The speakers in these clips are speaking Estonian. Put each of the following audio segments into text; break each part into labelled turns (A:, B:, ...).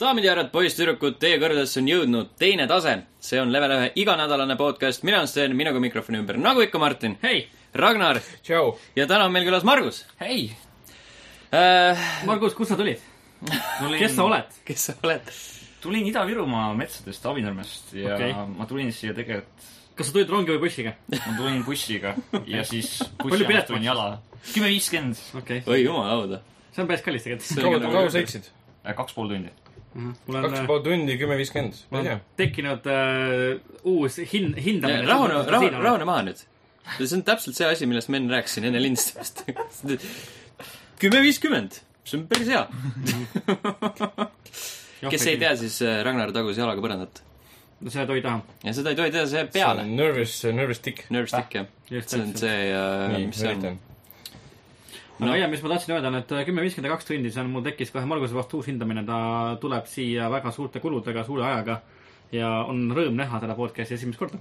A: daamid ja härrad , poisssüdrukud , teie kõrgedesse on jõudnud teine tase . see on level ühe iganädalane podcast , mina olen Sten , minuga mikrofoni ümber , nagu ikka , Martin ,
B: hei ,
A: Ragnar
C: tšau .
A: ja täna on meil külas Margus
B: hei ,
A: äh, .
B: Margus , kust sa tulid ?
D: tulin,
B: kes sa ? oled ?
A: kes sa oled ?
D: tulin Ida-Virumaa metsadest Avinurmest ja
B: Okei.
D: okay. ma tulin siia tegelikult ,
B: kas sa tulid rongi või bussiga ?
D: ma tulin bussiga ja siis
B: Palju
D: bussi
B: pilet
D: ajast
B: maksis?
D: tulin jala . kümme viiskümmend ,
B: okei okay. ,
A: oi jumala auda .
B: see on päris kallis tegelikult .
C: kaua , kaua sa sõitsid ?
D: äh, kaks pool tundi . Mhm.
B: mul on äh,
C: kaks , ja pool tundi , kümme viiskümmend . ma
B: mul
C: ei tea
B: on . tekkinud uh, uus hin- , hindamine .
A: rahune , rahune , rahune maha nüüd . see on täpselt see asi , millest ma enne rääkisin , enne lindistamist . kümme viiskümmend , see on päris hea . kes ei . tea , siis äh, Ragnar tagus jalaga põrandat .
B: no seda ei tohi taha .
A: ja seda ei tohi teha , see peale .
C: Nervous , nervous tick .
A: Nerve stick jah .
B: Ah, just
A: see on
B: täpselt.
A: see äh, ,
C: nii ,
A: mis see on
C: üritan .
B: no ja , mis ma tahtsin öelda , on , et äh, kümme viiskümmend ja kaks tundi , see on mul tekkis kohe Marguse vastu uus hindamine , ta tuleb siia väga suurte kuludega , suure ajaga ja on rõõm näha teda podcast'i esimest korda .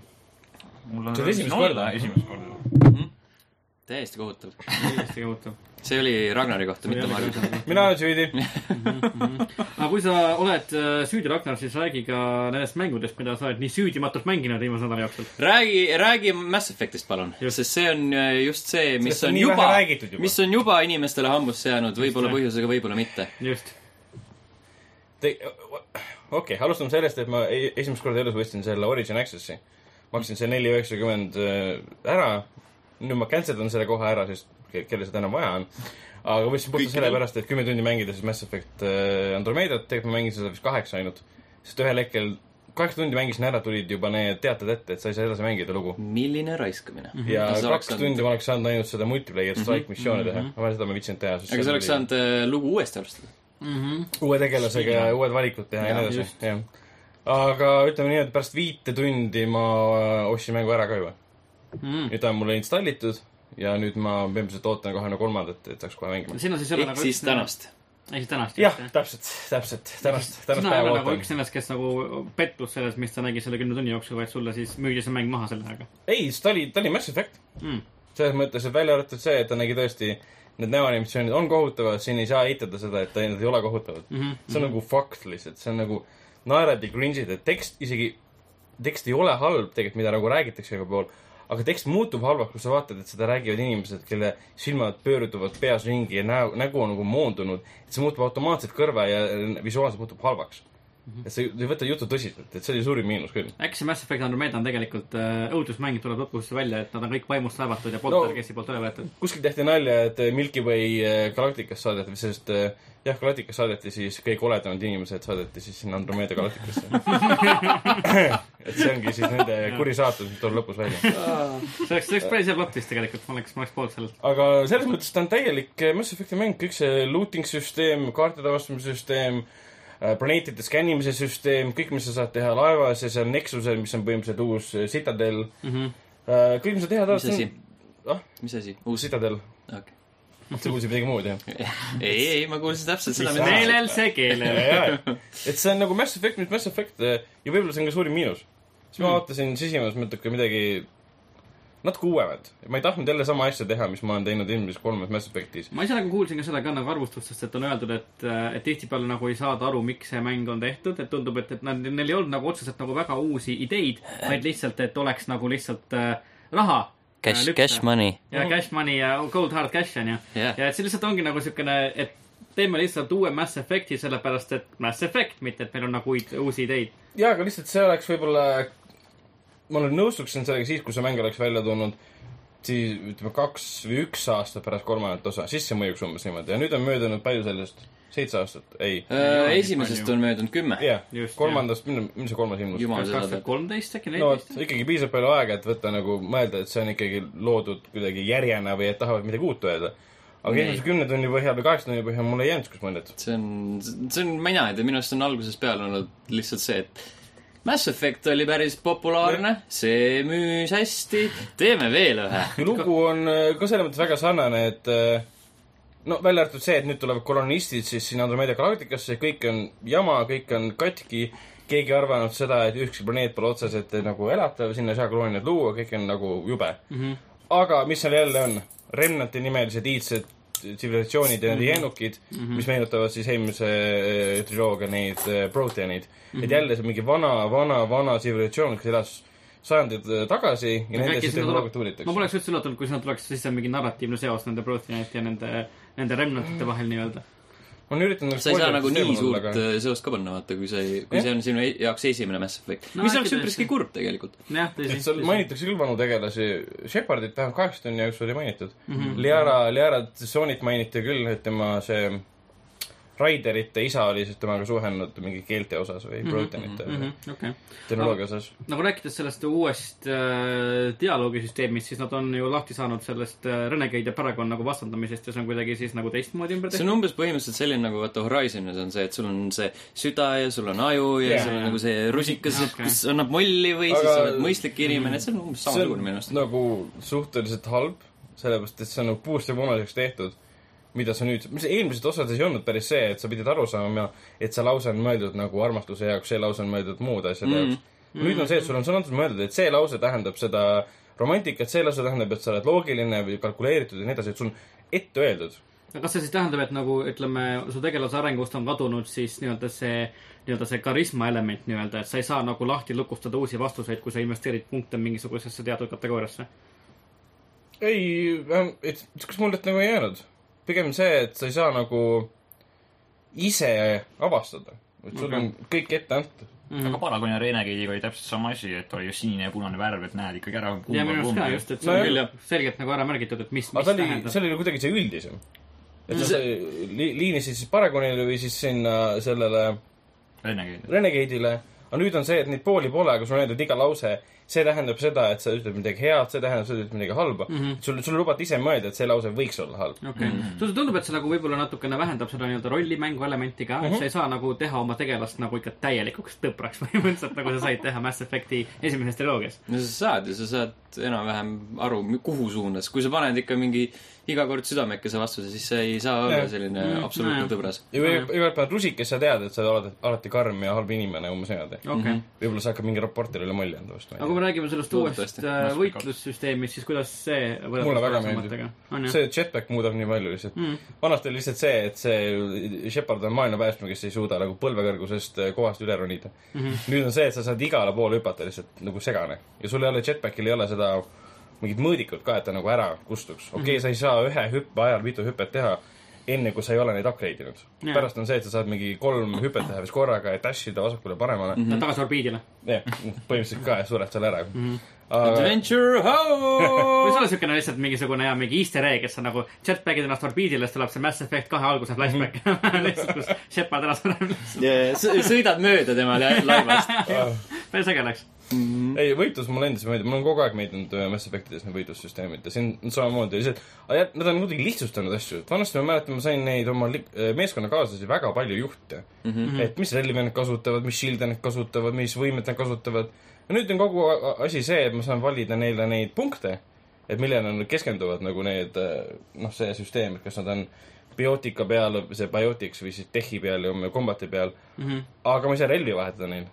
D: mul on
C: See oli esimest korda?
D: esimest korda .
A: täiesti kohutav .
B: kindlasti kohutav .
A: see oli Ragnari kohta , mitte Margus .
C: mina olen süüdi .
B: aga kui sa oled äh, süüdi , Ragnar , siis räägi ka nendest mängudest , mida sa oled nii süüdimatult mänginud viimase nädala jooksul .
A: räägi , räägi Mass Effectist palun ,
B: Just.
A: sest see on äh, just see , mis
C: Sellest on
A: on
C: nii vähe
A: juba
C: räägitud , juba.
A: mis on juba inimestele hambusse jäänud , võib-olla
B: Just, jah.
A: põhjusega , võib-olla mitte .
B: just .
C: okei , alustame sellest , et ma ei- esimest korda elus võtsin selle Origin Access'i . maksin selle neli üheksakümmend äh, ära . nüüd ma cancel dan selle kohe ära , sest ke- kellel seda enam vaja on . aga võtsin puhtalt sellepärast , et kümme tundi mängides Mass Effect äh, Andromedat , tegelikult ma mängisin seda vist kaheksa ainult . sest ühel hetkel , kaheksa tundi mängisin ära , tulid juba need teated ette , et sa ei saa edasi mängida lugu .
A: milline raiskamine .
B: Mhm.
C: ja kaks tundi ma oleks saanud ainult seda multiplayer strike missioone
B: mhm.
C: teha , aga seda ma ei viitsinud teha .
A: aga sa oleks saanud äh, lugu uuesti alustada .
C: uue tegelasega ja uued valikud teha ja
B: Jah,
C: nii edasi , jah . aga ütleme nii , et pärast viite tundi ma äh, ostsin mängu ära ka juba .
B: Mm.
C: nüüd ta on mulle installitud ja nüüd ma põhimõtteliselt ootan kahekümne kolmandat , et saaks kohe mängima .
B: siin on siis jälle
A: ehk
B: nagu
A: siis . tänast .
B: ehk siis tänast .
C: jah , täpselt , täpselt , tänast , tänast
B: sina ei
C: päeva
B: ole nagu
C: ootan
B: üks . nendest , kes nagu pettus selles , mis sa nägid selle kümne tunni jooksul , vaid sulle siis müüdi see mäng maha selle ajaga
C: ei , ta oli , ta oli Mass Effect .
B: mm. .
C: selles mõttes , et välja arvatud see , et ta nägi tõesti , need näoanimatsioonid on kohutavad , siin ei saa eitada seda , et ta- need ei ole kohutavad mm .
B: Mhm,
C: -hmm. see on nagu fakt lihtsalt , see on nagu naerad ja cringe'id , et tekst isegi , tekst ei ole halb tegelikult , mida nagu räägitakse igal pool , aga tekst muutub halvaks , kui sa vaatad , et seda räägivad inimesed , kelle silmad pöörduvad peas ringi ja näo , nägu on nagu moondunud , et see muutub automaatselt kõrva ja visuaalselt muutub halvaks mm .
B: Mhm.
C: -hmm. et sa ei- ei võta juttu tõsiselt , et see oli suurim miinus küll .
B: äkki see Mass Effect Andromeda on tegelikult äh, õudusmängid tulevad lõpus välja , et nad on kõik vaimust laevatud ja
C: No.
B: poltergeisti poolt üle võetud .
C: kuskil tehti nalja , et Milky Way eh, galaktikast saadeti , sest eh, jah , galaktikas saadeti siis kõik koledamad inimesed saadeti siis sinna Andromeda galaktikasse . et see ongi siis nende kuri saatus , mis tuleb lõpus välja .
B: see oleks , see oleks päris hea plott vist tegelikult , ma oleks , ma oleks poolt sellelt .
C: aga selles mõttes ta on täielik eh, Mass Effect'i mäng , kõik see looting süsteem , kaartide avastamise süsteem , planeetide skännimise süsteem , kõik , mis sa saad teha laevas ja seal Nexusel , mis on põhimõtteliselt uus eh, Citadel mm .
B: Mhm.
C: -hmm. kõik , mis sa teha
A: mis asi
C: tahad ,? Ah?
A: mis asi ? uus ?
C: Citadel .
A: okei .
C: sa kuulsid midagi muud , jah ?
A: ei , ei , ma kuulsin täpselt seda ,
C: Mis asi?
A: mida
B: meelel see keelel .
C: ja , ja , et see on nagu Mass Effect , mis Mass Effect eh, ja võib-olla see on ka suurim miinus . siis ma vaatasin sisimas natuke midagi , natuke uuemat . ma ei tahtnud jälle sama asja teha , mis ma olen teinud eelmises kolmes Mass Effectis .
B: ma ise nagu kuulsin ka seda ka nagu arvustustest , et on öeldud , et , et tihtipeale nagu ei saada aru , miks see mäng on tehtud , et tundub , et , et nad , neil ei olnud nagu otseselt nagu väga uusi ideid , vaid lihtsalt , et oleks nagu lihtsalt äh, raha . Äh,
A: cash , cash . money .
B: ja cash money ja cold hard cash on ju
A: Jah.
B: ja et see lihtsalt ongi nagu siukene , et teeme lihtsalt uue Mass Effect'i , sellepärast et Mass Effect , mitte et meil on nagu uid, uusi ideid .
C: jaa , aga lihtsalt see oleks võib-olla , ma olen nõustuksin sellega siis , kui see mäng oleks välja tulnud siis ütleme kaks või üks aasta pärast kolmandat osa , siis see mõjuks umbes niimoodi ja nüüd on möödunud palju sellest , seitse aastat , ei .
A: Äh,
B: ole nii
A: esimesest
B: palju.
A: on möödunud kümme .
C: jah ,
B: Just,
C: kolmandast , millal see kolmas ilmus ?
A: jumal
B: kas
A: seda
B: kaks tuhat
A: teab .
B: kolmteist äkki ,
C: no vot
B: neliteist ?,
C: ikkagi piisab palju aega , et võtta nagu , mõelda , et see on ikkagi loodud kuidagi järjena või et tahavad midagi uut öelda . aga
A: Ei.
C: esimese kümne tunni põhjal või kaheksa tunni põhjal mul ei jäänud niisugust mõtet .
A: see on , see on , mina ei tea , minu arust on algusest peale olnud lihtsalt see , et Mass Effect oli päris populaarne , see müüs hästi , teeme veel ühe .
C: ja lugu on äh, ka selles mõttes väga sarnane , et äh, no välja arvatud see , et nüüd tulevad kolonistid siis sinna Andromeda galaktikasse , kõik on jama , kõik on katki , keegi ei arvanud seda , et ükski planeet pole otseselt eh, nagu elatav , sinna ei saa kolooniaid luua , kõik on nagu jube mm . -hmm. aga mis seal jälle on ? Remnanti nimelised iidsed tsivilisatsioonid ja need jänukid mm , -hmm. mis meenutavad siis eelmise äh, triloogia neid äh, Proteanid mm . -hmm. et jälle see mingi vana , vana , vana tsivilisatsioon , kes elas sajandid äh, tagasi ja nende siis tehnoloogiat
B: ma
C: uuritakse .
B: poleks üldse üllatunud , kui sinna tuleks sisse mingi narratiivne seos nende Protonite ja nende , nende remnantite vahel nii-öelda .
C: ma olen üritanud
A: sa ei saa nagu nii suurt äh, seost ka panna , vaata , kui sa ei , kui
C: Jah.
A: see on sinu e- jaoks esimene Mass Effect
B: No
A: no, . mis
B: äkki
A: oleks üpriski
B: tõesti.
A: kurb tegelikult .
B: jah , tõsi .
C: et seal mainitakse küll vanu tegelasi , Shepardit vähemalt kaheksa tunni jooksul oli mainitud mm . -hmm.
A: Mhm.
C: Liara , Liara Sonit mainiti küll , et tema see Raiderite isa oli siis temaga suhelnud mingi keelte osas või
A: Mhm,
C: Protonite mm -hmm.
B: Mhm, okei .
C: tehnoloogia osas .
B: nagu rääkides sellest uuest äh, dialoogisüsteemist , siis nad on ju lahti saanud sellest äh, Renegade ja Paragon nagu vastandamisest ja see on kuidagi siis nagu teistmoodi ümber
A: see
B: tehtud .
A: on umbes põhimõtteliselt selline nagu vaata Horizonis on see , et sul on see süda ja sul on aju ja
C: Jaa,
A: yeah, sul on
B: jaa.
A: nagu see rusikas
B: Okei.
A: okay. , mis annab molli või Aga... siis
C: Aga-
A: sa oled mõistlik inimene , see on umbes
C: see
A: samasugune
C: on
A: minu arust .
C: nagu suhteliselt halb , sellepärast et see on nagu puust ja punaseks tehtud , mida sa nüüd , mis eelmised osades ei olnud päris see , et sa pidid aru saama , et see lause on mõeldud nagu armastuse jaoks , see lause on mõeldud muude asjade
A: Mm.
C: mm. jaoks . nüüd on see , et sul on sõnades mõeldud , et see lause tähendab seda romantikat , see lause tähendab , et sa oled loogiline või kalkuleeritud ja nii edasi , et sul on ette öeldud .
B: aga kas see siis tähendab , et nagu ütleme , su tegelase arengust on kadunud siis nii-öelda see , nii-öelda see karisma element nii-öelda , et sa ei saa nagu lahti lukustada uusi vastuseid , kui sa investeerid punkte mingisugusesse teatud kategooriasse ?
C: ei , et niisugust muljet nagu ei jäänud . pigem see , et sa ei saa nagu ise avastada , et sul okay. on kõik ette antud .
D: Mhm. aga Paragoni ja Renegade'iga oli täpselt sama asi , et oli ju sinine ja punane värv , et näed ikkagi ära ,
B: ja
D: kumb
B: minu arust
D: on kumb
B: ka . just , et see
C: No
B: on
C: jah.
B: küll jah , selgelt nagu ära märgitud , et mis ,
C: aga
B: mis
C: see oli ,
B: tähendab .
C: see oli kuidagi see üldisem . et
A: Mm.
C: sa see li, liinisid siis Paragonile või siis sinna sellele
D: Renegade .
C: Renegade'ile , aga nüüd on see , et neid pooli pole , aga sul on öeldud iga lause , see tähendab seda , et sa ütled midagi head , see tähendab , sa ütled midagi halba mm .
B: Mhm.
C: -hmm. sul , sul lubati ise mõelda , et see lause võiks olla halb .
B: okei okay. mm. , sulle tundub , et see nagu võib-olla natukene vähendab seda nii-öelda rollimängu elementi ka mm , -hmm.
C: Mhm.
B: et sa ei saa nagu teha oma tegelast nagu ikka täielikuks tõpraks põhimõtteliselt , nagu sa said teha Mass Effecti esimeses triloogias .
A: no sa saad ju , sa saad enam-vähem aru , kuhu suunas , kui sa paned ikka mingi iga kord südamekese vastuse , siis see ei saa olla
C: Jah.
A: selline
B: Mm,
A: absoluutne
B: nojah.
A: tõbras .
C: ja
B: Mhm.
C: või iga päev rusikas sa tead , et sa oled alati karm ja halb inimene , umbes niimoodi .
B: okei ,
C: võib-olla sa hakkad mingi raportile mulje andma vast .
B: Mhm. aga kui me räägime sellest uuest
A: Loodetavasti.
B: äh, võitlussüsteemist , siis kuidas see
C: mulle väga meeldib
B: on . jah ?
C: see jetpack muudab nii palju lihtsalt mm. . vanasti oli lihtsalt see , et see Shepard on maailma päästja , kes ei suuda nagu põlvekõrgusest eh, kohast üle ronida mm .
B: Mhm.
C: -hmm. nüüd on see , et sa saad igale poole hüpata lihtsalt nagu segane ja sul ei ole jetpackil ei ole seda mingit mõõdikut ka , et ta nagu ära kustuks .
B: Mhm.
C: okei okay, , sa ei saa ühe hüppe ajal mitu hüpet teha , enne kui sa ei ole neid upgrade inud
B: Jaa.
C: yeah. . pärast on see , et sa saad mingi kolm hüpet teha vist korraga ja dash ida vasakule-paremale mm .
B: tagasi orbiidile .
C: -hmm. jah , põhimõtteliselt ka ja sured seal ära
B: Mhm.
C: mm . -hmm.
A: Adventure
B: või
A: Home
B: see on niisugune lihtsalt mingisugune jaa , mingi easter egg , et sa nagu jetpack'id ennast orbiidile , siis tuleb see Mass Effect kahe alguse flashback
C: Mhm.
B: lihtsalt , kus Shepard ära sureb lihtsalt .
A: yeah, . sõidad mööda tema la- laevast .
C: aga
B: päris äge läks .
C: ei , võitlus mulle endise meeldib , mul on kogu aeg meeldinud äh, Mass Effectides need võitlussüsteemid ja siin on samamoodi lihtsalt , nad on kuidagi lihtsustanud asju , et vanasti ma mäletan , ma sain neid oma li- äh, meeskonnakaaslasi väga palju juhte mm . -hmm. et mis relvi nad kasutavad , mis shield'e nad kasutavad , mis võimet nad kasutavad . ja nüüd on kogu a- a- asi see , et ma saan valida neile neid punkte , et millele nad keskenduvad nagu need , noh , see süsteem , et kas nad on biootika peal , see biotics või siis tehi peal ja kombati peal mm , -hmm. aga ma ei saa relvi vahetada neil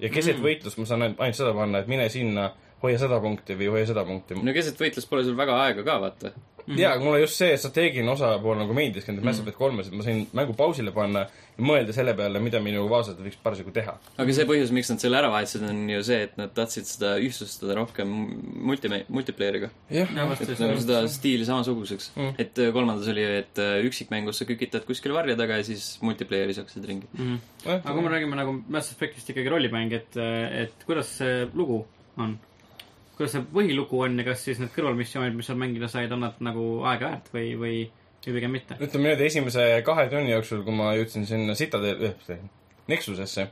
C: ja keset võitlust ma saan ainult, ainult seda panna , et mine sinna , hoia seda punkti või hoia seda punkti no. .
A: no keset võitlust pole sul väga aega ka , vaata .
C: jaa , aga mulle just see strateegiline osapool nagu meeldis , nende Mass Effect kolmes , et ma sain mängu pausile panna ja mõelda selle peale , mida minu kaaslased võiks parasjagu teha .
A: aga see põhjus , miks nad selle ära vahetasid , on ju see , et nad tahtsid seda ühtsustada rohkem multi , multiplayer'iga .
C: jah ,
A: et nagu seda stiili samasuguseks mm. . et äh, kolmandas oli , et äh, üksikmängus sa kükitad kuskil varje taga ja siis multiplayer'is jooksed ringi mm. .
B: aga kui me räägime nagu Mass Effectist ikkagi rollimäng , et , et kuidas see lugu on ? kuidas see põhilugu on ja kas siis need kõrvalmissioonid , mis seal mängida said , on nad nagu aega väärt või , või , või pigem mitte ?
C: ütleme niimoodi , esimese kahe tunni jooksul , kui ma jõudsin sinna Citadel , Nexusesse ,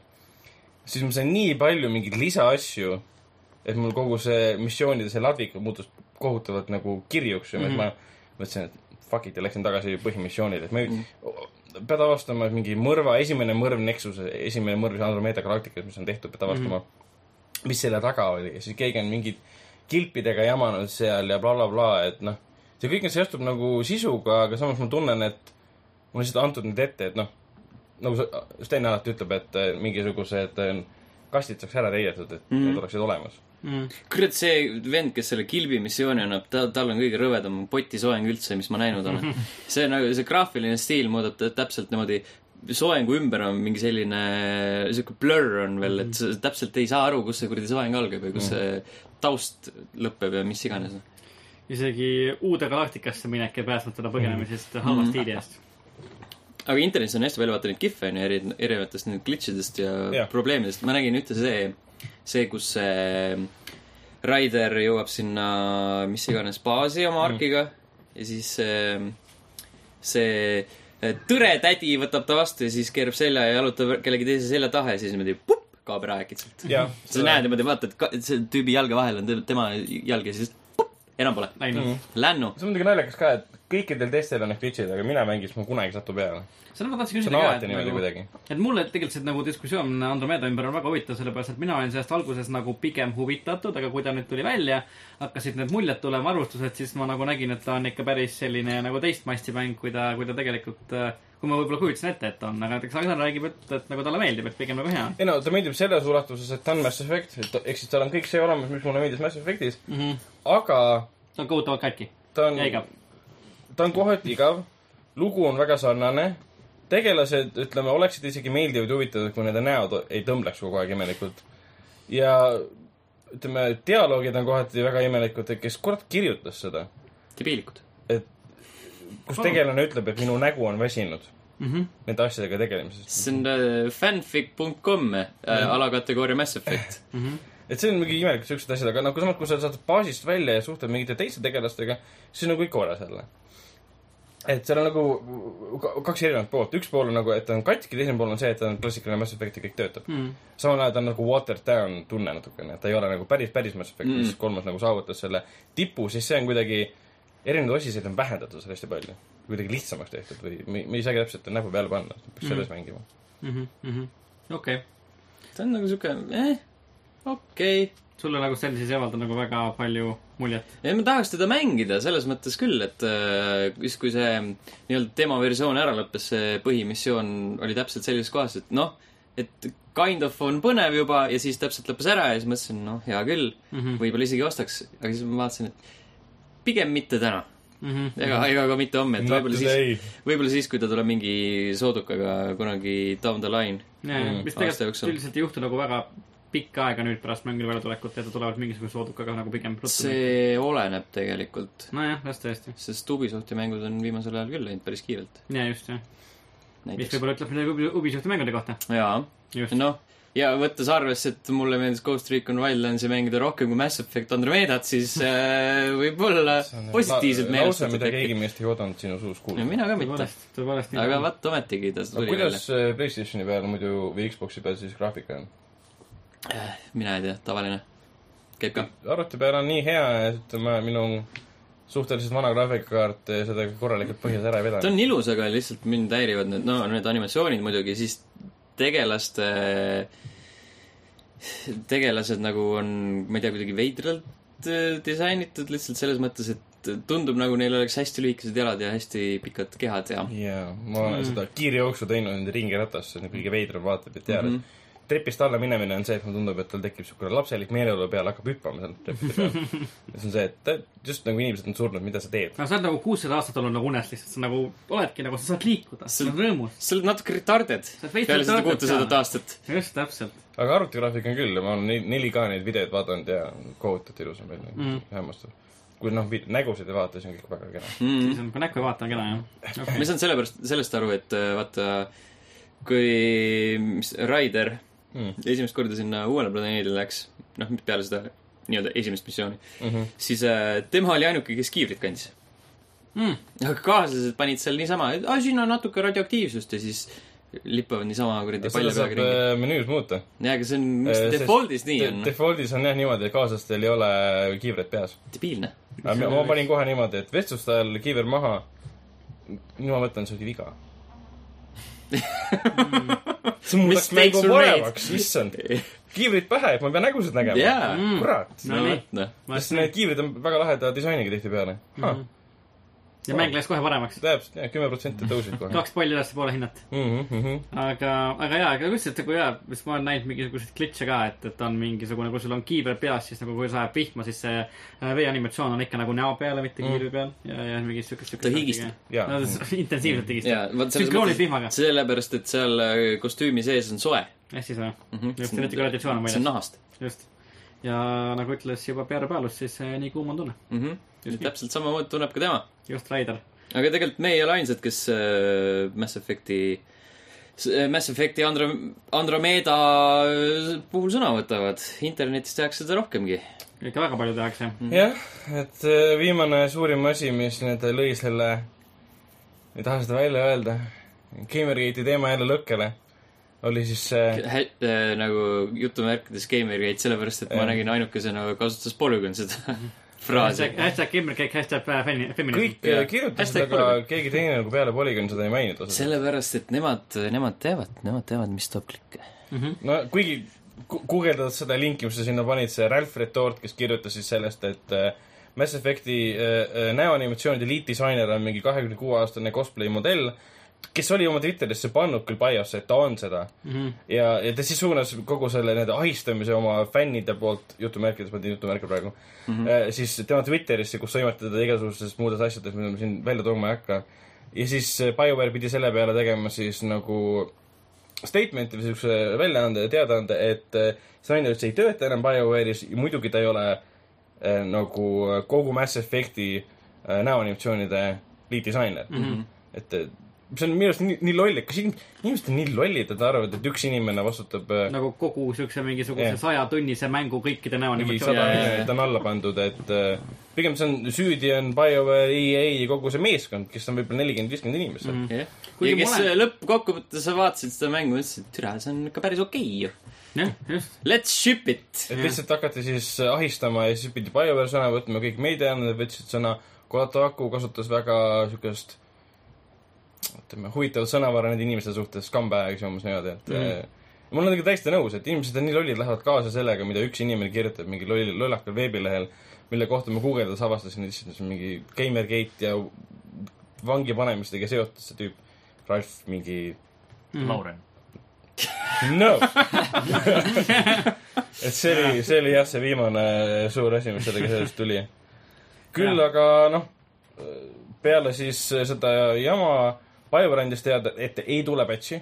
C: siis ma sain nii palju mingeid lisaasju , et mul kogu see missioonide see ladvik muutus kohutavalt nagu kirjuks ja mm -hmm.
B: Mhm.
C: ma mõtlesin , et fuck it ja läksin tagasi põhimissioonile , et ma ei mm
B: Mhm.
C: -hmm. pead avastama et mingi mõrva , esimene mõrv Nexuse , esimene mõrv siis Andromeda galaktikas , mis on tehtud , pead avastama
B: Mhm.
C: mm , -hmm. mis selle taga oli ja siis keegi on mingid kilpidega jamanud seal ja blablabla bla, , bla, et noh , see kõik seostub nagu sisuga , aga samas ma tunnen , et mul on lihtsalt antud nüüd ette , et noh , nagu sa- äh, Sten alati ütleb , et eh, mingisugused eh, kastid saaks ära täidetud , et mm. need oleksid olemas mm .
B: mm. .
A: kurat , see vend , kes selle kilbi missiooni annab , ta , tal on kõige rõvedam potisoeng üldse , mis ma näinud olen . see nagu , see graafiline stiil muudab ta täpselt niimoodi , soengu ümber on mingi selline , sihuke blur on veel , et sa täpselt ei saa aru , kus see kuradi soeng algab ja kus see taust lõpeb ja mis iganes .
B: isegi uude galaktikasse minek ei päästnud teda põgenemisest halva stiili eest .
A: aga internetis on hästi palju vaata neid kihve on ju , eri , erinevatest nendest glitchidest ja
C: Jah.
A: probleemidest , ma nägin ühte see , see , kus see Raider jõuab sinna mis iganes baasi
C: Mhm.
A: oma arkiga ja siis see, see tõretädi võtab ta vastu ja siis keerab selja ja jalutab kellegi teise selja taha ja siis niimoodi pup, kaob ära äkitselt .
C: jah ,
A: sa näed niimoodi , vaatad , selle tüübi jalge vahel on te- tema jalg ja siis pup, enam pole .
B: läinud .
A: Lännu .
C: see on muidugi naljakas ka , et kõikidel teistel on need glitch'id , aga mina mängis , ma kunagi ei satu peale .
B: seda ma tahtsin
C: see
B: küsida
C: on
B: ka ,
C: alati
B: et
C: niimoodi
B: nagu ,
C: kuidagi .
B: et mulle tegelikult see nagu diskussioon Andromeda ümber on väga huvitav , sellepärast et mina olin sellest alguses nagu pigem huvitatud , aga kui ta nüüd tuli välja , hakkasid need muljed tulema , arvustused , siis ma nagu nägin , et ta on ikka päris selline nagu teist masti mäng , kui ta , kui ta tegelikult , kui ma võib-olla kujutasin ette , et ta on , aga näiteks Agnar räägib , et , et nagu talle meeldib , et pigem nagu hea on
C: ei no ta meeldib selles ulatuses , et ta on Mass Effect , et ta- ehk siis tal on kõik see olemas , mis mulle meeldis Mass Effectis ,
B: mm . -hmm.
C: aga
B: ta on kohutavalt katki
C: ta on
B: ja , igav .
C: ta on kohati igav , lugu on väga sarnane , tegelased , ütleme , oleksid isegi meeldivad ja huvitavad , kui nende näod ei tõmbleks kogu aeg imelikult . ja ütleme , dialoogid on kohati väga imelikud , et kes kurat kirjutas seda ,
A: debiilikud .
C: et kus tegelane ütleb , et minu nägu on väsinud
B: mm . -hmm.
C: nende asjadega tegelemisest .
A: see on äh, fanfic.com äh, alakategooria Mass Effect .
C: et see on mingi imelik , siuksed asjad , aga noh , kui samas , kui sa saad baasist välja ja suhtled mingite teiste tegelastega , siis on nagu kõik korras jälle . et seal on nagu ka- kaks erinevat poolt , üks pool on nagu , et ta on katki , teine pool on see , et ta on klassikaline Mass Effect ja kõik töötab .
B: Mm.
C: samal ajal ta on nagu watered down tunne natukene , et ta ei ole nagu päris , päris Mass Effect , mis mm. kolmas nagu saavutas selle tipu , siis see on kuidagi , erinevaid osiseid on vähendatud seal hästi palju . kuidagi lihtsamaks tehtud või me, me ei saagi täpselt näpu peale panna , peaks selles mm. mängima .
B: mm -hmm. okei okay. ,
A: ta on nagu siuke , eh , okei okay. .
B: sulle nagu sellises ei avalda nagu väga palju muljet .
A: ei , ma tahaks teda mängida selles mõttes küll , et äh, siis , kui see nii-öelda demo versioon ära lõppes , see põhimissioon oli täpselt sellises kohas , et noh , et kind of on põnev juba ja siis täpselt lõppes ära ja siis mõtlesin , noh , hea küll mm -hmm. , võib-olla isegi ostaks , aga siis ma vaatasin , et pigem mitte täna
B: Mm -hmm.
A: ega , ega ka mitte homme , et
C: Not
A: võib-olla
C: today.
A: siis , võib-olla siis , kui ta tuleb mingi soodukaga kunagi down the line .
B: mm, mis
A: aasta
B: tegelikult
A: jooksul.
B: üldiselt ei juhtu nagu väga pikka aega nüüd pärast mängu väljatulekut , et tulevad mingisuguse soodukaga nagu pigem ruttu .
A: see oleneb tegelikult
B: nojah , las tõesti .
A: sest Ubisofti mängud on viimasel ajal küll läinud päris kiirelt .
B: ja just jah , mis
A: näiteks .
B: võib-olla ütleb midagi Ubi- Ubisofti mängude kohta .
A: jaa ,
B: just
A: noh , ja võttes arvesse , et mulle meeldis Ghost Recon Wildlandsi mängida rohkem kui Mass Effect Andromedat , siis äh, võib-olla positiivselt
C: lause , mida
A: meelestatud .
C: keegi meist ei oodanud sinu suus
A: no
C: kuulda .
A: mina ka mitte .
B: tõepoolest , tõepoolest .
A: aga vaat ometigi ta
C: aga
A: tuli välja
C: kuidas . äh, Playstationi peal muidu või Xbox'i peal siis graafika on ?
A: Äh, mina ei tea , tavaline . käib ka .
C: arvuti peal on nii hea , et ütleme , minu suhteliselt vana graafikakaart eh, seda korralikult põhjas ära ei
A: ta
C: vedanud .
A: on ilus , aga lihtsalt mind häirivad need , no need animatsioonid muidugi , siis tegelaste , tegelased nagu on , ma ei tea , kuidagi veidralt äh, disainitud lihtsalt selles mõttes , et tundub nagu neil oleks hästi lühikesed jalad ja hästi pikad kehad ja
C: jaa , ma
A: Mm.
C: olen seda kiirjooksu teinud nende ringiratas , see on kõige veidram vaatab , et tead ,
A: Mhm.
C: et trepist alla minemine on see , et mulle tundub , et tal tekib niisugune lapselik meeleolu peale , hakkab hüppama seal trepide peal . ja see on see , et ta just nagu inimesed on surnud , mida sa teed .
B: no sa oled nagu kuussada aastat olnud nagu unes lihtsalt , sa nagu oledki nagu , sa saad liikuda ,
A: See-
B: sa oled rõõmus .
A: sa oled natuke retarded
B: oled veits
A: peale seda
B: retarded
A: kuutesadat
B: ka.
A: aastat .
B: just , täpselt .
C: aga arvutigraafik on küll , ma olen nel- 4K neid videoid vaadanud ja kohutavalt ilus on välja
A: Mhm.
C: mm. , hämmastav . kui noh , nägusid ei vaata , siis on kõik väga kena .
A: Mhm.
B: siis on , kui näkku ei vaata , on kena jah okay. .
A: Mm. ma saan sellepärast , sellest aru , et äh, vaata , kui mis, Raider mm. esimest korda sinna uuele planeedile läks , noh , peale seda nii-öelda esimest missiooni mm ,
C: mm-hmm.
A: -hmm. siis äh, tema oli ainuke , kes kiivrit kandis
C: Hmm.
B: Mm. .
A: aga kaaslased panid seal niisama , et aa , siin on natuke radioaktiivsust ja siis lipavad niisama kuradi
C: seda
A: palja
C: saab
A: peaga ringi .
C: äh, menüüs muuta
A: jaa , aga see on , miks
C: Eh,
A: see
C: sest
A: default'is nii
C: de-
A: on ,
C: Defaultis on jah niimoodi , et kaaslastel ei ole kiivret peas .
A: debiilne .
C: ma ma panin kohe niimoodi , et vestluste ajal kiiver maha . nüüd ma mõtlen , see oli viga . see muudaks
A: Mistakes
C: mängu
A: were made.
C: paremaks , issand . kiivrid pähe , et ma ei pea nägusid nägema .
A: jaa ,
B: Mm.
C: kurat .
B: No
A: no
B: nii.
A: vot noh . Mhm.
C: sest need kiivrid on väga laheda disainiga tihtipeale .
B: Mhm. ja mäng läks kohe paremaks .
C: täpselt , jah , kümme protsenti tõusid kohe . Mhm,
B: kaks palli ülespoole hinnati . aga , aga jaa , aga üldiselt nagu jaa , sest ma olen näinud mingisuguseid klitše ka , et , et on mingisugune , kui sul on kiiver peas , siis nagu kui sajab pihma , siis see äh, veeanimatsioon on ikka nagu näo peale , mitte kiivri peal ja , ja mingit siukest ,
A: Mm.
B: siukest .
A: Ta higistab. .
C: Jaa.
B: intensiivselt
A: jaa ,
B: higistab .
A: vot selles
B: sünkroonib
A: mõttes ,
B: vihmaga .
A: sellepärast , et seal äh, kostüümi sees on soe .
B: hästi soe . just , eriti kui radiatsioon on
A: Mhm. see on
B: väljas .
A: nahast
B: just . ja nagu ütles juba Peer Paalus , siis äh, nii kuum on tunne .
A: mm . -hmm. täpselt samamoodi tunneb ka tema .
B: just , Raider .
A: aga tegelikult me ei ole ainsad , kes äh, Mass Effect'i , Mass Effect'i Andro- , Andromeda äh, puhul sõna võtavad . internetis tehakse seda rohkemgi .
B: ikka väga palju tehakse .
A: Mm. Mhm.
C: jah , et äh, viimane suurim asi , mis nüüd lõi selle , ei taha seda välja öelda , Gamergate'i teema jälle lõkkele , oli siis äh, see ,
A: nagu jutumärkides Gamergate , sellepärast et ma
C: Jah.
A: nägin ainukesena kasutas Polügon seda fraasi .
B: hashtag Kimmerkäik , hashtag äh, femi- , feminism .
C: kõik äh,
A: Jah.
C: kirjutasid ,
A: Hashtag
C: aga
A: polügoon.
C: keegi teine nagu peale Polygon seda ei maininud otseselt .
A: sellepärast , et nemad , nemad teavad , nemad teavad , mis toob klikke .
C: no kuigi gu- guugeldades seda linki , mis sa sinna panid , see Ralph Retort , kes kirjutas siis sellest , et äh, Mass Effecti äh, äh, näoanimatsioonide liitdisainer on mingi kahekümne kuue aastane cosplay modell , kes oli oma Twitterisse pannud küll biosse , et ta on seda mm .
B: Mhm.
C: -hmm. ja , ja ta siis suunas kogu selle nii-öelda ahistamise oma fännide poolt , jutumärkides , ma teen jutumärke praegu mm , -hmm. siis tema Twitterisse , kus sõimati teda igasugustes muudes asjades , mida ma siin välja tooma ei hakka . ja siis äh, BioWare pidi selle peale tegema siis nagu statement'i või siukse väljaande ja teadaande , et äh, Snyder üldse ei tööta enam BioWare'is , muidugi ta ei ole äh, nagu kogu Mass Effect'i äh, näoanimatsioonide liitdisainer mm . -hmm. et äh, see on minu arust nii, nii loll , et kas in- inimesed on nii lollid , et arvavad , et üks inimene vastutab äh,
B: nagu kogu siukse mingisuguse
C: Jah.
B: sajatunnise mängu kõikide
C: mingi
B: näoanimatsioonide
C: sada
A: jaa, jaa.
C: miljonit on alla pandud , et äh, pigem see on , süüdi on BioWare , EA ja kogu see meeskond , kes on võib-olla nelikümmend , viiskümmend inimest mm .
A: jah . ja
B: Mhm. Kuigi
A: kes äh,
B: ma olen-
A: lõppkokkuvõttes vaatasid seda mängu , ütlesid , et türa , see on ikka päris okei okay, ju .
B: jah , just .
A: Let's ship it .
C: et lihtsalt hakati siis ahistama ja siis pidi BioWare sõna võtma , kõik meediaandmed võtsid sõna , Kotaku kasutas väga siukest ütleme , huvitavat sõnavara nende inimeste suhtes , scumbag'is umbes niimoodi , et mm. ma olen nagu täiesti nõus , et inimesed on nii lollid , lähevad kaasa sellega , mida üks inimene kirjutab mingi loll , lollakal veebilehel , mille kohta ma guugeldades avastasin lihtsalt et see on mingi Gamergate ja vangi panemistega seotud see tüüp , Ralf mingi
B: Mhm.
D: Lauren .
C: no . et see oli , see oli jah , see viimane äh, suur asi , mis sellega seoses tuli . küll
B: Jah.
C: aga noh , peale siis äh, seda jama , Aivar andis teada , et ei tule patch'i ,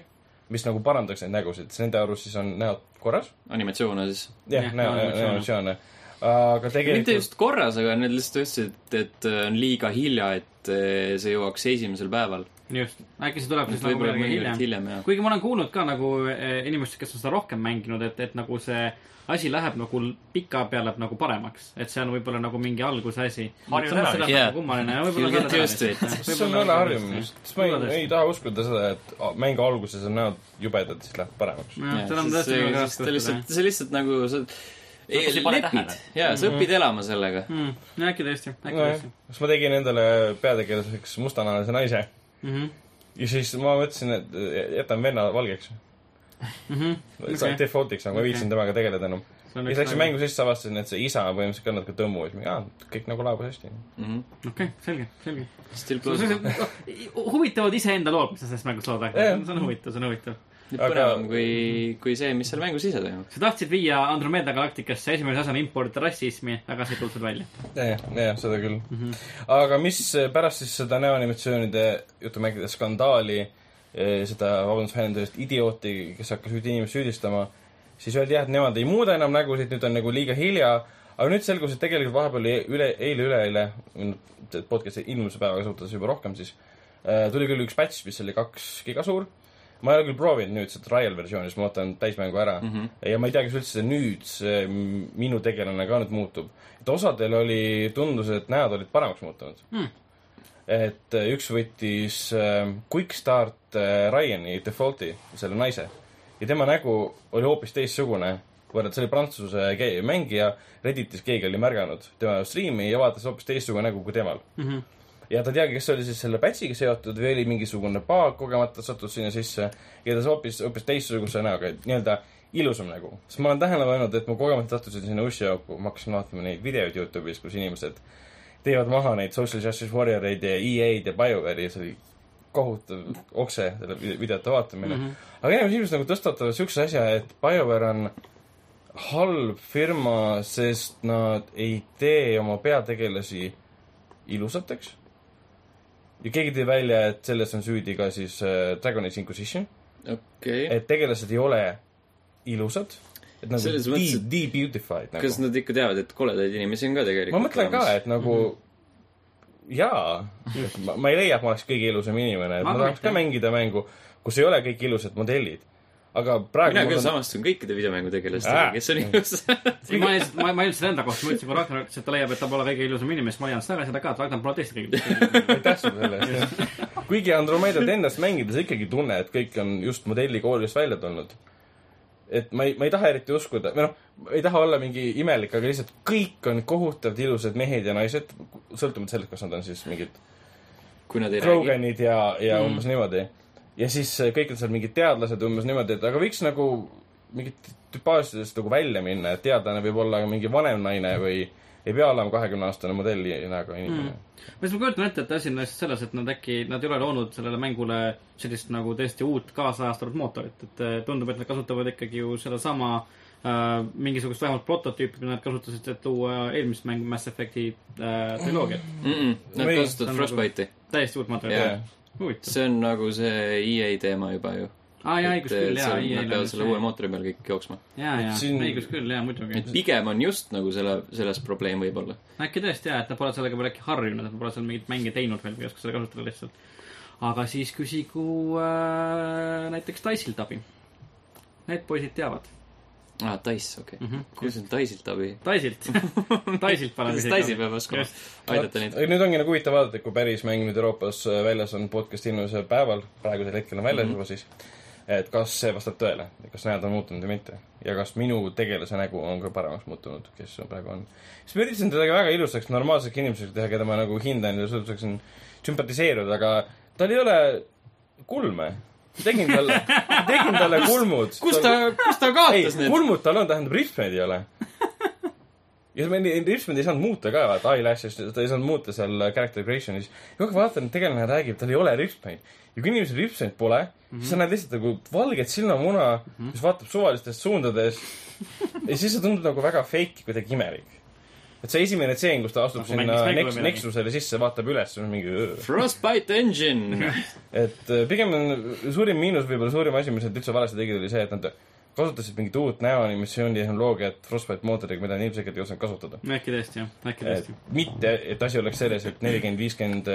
C: mis nagu parandaks neid nägusid , sest nende arust siis on näod korras .
A: animatsioone siis .
C: jah
B: Jah, ,
C: näo ,
B: näoanimatsioone.
C: näoanimatsioone . aga
A: mitte
C: tegelikult
A: just korras , aga need lihtsalt ütlesid , et , et äh, on liiga hilja , et eh, see jõuaks esimesel päeval .
B: just , äkki see tuleb siis
A: et
B: nagu
A: võib-olla
B: kuidagi
A: mõnikord
B: hiljem .
A: hiljem , jah .
B: kuigi ma olen kuulnud ka nagu eh, inimestest , kes on seda rohkem mänginud , et , et nagu see asi läheb nagu pika peale nagu paremaks , et see on võib-olla nagu mingi alguse asi .
D: Harjunud ära.
A: Yeah.
B: nagu kummaline .
A: You'll get used to it.
C: see on jälle harjumus , sest ma ei , ei taha uskuda seda , et mängu alguses on näod jubedad , siis läheb paremaks .
A: Jah,
B: seda on
A: sest
B: tõesti
A: see-
B: väga
A: sest ta
B: raske uskuda
A: lihtsalt , see lihtsalt nagu sa ei,
D: ei pane
A: lepid
D: tähele. ,
A: jaa , sa õpid elama sellega .
B: Mm, no äkki tõesti , äkki
C: nojah
B: tõesti ,
C: siis ma tegin endale peategelaseks mustanahalise naise
B: mm . -hmm.
C: ja siis ma mõtlesin , et jätan venna valgeks
B: Mm -hmm.
C: okay. . default'iks , aga ma ei viitsinud okay. temaga tegeleda enam . ja siis
B: nagu-
C: läksin mängu sisse , avastasin , et see isa on põhimõtteliselt ka natuke tõmmu ja siis ma , aa , kõik nagu laabus hästi .
B: okei , selge , selge .
A: Mhm. Still plausible .
B: oh, huvitavad iseenda lood , mis sa sellest mängust lood , aga
C: Jah.
B: see on huvitav , see on huvitav .
A: nüüd
C: Aga-
A: põnevam kui , kui see , mis seal mängus ise toimub .
B: sa tahtsid viia Andromeda galaktikasse esimese asjana import rassismi , aga see ei tulnud sul välja .
C: jah , jah , seda küll mm . -hmm. aga mis eh, pärast siis seda näoanimatsioonide jutumärkide skandaali , seda , vabandust , vähendusest idiooti , kes hakkas ühte inimest süüdistama , siis öeldi jah , et nemad ei muuda enam nägusid , nüüd on nagu liiga hilja , aga nüüd selgus , et tegelikult vahepeal oli üle , eile-üleeile , podcast'i ilmuse päevaga suhtes juba rohkem siis , tuli küll üks patch , mis oli kaks giga suur , ma ei ole küll proovinud nüüd seda trial versioonis , ma ootan täismängu ära mm . -hmm. ja ma ei tea , kas üldse nüüd see m- minu tegelane ka nüüd muutub . et osadel oli , tundus , et näod olid paremaks muutunud
B: Hmm.
C: mm. . et äh, üks võttis äh, Quick Start äh, Ryan'i default'i , selle naise . ja tema nägu oli hoopis teistsugune , võrreldes , see oli prantsuse ke- mängija , Redditis keegi oli märganud tema striimi ja vaatas hoopis teistsugune nägu kui temal mm .
B: Mm-hmm.
C: -hmm ja ta ei teagi , kas see oli siis selle patch'iga seotud või oli mingisugune baag kogemata sattus sinna sisse ja ta hoopis , hoopis teistsuguse näoga , nii-öelda ilusam nägu . sest ma olen tähele pannud , et ma kogemata sattusin sinna ussiauku , ma hakkasin vaatama neid videoid Youtube'is , kus inimesed teevad maha neid Social Justice Warrior eid ja EA-d ja BioWare'i ja see oli kohutav okse selle vide- videote vaatamine mm . -hmm. aga inimesed ilmselt nagu tõstatavad siukse asja , et BioWare on halb firma , sest nad ei tee oma peategelasi ilusateks . ja keegi tõi välja , et selles on süüdi ka siis äh, Dragon Age Inquisition ,
A: okei okay. .
C: et tegelased ei ole ilusad , et nad on
A: Selles mõttes,
C: de-
A: et- ,
C: de-beautified nagu
A: kas . nad ikka teavad , et koledaid inimesi on ka tegelikult
C: ma mõtlen ka , et nagu mm -hmm.
A: Mhm.
C: jaa , ma, ma ei leia , et ma oleks kõige ilusam inimene , et
B: Ma
C: ma,
B: ka
C: ma tahaks
B: mitte.
C: ka mängida mängu , kus ei ole kõik ilusad modellid . aga praegu
A: mina
C: mul
A: küll
C: on-
A: samastun kõikide videomängutegelastega
C: Aa. ,
A: kes on ilusad .
B: ma lihtsalt , ma , ma ütlesin enda kohta , ma ütlesin , kui Ragnar ütles , et ta leiab , et ta pole kõige ilusam inimene , siis ma leian seda ka , seda ka , et Ragnar pole teist kõige .
C: aitäh sulle selle eest , jah . kuigi Andromedat ennast mängides ikkagi tunne , et kõik on just modellikoolist välja tulnud . et ma ei , ma ei taha eriti uskuda , või noh , ma ei taha olla mingi imelik , aga lihtsalt kõik on kohutavalt ilusad mehed ja naised , sõltumata sellest , kas nad on siis mingid
A: kui nad ei räägi .
C: Kroganid ja , ja mm. umbes niimoodi . ja siis äh, kõik on seal mingid teadlased umbes niimoodi , et aga võiks nagu mingit tüpaažidest nagu välja minna , et teadlane võib olla ka mingi vanem naine või ei pea olema kahekümne aastane modelli näoga inimene mm. .
B: ma siis ma kujutan ette , et asi on lihtsalt selles , et nad äkki , nad ei ole loonud sellele mängule sellist nagu tõesti uut kaasajastatud mootorit , et eh, tundub , et nad kasutavad ikkagi ju sedasama äh, mingisugust vähemalt prototüüpi , mida nad kasutasid , et luua eelmist mängu Mass Effect'i äh, triloogiat .
A: Nad
C: Või-
A: kasutavad Frostbite'i .
B: täiesti uut materjali
A: Jaa.
B: yeah. . huvitav .
A: see on nagu see EA teema juba ju .
B: aa jaa ,
A: et
B: õigus küll , jaa ,
A: seal nad peavad selle uue
B: jaa ,
A: mootori peal kõik jooksma .
B: jaa ,
C: Siin-
B: õigus küll , jaa , muidugi
A: et . pigem on just nagu selle , selles probleem võib-olla .
B: äkki tõesti jaa , et nad pole sellega veel äkki harjunud , et nad pole seal mingeid mänge teinud veel või ei oska seda kasutada lihtsalt . aga siis küsigu äh, näiteks Dice'ilt abi . Need poisid teavad .
A: aa , Dice , Ah, okei okay. . kuidas on Dice'ilt abi ?
B: Dice'ilt , Dice'ilt paneb
A: kuidas Dice'il peab oskama
B: Just.
A: aidata neid ?
C: nüüd ongi nagu huvitav vaadata , et kui päris mäng nüüd Euroopas äh, väljas on podcast ilmuse päeval , praegusel hetkel on
A: Mhm.
C: väljas mm -hmm. juba siis , et kas see vastab tõele , kas näod on muutunud või mitte ja kas minu tegelase nägu on ka paremaks muutunud , kes on praegu on . siis ma üritasin teda ka väga ilusaks , normaalseks inimeseks teha , keda ma nagu hindan ja suutsin sümpatiseeruda , aga tal ei ole kulme . tegin talle , tegin talle kulmud .
A: kus ta , kus ta kaotas
C: ei ,
A: need ?
C: kulmud tal on , tähendab ripsmeid ei ole . ja me ei- ripsmeid ei saanud muuta ka , vaata eyelashes , ta ei saanud muuta seal character creation'is . ja kui vaatan , tegelane räägib , tal ei ole ripsmeid . ja kui inimesel ripsmeid pole mm , -hmm.
B: Mhm.
C: siis sa näed lihtsalt nagu valget silmamuna mm , -hmm. mis vaatab suvalistest suundadest . ja siis see tundub nagu väga fake , kuidagi imelik . et see esimene tseen , kus ta astub
B: Nagu
C: nagu sinna
B: mängis mängule
C: neks- ,
B: midagi.
C: neksusele sisse , vaatab üles , mingi
A: Frostbite engine .
C: et äh, pigem on suurim miinus , võib-olla suurim asi , mis nad üldse valesti tegid , oli see , et nad kasutasid mingit uut näoanimatsiooni tehnoloogiat Frostbite mootoriga , mida nad ilmselgelt ei osanud kasutada .
B: äkki tõesti jah , äkki tõesti .
C: mitte , et asi oleks selles , et nelikümmend , viiskümmend ,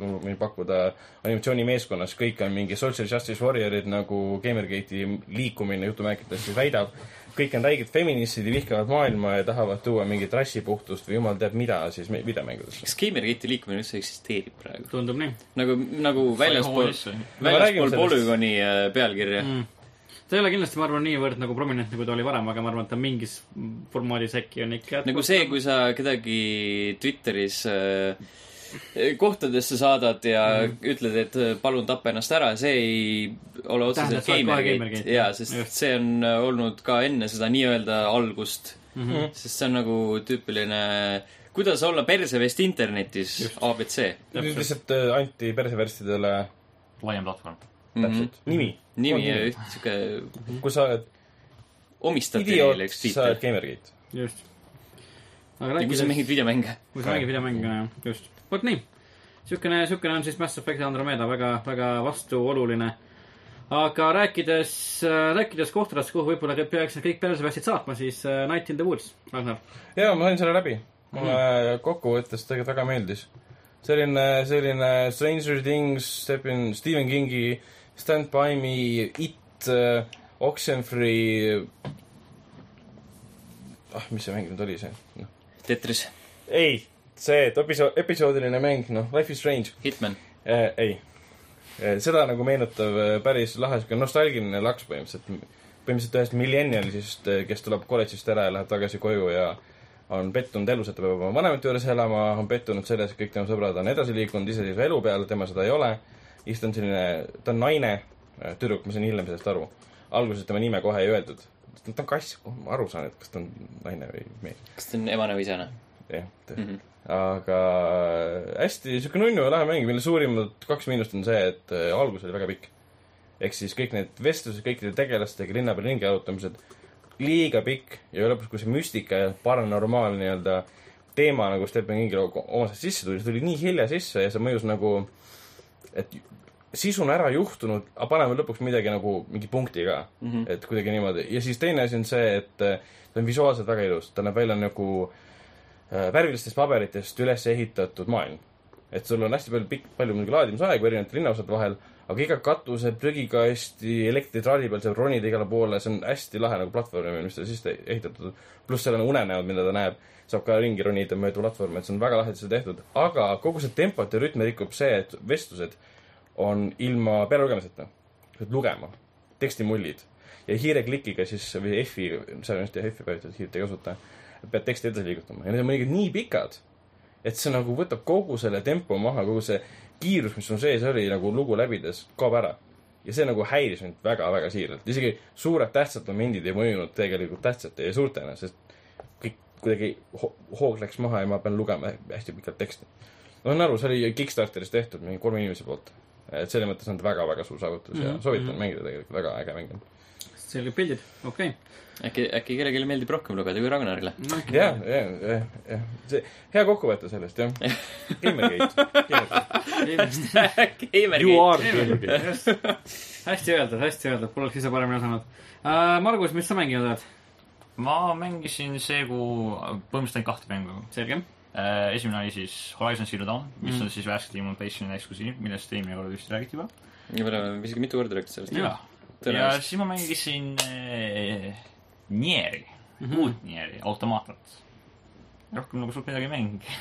C: võin pakkuda animatsioonimeeskonnas , kõik on mingi social justice warrior'id nagu Gamergate'i liikumine jutumärkides siis väidab . kõik on räiged feministid ja vihkavad maailma ja tahavad tuua mingit rassipuhtust või jumal teab mida siis me- videomängudesse .
A: kas Gamergate'i liikumine üldse eksisteerib praegu ?
B: tundub nii .
A: nagu , nagu väljaspool ,
C: No me räägime
A: väljaspool
C: sellest.
A: polügooni äh, pealkirja mm. .
B: Hmm. ta ei ole kindlasti , ma arvan , niivõrd nagu prominentne , kui ta oli varem , aga ma arvan , et ta mingis formaadis äkki on ikka .
A: nagu see , kui sa kedagi Twitteris äh, kohtadesse saadad ja
B: Mhm.
A: mm. ütled , et äh, palun tapa ennast ära , see ei ole
B: Tähendab,
A: otseselt
B: sa oled kohe
A: Gamergate
B: Gamergate. .
A: jaa , sest
B: Just.
A: Just. see on äh, olnud ka enne seda nii-öelda algust
B: Mhm.
A: mm . -hmm. sest see on nagu tüüpiline , kuidas olla persevest internetis , abc .
C: nüüd lihtsalt äh, anti perseverstidele
D: laiem platvorm .
C: täpselt nimi ,
A: nimi ja üht sihuke ,
C: kui sa oled
A: omistad neile
C: idioot ,
A: üks
C: sa oled
A: tiitel .
C: Gamergate .
B: just . aga
A: ja kui
B: rääkides
A: sa . mängid videomänge .
B: kui sa mängid videomänge , jah , just . vot nii . niisugune , niisugune on siis Mass Effect Andromeda väga , väga vastuoluline . aga rääkides , rääkides kohtadest , kuhu võib-olla kõik peaks kõik persepassid saatma , siis äh, Night in the Woods , Ragnar .
C: jaa , ma sain selle läbi . mulle mm. kokkuvõttes tegelikult väga meeldis . selline , selline Stranger Things , Stephen , Stephen Kingi Stand By Me , It , Oxenfree , ah , mis see mäng nüüd oli see , noh .
A: Tetris ,
C: ei , see episood , episoodiline mäng , noh , Life is Strange
A: Hitman .
C: äh, . ei äh, , seda nagu meenutav äh, päris lahe sihuke nostalgiline laks põhimõtteliselt , põhimõtteliselt ühest millenialisest , kes tuleb kolledžist ära ja läheb tagasi koju ja on pettunud elus , et ta peab oma vanemate juures elama , on pettunud selles , et kõik tema sõbrad on edasi liikunud iseseisva elu peale , tema seda ei ole . siis ta on selline , ta on naine , tüdruk , ma sain hiljem sellest aru . alguses tema nime kohe ei öeldud . ta on kass , ma aru saan , et kas ta on naine või mees .
A: kas ta on emane või isane ?
C: jah , aga äh, hästi siuke nunnu ja lahe mäng , mille suurimad kaks miinust on see , et äh, algus oli väga pikk . ehk siis kõik need vestlused kõikide tegelastega , linna peal ringi jalutamised , liiga pikk ja lõpuks , kui see müstika ja paranormaalne nii-öelda teema nagu Stephen Kingi loo oma seest sisse tuli , see tuli nii hilja sisse ja see mõjus nagu , et sisu on ära juhtunud , aga paneme lõpuks midagi nagu mingi punkti ka mm , -hmm. et kuidagi niimoodi ja siis teine asi on see , et äh, ta on visuaalselt väga ilus , ta näeb välja nagu äh, värvilistest paberitest üles ehitatud maailm . et sul on hästi palju pikk , palju muidugi laadimisaegu erinevate linnaosade vahel , aga iga katuse , prügikasti , elektritraadi peal saab ronida igale poole , see on hästi lahe nagu platvorm , mis seal sisse ehitatud on . pluss seal on unenäod , mida ta näeb , saab ka ringi ronida mööda platvormi , et see on väga lahedasti tehtud , aga kogu see tempot ja rütmi rikub see , et vestlused on ilma pealelugemiseta . pead lugema , tekstimullid ja hiireklikiga siis või F-i , seal on just F-i päritud , hiirt ei kasuta , pead teksti edasi liigutama ja need on mõnikord nii pikad , et see nagu võtab kogu selle tempo maha , kogu see kiirus , mis sul sees oli nagu lugu läbides , kaob ära . ja see nagu häiris mind väga-väga siiralt , isegi suured tähtsad momendid ei mõjunud tegelikult tähtsate ja suurtena , sest kõik kuidagi ho hoog läks maha ja ma pean lugema hästi pikalt teksti . ma saan aru , see oli Kickstarteris tehtud mingi kolme inimese poolt . et selles mõttes on ta väga-väga suur saavutus mm
D: Mhm,
C: -hmm. ja soovitan mängida tegelikult , väga äge mäng on .
B: selged pildid , okei okay. .
A: äkki , äkki kellelegi meeldib rohkem lugeda kui Ragnarile .
B: no äkki
C: jah , jah , jah , jah , see hea kokkuvõte sellest jah . Gamergate .
E: You are gamer .
B: Just. hästi öeldud , hästi öeldud , poleks ise paremini osanud uh, . Margus , mis sa mänginud oled ?
D: ma mängisin see kuu põhimõtteliselt ainult kahte mängu .
B: selge .
D: esimene oli siis Horizon Zero Dawn ,
B: Mhm.
D: mis on siis värskelt ilmunud PlayStationi eksklusiiv , millest eelmine kord vist räägiti juba .
A: me oleme isegi mitu korda rääkinud sellest .
D: ja , ja
A: tõenäoliselt .
D: siis ma mängisin äh, Nieri mm , -hmm. uut Nieri , automaatlat . rohkem nagu suurt midagi ei mängi .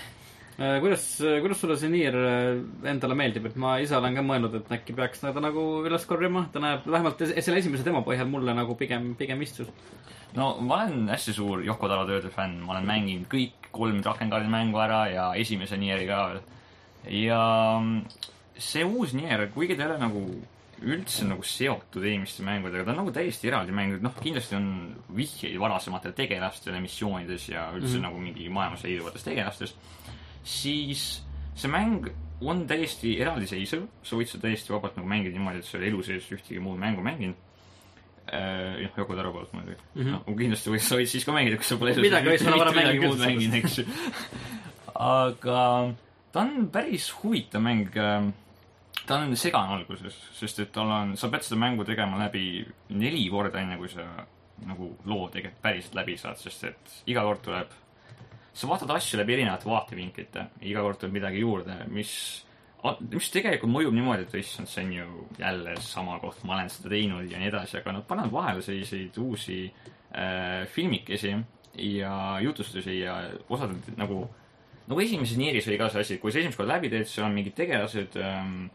B: Äh, kuidas , kuidas sulle see Nier äh, endale meeldib , et ma ise olen ka mõelnud , et äkki peaks ta nagu üles korjama , ta näeb vähemalt es- selle esimese demo põhjal mulle nagu pigem , pigem istus .
D: no ma olen hästi suur Yoko Taro tööde fänn , ma olen mänginud kõik kolm Drakengardi mängu ära ja esimese Nieri ka veel . ja mm, see uus Nier , kuigi ta ei ole nagu üldse nagu seotud eelmiste mängudega , ta on nagu täiesti eraldi mäng , noh kindlasti on vihjeid varasematele tegelastele missioonides ja üldse mm -hmm. nagu mingi maailmas leiduvates tegelastes , siis see mäng on täiesti eraldiseisev , sa võid seda täiesti vabalt nagu mängida niimoodi , et sa ei ole elu sees ühtegi muud mängu mänginud . jah , Yoko Taro poolt muidugi mm . -hmm. no kindlasti võid , sa võid siis ka mängida , kui sa pole
B: Midagi võid sulle varem mängida
D: muud
B: küll.
D: mänginud , eks ju . aga ta on päris huvitav mäng . ta on segane alguses , sest et tal on , sa pead seda mängu tegema läbi neli korda , enne kui sa nagu loo tegelikult päriselt läbi saad , sest et iga kord tuleb , sa vaatad asju läbi erinevate vaatevinklite , iga kord tuleb midagi juurde , mis , mis tegelikult mõjub niimoodi , et issand , see on ju jälle sama koht , ma olen seda teinud ja nii edasi , aga nad panevad vahele selliseid uusi äh, filmikesi ja jutustusi ja osad nagu , nagu esimeses Niiris oli ka see asi , kui sa esimest korda läbi teed , seal on mingid tegelased ähm, ,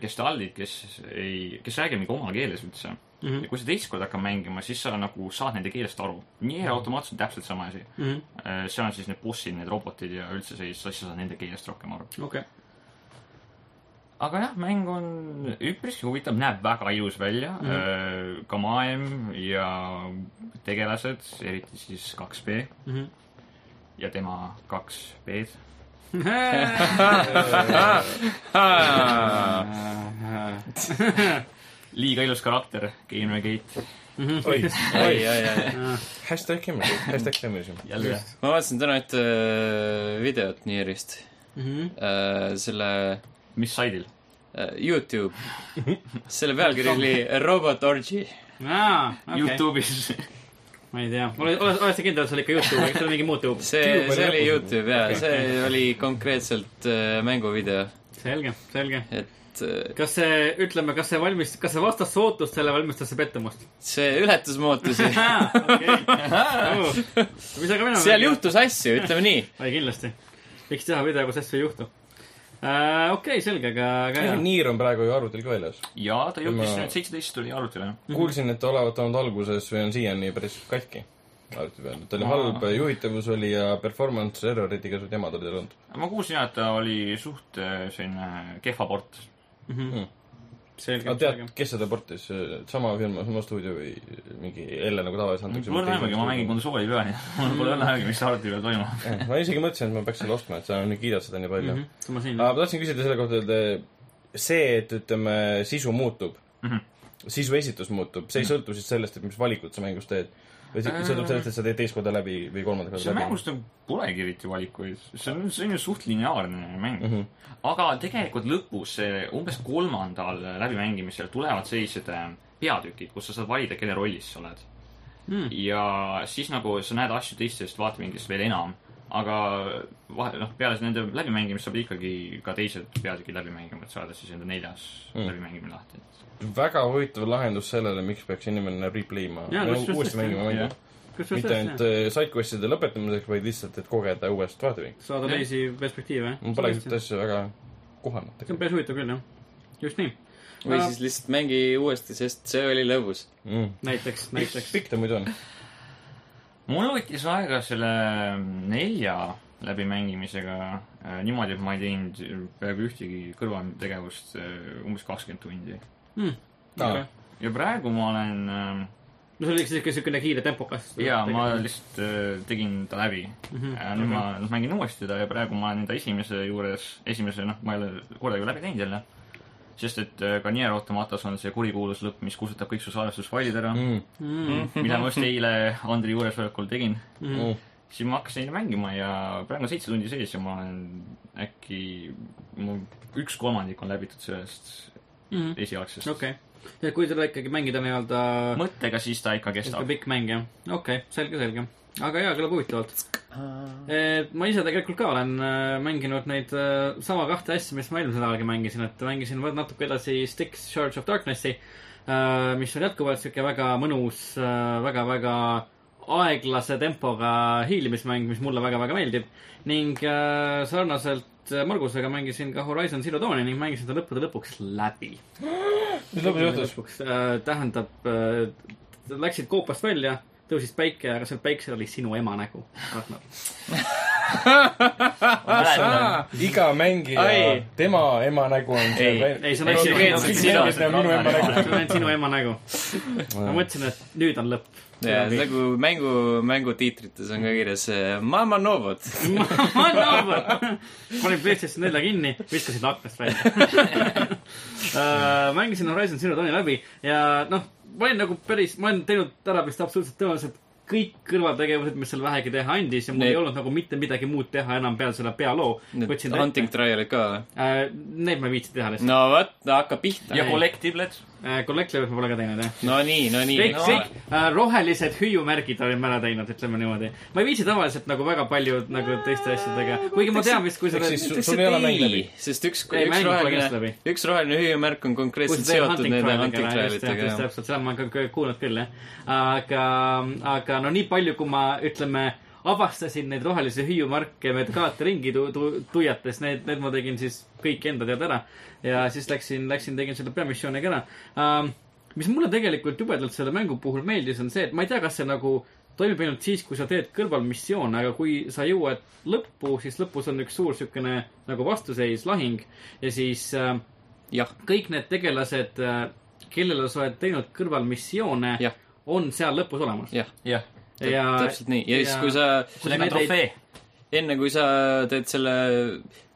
D: kes taldid , kes ei , kes räägivad mingi oma keeles üldse mm . -hmm.
B: Mhm,
D: ja kui sa teist korda hakkad mängima , siis sa nagu saad nende keelest aru . Nier automaatselt on täpselt sama asi mm .
B: mhm.
D: -hmm. seal on siis need bossid , need robotid ja üldse sellist asja , sa saad nende keelest rohkem aru .
B: okei okay. .
D: aga jah , mäng on üpriski huvitav , näeb väga ilus välja mm , -hmm. ka maailm ja tegelased , eriti siis 2B mm . -hmm. ja tema 2B-d . liiga ilus karakter , Game Gate ,
C: oi ,
A: ai ,
C: oi ,
A: ai , ai .
C: hashtag Gamergate , hashtag Gamergate .
D: jälle .
A: ma vaatasin täna ühte äh, videot Nierist
B: Mhm.
A: Äh, selle
D: mis saidil ?
A: äh, Youtube , selle pealkiri oli Robot Orgy .
B: aa , Ah, okei .
D: Youtube'is .
B: ma ei tea , ole , ole , ole sa kindel , et see oli ikka Youtube , eks see oli mingi Youtube .
A: see , see oli Youtube jaa , see oli konkreetselt äh, mänguvideo ,
B: selge , selge .
A: et äh,
B: kas see , ütleme , kas see valmis , kas see vastas su ootustele , valmistas see pettumust ?
A: see ületas mu ootusi .
B: okei . Oh. mis aga mina
A: seal . juhtus asju , ütleme nii .
B: ei , kindlasti . võiks teha video , kus asju ei juhtu . okei , selge , aga , aga hea .
C: Niir on praegu ju arvutil ka väljas .
D: ja ta jõudis
C: Ma-
D: nüüd seitseteist tuli arvutile .
C: kuulsin , et olevat olnud alguses või on siiani päris katki arvuti peal . ta oli halb , juhitavus oli ja performance errorid igasugused jamad olid olnud .
D: ma kuulsin jah , et ta oli suht äh, selline kehva port .
B: selge
C: aga . Ah, tead , kes seda portis , sama firma , sama stuudio või mingi jälle nagu tavaliselt antakse
D: mul on aimugi , ma mängin kuni suva ei pea , nii et mul pole õnne aimugi , mis arvuti peal toimub .
C: Eh, ma isegi mõtlesin , et ma peaks selle ostma , et sa nüüd kiidad seda nii palju mm . -hmm.
B: ma siin
C: aga . ma tahtsin küsida selle kohta , et see , et ütleme , sisu muutub mm ,
B: Mhm.
C: -hmm. sisu esitus muutub , see ei sõltu siis sellest , et mis valikut sa mängus teed ? või
B: Äh.
C: see sõltub sellest , et sa teed teist korda läbi või kolmanda korda
D: seal
C: läbi ?
D: mängus nagu polegi eriti valikuid , see on , see on ju suht lineaarne mäng
C: Mhm.
D: mm . -hmm. aga tegelikult lõpus , umbes kolmandal läbimängimisel tulevad sellised äh, peatükid , kus sa saad valida , kelle rollis sa oled mm. .
B: Hmm.
D: ja siis nagu sa näed asju teistest vaatevinklist veel enam , aga vahe , noh , peale nende läbimängimist sa pead ikkagi ka teised peatükid läbi mängima , et saada siis enda neljas mm. läbimängimine lahti .
C: väga huvitav lahendus sellele , miks peaks inimene replay ima ,
B: Jaa, kusjuures
C: uuesti mängima
D: jah.
C: mängu . mitte ainult eh, sidecast'ide lõpetamiseks , vaid lihtsalt , et kogeda uuest vaatevinklist .
B: saada
D: Jah.
B: teisi perspektiive .
C: ma pole seda asja väga kohanud
B: see on
C: tegelikult
B: päris huvitav küll , jah . just nii .
A: või siis lihtsalt mängi uuesti , sest see oli lõbus .
C: mm. .
B: näiteks , näiteks .
C: pikk ta muidu on ?
D: mul võttis aega selle mm, nelja läbimängimisega äh, niimoodi , et ma ei teinud peaaegu ühtegi kõrvaltegevust äh, umbes kakskümmend tundi .
B: Hmm.
C: aa ,
D: ja praegu ma olen äh,
B: no see oli siuke , siukene kiire tempokas .
D: jaa , ma . lihtsalt äh, tegin ta läbi mm . -hmm. nüüd ma noh, mängin uuesti teda ja praegu ma olen enda esimese juures , esimese , noh , ma ei ole kordagi läbi teinud jälle . sest et äh, ka Nier Automatas on see kurikuulus lõpp , mis kustutab kõik su salvestusfailid ära
C: Mhm.
D: mm ,
B: Mhm. Mm-hmm.
D: -hmm. mida ma just eile Andri juuresolekul tegin mm .
C: Mm.
D: -hmm. siis ma hakkasin neid mängima ja praegu on seitse tundi sees ja ma olen äkki , mul üks kolmandik on läbitud sellest mm -hmm. esialgsest
B: Mm-hmm. Mhm. okei . ja kui seda ikkagi mängida nii-öelda
D: mõttega , siis ta ikka
B: siuke
D: kestab .
B: pikk mäng , jah . okei okay, , selge , selge . aga jaa , kõlab huvitavalt . ma ise tegelikult ka olen äh, mänginud neid äh, sama kahte asja , mis ma eelmisel nädalalgi mängisin , et mängisin veel natuke edasi Sticks Charge of Darknessi , mis on jätkuvalt siuke väga mõnus , väga-väga aeglase tempoga hiilimismäng , mis mulle väga-väga meeldib ning äh, sarnaselt äh, Margusega mängisin ka Horizon Zero Dawni ning mängisin ta lõppude lõpuks läbi
C: mis lõpus juhtus ?
B: lõpuks äh, tähendab äh, , läksid koopast välja , tõusis päike , aga seal päiksel oli sinu ema nägu .
C: iga mängija ,
A: Ai.
C: tema ema nägu on see
B: ei , see on
A: Ei,
B: ainult sinu ema
A: see on
B: nägu ,
A: sina.
C: see
B: see on
C: on minu ema nägu .
B: ainult sinu ema nägu . ma mõtlesin , et nüüd on lõpp .
A: jaa , nagu mängu , mängutiitrites on ka kirjas eh, Mama Novot .
B: panin PlayStation 4 kinni , viskasin ta aknast välja . mängisin Horizon Zero Dawni läbi ja noh , ma olin nagu päris , ma olen teinud ära vist absoluutselt tõenäoliselt kõik kõrvaltegevused , mis seal vähegi teha andis ja mul
A: Need-
B: ei olnud nagu mitte midagi muud teha enam peale selle pealoo .
A: Need hunting trial'id ka või ?
B: Neid Äh, ma ei viitsi teha lihtsalt .
A: no vot , hakka pihta .
D: ja kollektiivled
B: Collective ma pole ka teinud jah .
A: no nii , no nii .
B: kõik , kõik äh, rohelised hüüumärgid olin ma ära teinud , ütleme niimoodi . ma ei viitsi tavaliselt nagu väga palju nagu teiste asjadega , kuigi ma tean vist , kui sa
C: Eks
B: oled
C: siis-
A: Ütleks,
C: sul
A: et
C: ei ole mäng läbi.
A: sest üks ,
B: Ei,
A: üks
B: mäng pole kindlasti
A: roheline
B: läbi. ,
A: üks roheline hüüumärk on konkreetselt seotud nende hunting trial'itega ,
B: jah .
A: jah .
B: täpselt , seda ma olen ka kõ- kuulnud küll , jah . aga , aga no nii palju , kui ma , ütleme , avastasin neid rohelisi hüüumarke need kaarteringi tu- , tu- , tuiates , need , need ma tegin siis kõik enda teada ära . ja siis läksin , läksin , tegin selle peamissiooni ka ära um, . mis mulle tegelikult jubedalt selle mängu puhul meeldis , on see , et ma ei tea , kas see nagu toimib ainult siis , kui sa teed kõrvalmissioone , aga kui sa jõuad lõppu , siis lõpus on üks suur siukene nagu vastuseis , lahing ja siis äh,
A: jah ,
B: kõik need tegelased , kellele sa oled teinud kõrvalmissioone
A: Jah. ,
B: on seal lõpus olemas .
A: jah ,
D: jah ,
B: Ja-
A: täpselt nii . ja siis
B: ja- ,
A: kui sa ,
D: sellega on
B: Need ei-
D: trofee .
A: enne kui sa teed selle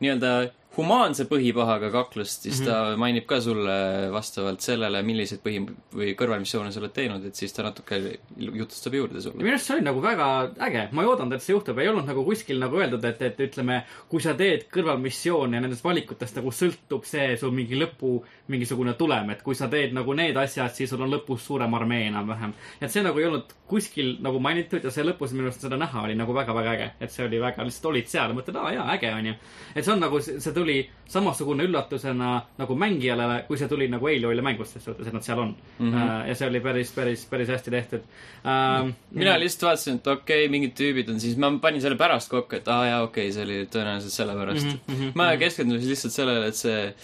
A: nii-öelda humaanse põhipahaga kaklust , siis mm -hmm.
B: Mhm.
A: ta mainib ka sulle vastavalt sellele , milliseid põhi- või kõrvalmissioone sa oled teinud , et siis ta natuke jutustab juurde
B: ja
A: sulle .
B: minu arust see oli nagu väga äge , ma ei oodanud , et see juhtub , ei olnud nagu kuskil nagu öeldud , et , et ütleme , kui sa teed kõrvalmissioone , nendest valikutest nagu sõltub see su mingi lõpu mingisugune tulem , et kui sa teed nagu need asjad , siis sul on lõpus suurem armee enam-vähem . et see nagu ei olnud kuskil nagu mainitud ja see lõpus minu arust seda näha oli nagu väga-väga äge , et see oli väga , lihtsalt olid seal , mõtled , aa jaa , äge on ju . et see on nagu , see tuli samasugune üllatusena nagu mängijale , kui see tuli nagu Aloy'le mängust , selles suhtes , et nad seal on mm . -hmm. ja see oli päris , päris , päris hästi tehtud ähm, .
A: mina lihtsalt vaatasin , et okei okay, , mingid tüübid on siis , ma panin selle pärast kokku , et aa ah, jaa , okei okay, , see oli tõenäoliselt sellepärast mm . -hmm, ma keskendusin lihtsalt sellele , et see ,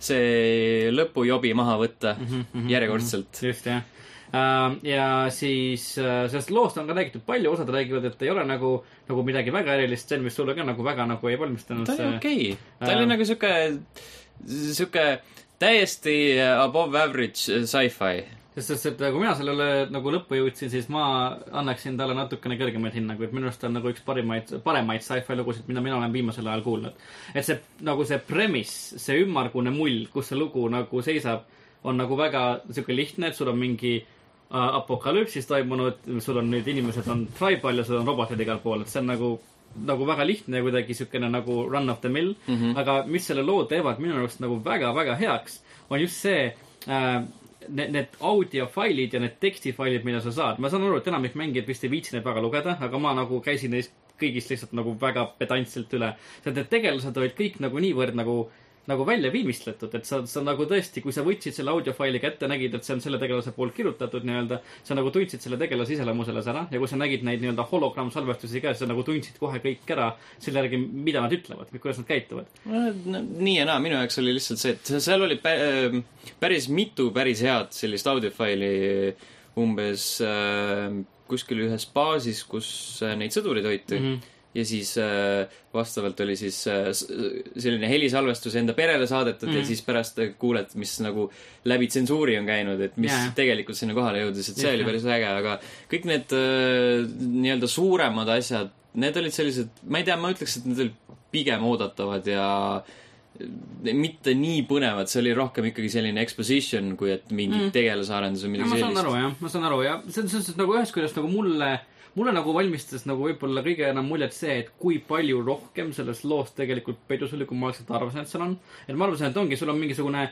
A: see lõpujobi maha võtta mm -hmm, järjekordselt .
B: just , jah . ja siis , sellest loost on ka räägitud palju , osad räägivad , et ei ole nagu , nagu midagi väga erilist , see , mis sulle ka nagu väga nagu ei valmistanud .
A: ta oli okei okay. , ta
B: Äh.
A: oli nagu sihuke , sihuke täiesti above average sci-fi .
B: sest , sest , et kui mina sellele nagu lõppu jõudsin , siis ma annaksin talle natukene kõrgemaid hinnanguid , minu arust ta on nagu üks parimaid , paremaid sci-fi lugusid , mida mina olen viimasel ajal kuulnud . et see nagu see premise , see ümmargune mull , kus see lugu nagu seisab , on nagu väga sihuke lihtne , et sul on mingi äh, apokalüpsis toimunud , sul on nüüd inimesed on tribal ja sul on robotid igal pool , et see on nagu , nagu väga lihtne ja kuidagi siukene nagu run of the mill mm . -hmm. aga mis selle loo teevad minu arust nagu väga-väga heaks , on just see äh, need , need audiofailid ja need tekstifailid , mida sa saad , ma saan aru , et enamik mängijad vist ei viitsi neid väga lugeda , aga ma nagu käisin neist kõigist lihtsalt nagu väga pedantselt üle . sest need tegelased olid kõik nagu niivõrd nagu , nagu välja viimistletud , et sa , sa nagu tõesti , kui sa võtsid selle audiofaili kätte , nägid , et see on selle tegelase poolt kirjutatud nii-öelda , sa nagu tundsid selle tegelase iseloomu selles ära ja kui sa nägid neid nii-öelda hologrammsalvestusi ka , sa nagu tundsid kohe kõik ära selle järgi , mida nad ütlevad või kuidas nad käituvad .
A: nii ja naa , minu jaoks oli lihtsalt see , et seal oli pä- ähm, päris mitu päris head sellist audiofaili umbes äh, kuskil ühes baasis , kus äh, neid sõdureid hoiti mm . -hmm ja siis äh, vastavalt oli siis äh, s- selline helisalvestus enda perele saadetud mm. ja siis pärast äh, kuuled , mis nagu läbi tsensuuri on käinud , et mis
B: Jaa.
A: yeah. tegelikult sinna kohale jõudis , et see
B: Just,
A: oli
B: jah.
A: päris äge , aga kõik need äh, nii-öelda suuremad asjad , need olid sellised , ma ei tea , ma ütleks , et need olid pigem oodatavad ja äh, mitte nii põnevad , see oli rohkem ikkagi selline exposition , kui et mingi mm. tegelasarendus või midagi
B: ja ma saan
A: sellist .
B: aru jah , ma saan aru ja see on selles suhtes nagu ühest küljest nagu mulle , mulle nagu valmistas nagu võib-olla kõige enam muljet see , et kui palju rohkem selles loos tegelikult peidus oli , kui ma algselt arvasin , et seal on . et ma arvasin , et ongi , sul on mingisugune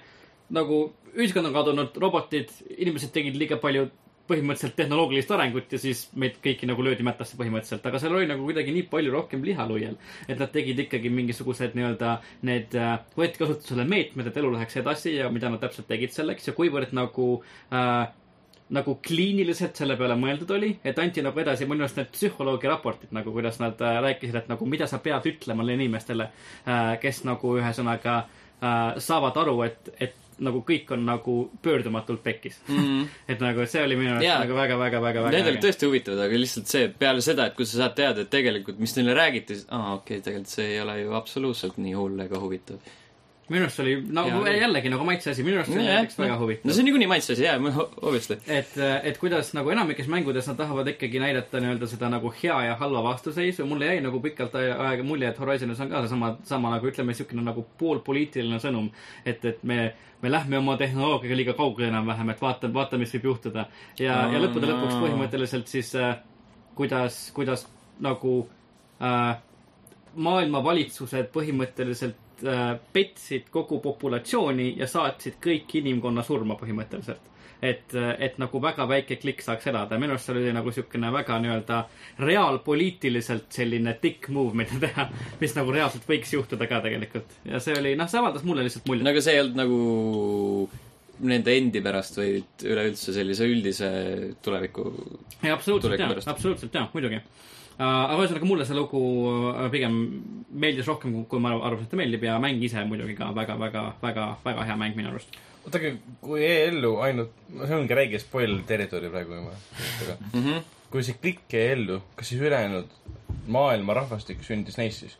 B: nagu ühiskond on kadunud , robotid , inimesed tegid liiga palju põhimõtteliselt tehnoloogilist arengut ja siis meid kõiki nagu löödi mätasse põhimõtteliselt , aga seal oli nagu kuidagi nii palju rohkem liha luial , et nad tegid ikkagi mingisugused nii-öelda need , võeti kasutusele meetmed , et elu läheks edasi ja mida nad täpselt tegid selleks ja kuivõrd nagu äh, nagu kliiniliselt selle peale mõeldud oli , et anti nagu edasi minu arust need psühholoogi raportid nagu , kuidas nad äh, rääkisid , et nagu mida sa pead ütlema neile inimestele äh, , kes nagu ühesõnaga äh, saavad aru , et , et nagu kõik on nagu pöördumatult pekkis mm. . et nagu see oli minu arust
A: Mhm. Jaa.
B: yeah. nagu väga-väga-väga-väga
A: Need olid tõesti huvitavad , aga lihtsalt see peale seda , et kui sa saad teada , et tegelikult , mis neile räägiti , siis aa , okei okay, , tegelikult see ei ole ju absoluutselt nii hull ega huvitav .
B: minu arust oli nagu
A: Jaa.
B: ja, jällegi nagu maitse asi , minu arust see oli näiteks väga huvitav
A: noh, no see on niikuinii maitse asi , jaa , obviously .
B: et , et kuidas nagu enamikes mängudes nad tahavad ikkagi näidata nii-öelda seda nagu hea ja halva vastuseisu , mulle jäi nagu pikalt aja- aega mulje , et Horizonis on ka seesama , sama nagu ütleme , niisugune nagu poolpoliitiline sõnum , et , et me , me lähme oma tehnoloogiaga liiga kaugele enam-vähem , et vaata , vaata , mis võib juhtuda . ja no, , ja lõppude lõpuks põhimõtteliselt siis äh, kuidas , kuidas nagu äh, maailmavalitsused põhimõtteliselt äh, petsid kogu populatsiooni ja saatsid kõik inimkonna surma põhimõtteliselt . et , et nagu väga väike klikk saaks elada , minu arust seal oli nagu niisugune väga nii-öelda reaalpoliitiliselt selline tikk move , mida teha , mis nagu reaalselt võiks juhtuda ka tegelikult . ja see oli , noh , see avaldas mulle lihtsalt muljet
A: no . aga see ei olnud nagu nende endi pärast , vaid üleüldse sellise üldise tuleviku
B: ja absoluutselt
A: tuleviku
B: jaa ,
A: pärast.
B: absoluutselt jaa , muidugi . aga ühesõnaga mulle see lugu äh, pigem meeldis rohkem , kui ma arvasin , et ta meeldib ja mäng ise muidugi ka väga , väga , väga , väga hea mäng minu arust .
C: oota , kui EL-u ainult , no see ongi räige spoil territoori praegu juba , aga
B: Mhm.
C: kui see klikk jäi ellu , kas siis ülejäänud maailma rahvastik sündis neist siis ?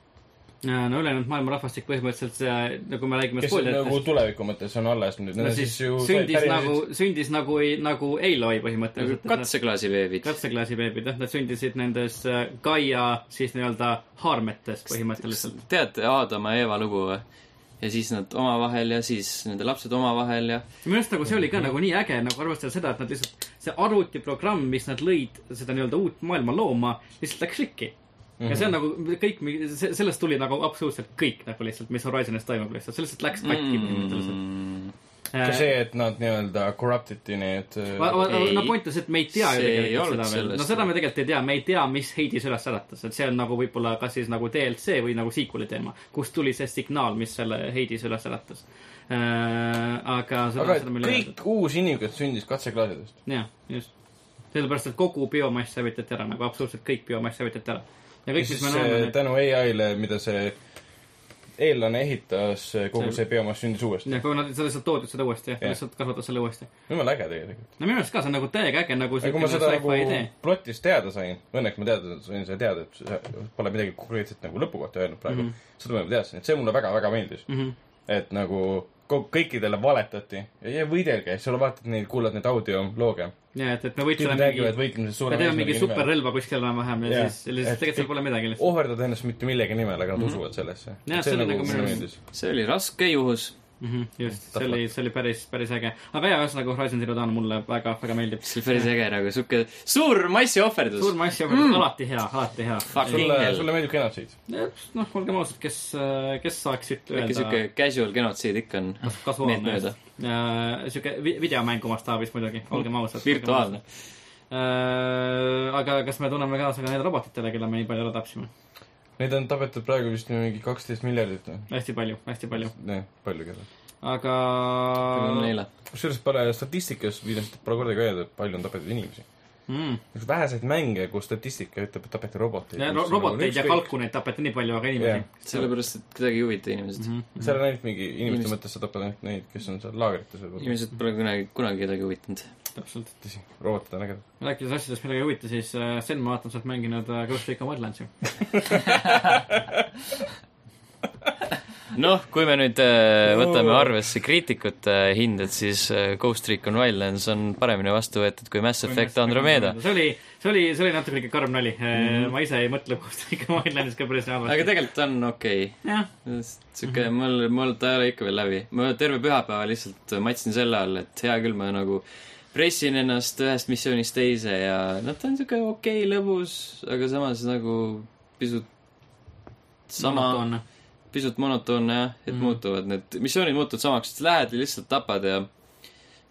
B: Äh, no ülejäänud maailma rahvastik põhimõtteliselt see , nagu me räägime
C: kes nagu
B: spoileritest ,
C: tuleviku mõttes on alles nüüd ,
B: no
C: need on
B: siis
C: siis ju
B: sündis nagu , sündis nagu , nagu Eiloi põhimõtteliselt .
A: katseklaasi veebid .
B: katseklaasi beebid , jah , nad sündisid nendes äh, Gaia siis nii-öelda haarmetes põhimõtteliselt .
A: teate Aadama ja Eeva lugu või ? ja siis nad omavahel ja siis nende lapsed omavahel ja
B: minu arust nagu see oli ka nagu nii äge , nagu arvestades seda , et nad lihtsalt , see arvutiprogramm , mis nad lõid seda nii-öelda uut maailma looma , lihtsalt läks rikki . ja
A: Mhm.
B: see on nagu kõik , sellest tuli nagu absoluutselt kõik nagu lihtsalt , mis Horizonis toimub lihtsalt , see lihtsalt läks katki
A: Mm.
B: põhimõtteliselt . äh,
C: ka see , et nad nii-öelda corrupt iti need äh,
B: Va- va-
A: Ei.
B: no point on see , et me ei tea ju
A: See ei olnud
B: tegelikult seda veel , no
A: sellest. nagu-
B: seda me tegelikult ei tea , me ei tea , mis Heidis üles äratas , et see on nagu võib-olla kas siis nagu DLC või nagu sequel'i teema , kust tuli see signaal , mis selle Heidis üles äratas . aga seda ,
C: aga
B: seda meil ei öeldud .
C: kõik uus inimkond sündis katseklaasidest .
B: jah , just . sellepärast , et kogu biomass hävitati ära , nagu absoluutselt kõik biomass hävitati ära . ja
C: ja
B: kõik , mis
C: siis
B: me
C: äh,
B: näeme ,
C: tänu ai-le , mida see eellane ehitas , kogu
B: See-
C: see biomass sündis uuesti .
B: kui nad sa lihtsalt toodid seda uuesti ,
C: Jah.
B: lihtsalt kasvatas selle uuesti .
C: jumala äge tegelikult .
B: no minu arust ka , see on nagu täiega äge nagu
C: aga kui ma seda
B: sci-fi
C: nagu
B: idee.
C: plotis teada sain , õnneks ma teada sain seda teada , et sa pole
B: Mhm.
C: midagi konkreetset nagu lõpu kohta öelnud praegu mm , -hmm. seda ma juba teadsin , et see mulle väga-väga meeldis mm . -hmm. et nagu ko- kõikidele valetati ja, ja võidelge , sa vaatad neid , kuulad neid audiolooge .
B: ja et , et me võiks
C: tüübid räägivad . võitlemise
B: me
C: suurema
B: teeme mingi
C: eesmärgi nimel.
B: superrelva kuskil enam-vähem ja
C: Jah.
B: siis , siis
C: Et- Oh.
B: tegelikult seal pole midagi lihtsalt .
C: ohverdad ennast mitte millegi nimel , aga nad
B: Mhm.
C: mm -hmm. usuvad sellesse .
B: Jah, see on nagu minu-
A: see oli raske juhus .
B: Mhm, just , see oli , see oli päris , päris äge . aga jaa , ühesõnaga Horizon Zero Dawn mulle väga , väga meeldib .
A: see oli päris äge nagu siuke suur massiohverdus .
B: suur mass ja mm. alati hea , alati hea .
A: Fucking
C: sulle ,
A: hell .
C: sulle meeldib genotsiid ?
B: noh , olgem ausad , kes , kes saaks siit
A: äkki
B: öelda
A: siuke casual genotsiid ikka on meelt
B: kasuaalne
A: mööda ..
B: siuke vi- videomängu mastaabis muidugi , olgem ausad .
A: virtuaalne ..
B: aga kas me tunneme kaasa ka neile robotitele , kelle me nii palju ära tapsime ?
C: Neid on tapetud praegu vist mingi kaksteist miljardit või ?
B: hästi palju , hästi palju ,
C: jah , palju küll .
B: aga .
A: neile .
C: kusjuures pole statistikas viidanud , pole kordagi öeldud , palju on tapetud inimesi .
B: Mm.
C: üks väheseid mänge , kus statistika ütleb , et tapeti roboteid .
B: ja ro- , roboteid ja . kalkuneid tapeti nii palju , aga
C: Jah.
B: inimesi . Mhm.
A: sellepärast , et kedagi ei huvita inimesed mm . -hmm.
C: seal on ainult mingi ,
A: Inimesed-
C: inimeste mõttes sa tapad ainult neid , kes on seal laagrites võib-olla .
A: inimesed pole kunagi , kunagi kedagi huvitanud .
B: täpselt .
C: tõsi , robotid on ägedad .
B: rääkides asjadest , millega ei huvita , siis äh, Sten , ma vaatan , sa oled mänginud äh, Ghost Recon Wildlandsi .
A: noh , kui me nüüd äh, võtame arvesse kriitikute äh, hinded , siis äh, Ghost Recon Wildlands on paremini vastu võetud kui Mass Effect Andromeda .
B: see oli , see oli , see oli natuke ikka karm nali mm . -hmm. ma ise ei mõtle Ghost Recon Wildlandis ka päris
A: aga
B: halvasti .
A: tegelikult on okei okay. .
B: jah ,
A: sihuke , mul , mul ta ei ole ikka veel läbi . ma terve pühapäeva lihtsalt matsin selle all , et hea küll , ma nagu pressin ennast ühest missioonist teise ja noh , ta on sihuke okei okay, , lõbus , aga samas nagu pisut sama ,
B: monotoonne .
A: pisut monotoonne jah , et mm -hmm. muutuvad need , missioonid muutuvad samaks , lähed ja lihtsalt tapad ja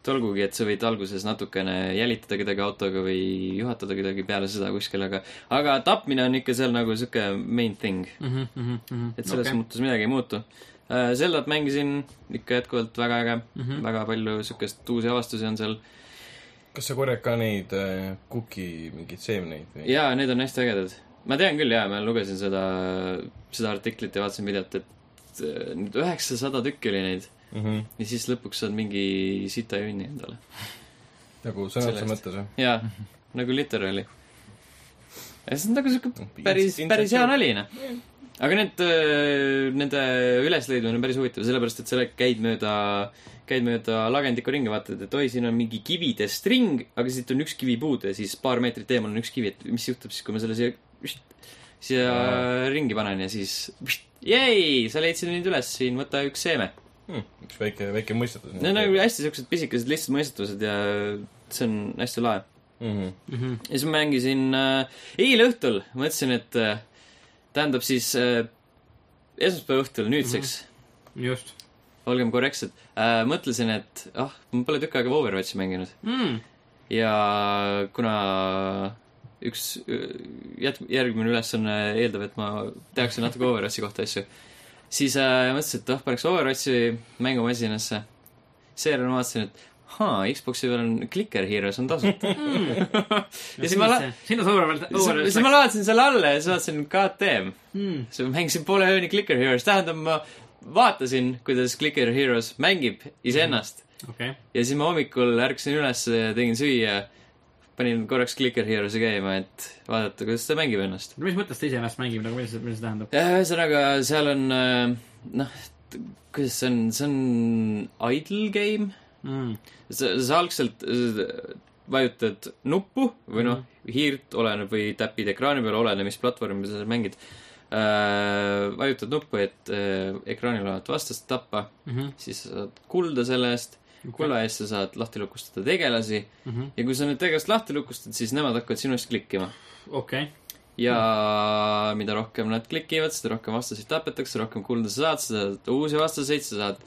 A: tolgugi , et sa võid alguses natukene jälitada kedagi autoga või juhatada kedagi peale seda kuskil , aga aga tapmine on ikka seal nagu sihuke main thing
B: Mhm,
A: et selles okay.
B: Okei.
A: mõttes midagi ei muutu . Zeldat mängisin ikka jätkuvalt väga äge mm , -hmm. väga palju siukest uusi avastusi on seal
C: kas sa korjad ka neid äh, kuki mingeid seemneid või ?
A: ja need on hästi ägedad . ma tean küll ja , ma lugesin seda , seda artiklit ja vaatasin videot , et äh, nüüd üheksasada tükki oli neid
C: Mm -hmm.
A: ja siis lõpuks saad mingi sita jünni endale .
C: nagu sõna otseses
A: Sellest.
C: mõttes või ?
A: jaa , nagu literaali . ja see on nagu siuke päris ,
C: Ins-
A: päris hea
C: intsentsioon.
A: nali , noh . aga need , nende ülesleidmine on päris huvitav , sellepärast et sa lähed- käid mööda , käid mööda lagendikku ringi , vaatad , et oi , siin on mingi kividest ring , aga siit on üks kivi puudu ja siis paar meetrit eemal on üks kivi , et mis juhtub siis , kui ma selle siia , siia ringi panen ja siis jäi , sa leidsid neid üles siin , võta üks seeme
C: Hmm, üks väike , väike mõistetus .
A: Need on nagu hästi siuksed pisikesed lihtsad mõistatused ja see on hästi lahe .
C: -hmm.
B: mhm.
A: ja siis ma mängisin äh, eile õhtul , mõtlesin , et äh, tähendab siis äh, esmaspäeva õhtul nüüdseks mm ,
B: just
A: -hmm. olgem korrektsed äh, , mõtlesin , et ah , ma pole tükk aega Overwatchi mänginud
B: mm. .
A: ja kuna üks äh, jät- , järgmine ülesanne eeldab , et ma tehakse natuke Overwatchi kohta asju , siis äh, mõtlesin , et ah , paneks Overwatchi mängumasinasse . seejärel ma vaatasin , et haa , Xbox'i peal on Clicker Heroes on tasuta . ja siis ma la- ,
B: sinna sa overall , overall
A: siis ma laadsin selle alla ja siis vaatasin KTM .
B: mm. .
A: siis ma mängisin poole ööni Clicker Heroes , tähendab , ma vaatasin , kuidas Clicker Heroes mängib iseennast
B: okei okay. ,
A: ja siis ma hommikul ärkasin üles , tegin süüa , panin korraks Clicker Heroes'i käima , et vaadata , kuidas ta mängib ennast .
B: no mis mõttes ta iseennast mängib nagu , mis , mis see tähendab ?
A: ühesõnaga , seal on äh, noh , kuidas see on , see on idle game ,
B: Mm.
A: sa , sa algselt äh, vajutad nuppu või noh , hiirt oleneb või täpid ekraani peal , oleneb , mis platvormil sa seal mängid äh, . vajutad nuppu , et äh, ekraanil olevat vastast tappa mm ,
B: Mhm.
A: -hmm. siis sa saad kulda selle eest okay. , kulla eest sa saad lahti lukustada tegelasi mm
B: Mhm.
A: -hmm. ja kui sa need tegelased lahti lukustad , siis nemad hakkavad sinu eest klikkima
B: okei okay. ,
A: ja mida rohkem nad klikivad , seda rohkem vastaseid tapetakse , rohkem kulda sa saad , sa saad uusi vastaseid , sa saad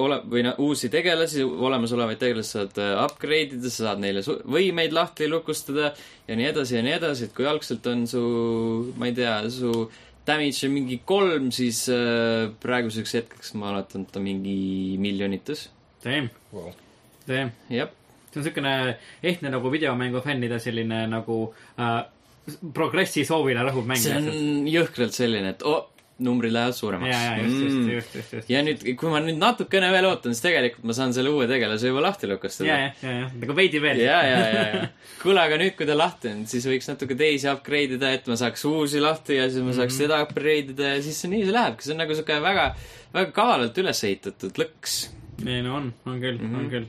A: ole- , või noh , uusi tegelasi , olemasolevaid tegelasi saad äh, upgrade ida , sa saad neile su- võimeid lahti lukustada ja nii edasi ja nii edasi , et kui algselt on su , ma ei tea , su damage on mingi kolm , siis äh, praeguseks hetkeks ma mäletan , et ta on mingi miljonites ,
B: teem ,
C: wow.
B: teem .
A: jah .
B: see on niisugune ehtne nagu videomängu fännide selline nagu äh, progressi soovile rõhuv mäng .
A: see on jõhkralt selline , et oh, numbrid lähevad suuremaks .
B: ja , ja just ,
A: Mm.
B: just , just , just , just .
A: ja nüüd , kui ma nüüd natukene veel ootan , siis tegelikult ma saan selle uue tegelase juba lahti
B: ja ,
A: lukustada .
B: ja , ja , ja nagu veidi veel .
A: ja , ja , ja , ja . kuule , aga nüüd , kui ta lahti on , siis võiks natuke teisi upgrade ida , et ma saaks uusi lahti ja siis ma saaks
B: Mhm.
A: seda upgrade ida ja siis see nii see lähebki , see on nagu siuke väga , väga kavalalt üles ehitatud lõks .
B: ei no on , on küll mm , -hmm.
A: Mhm.
B: on küll .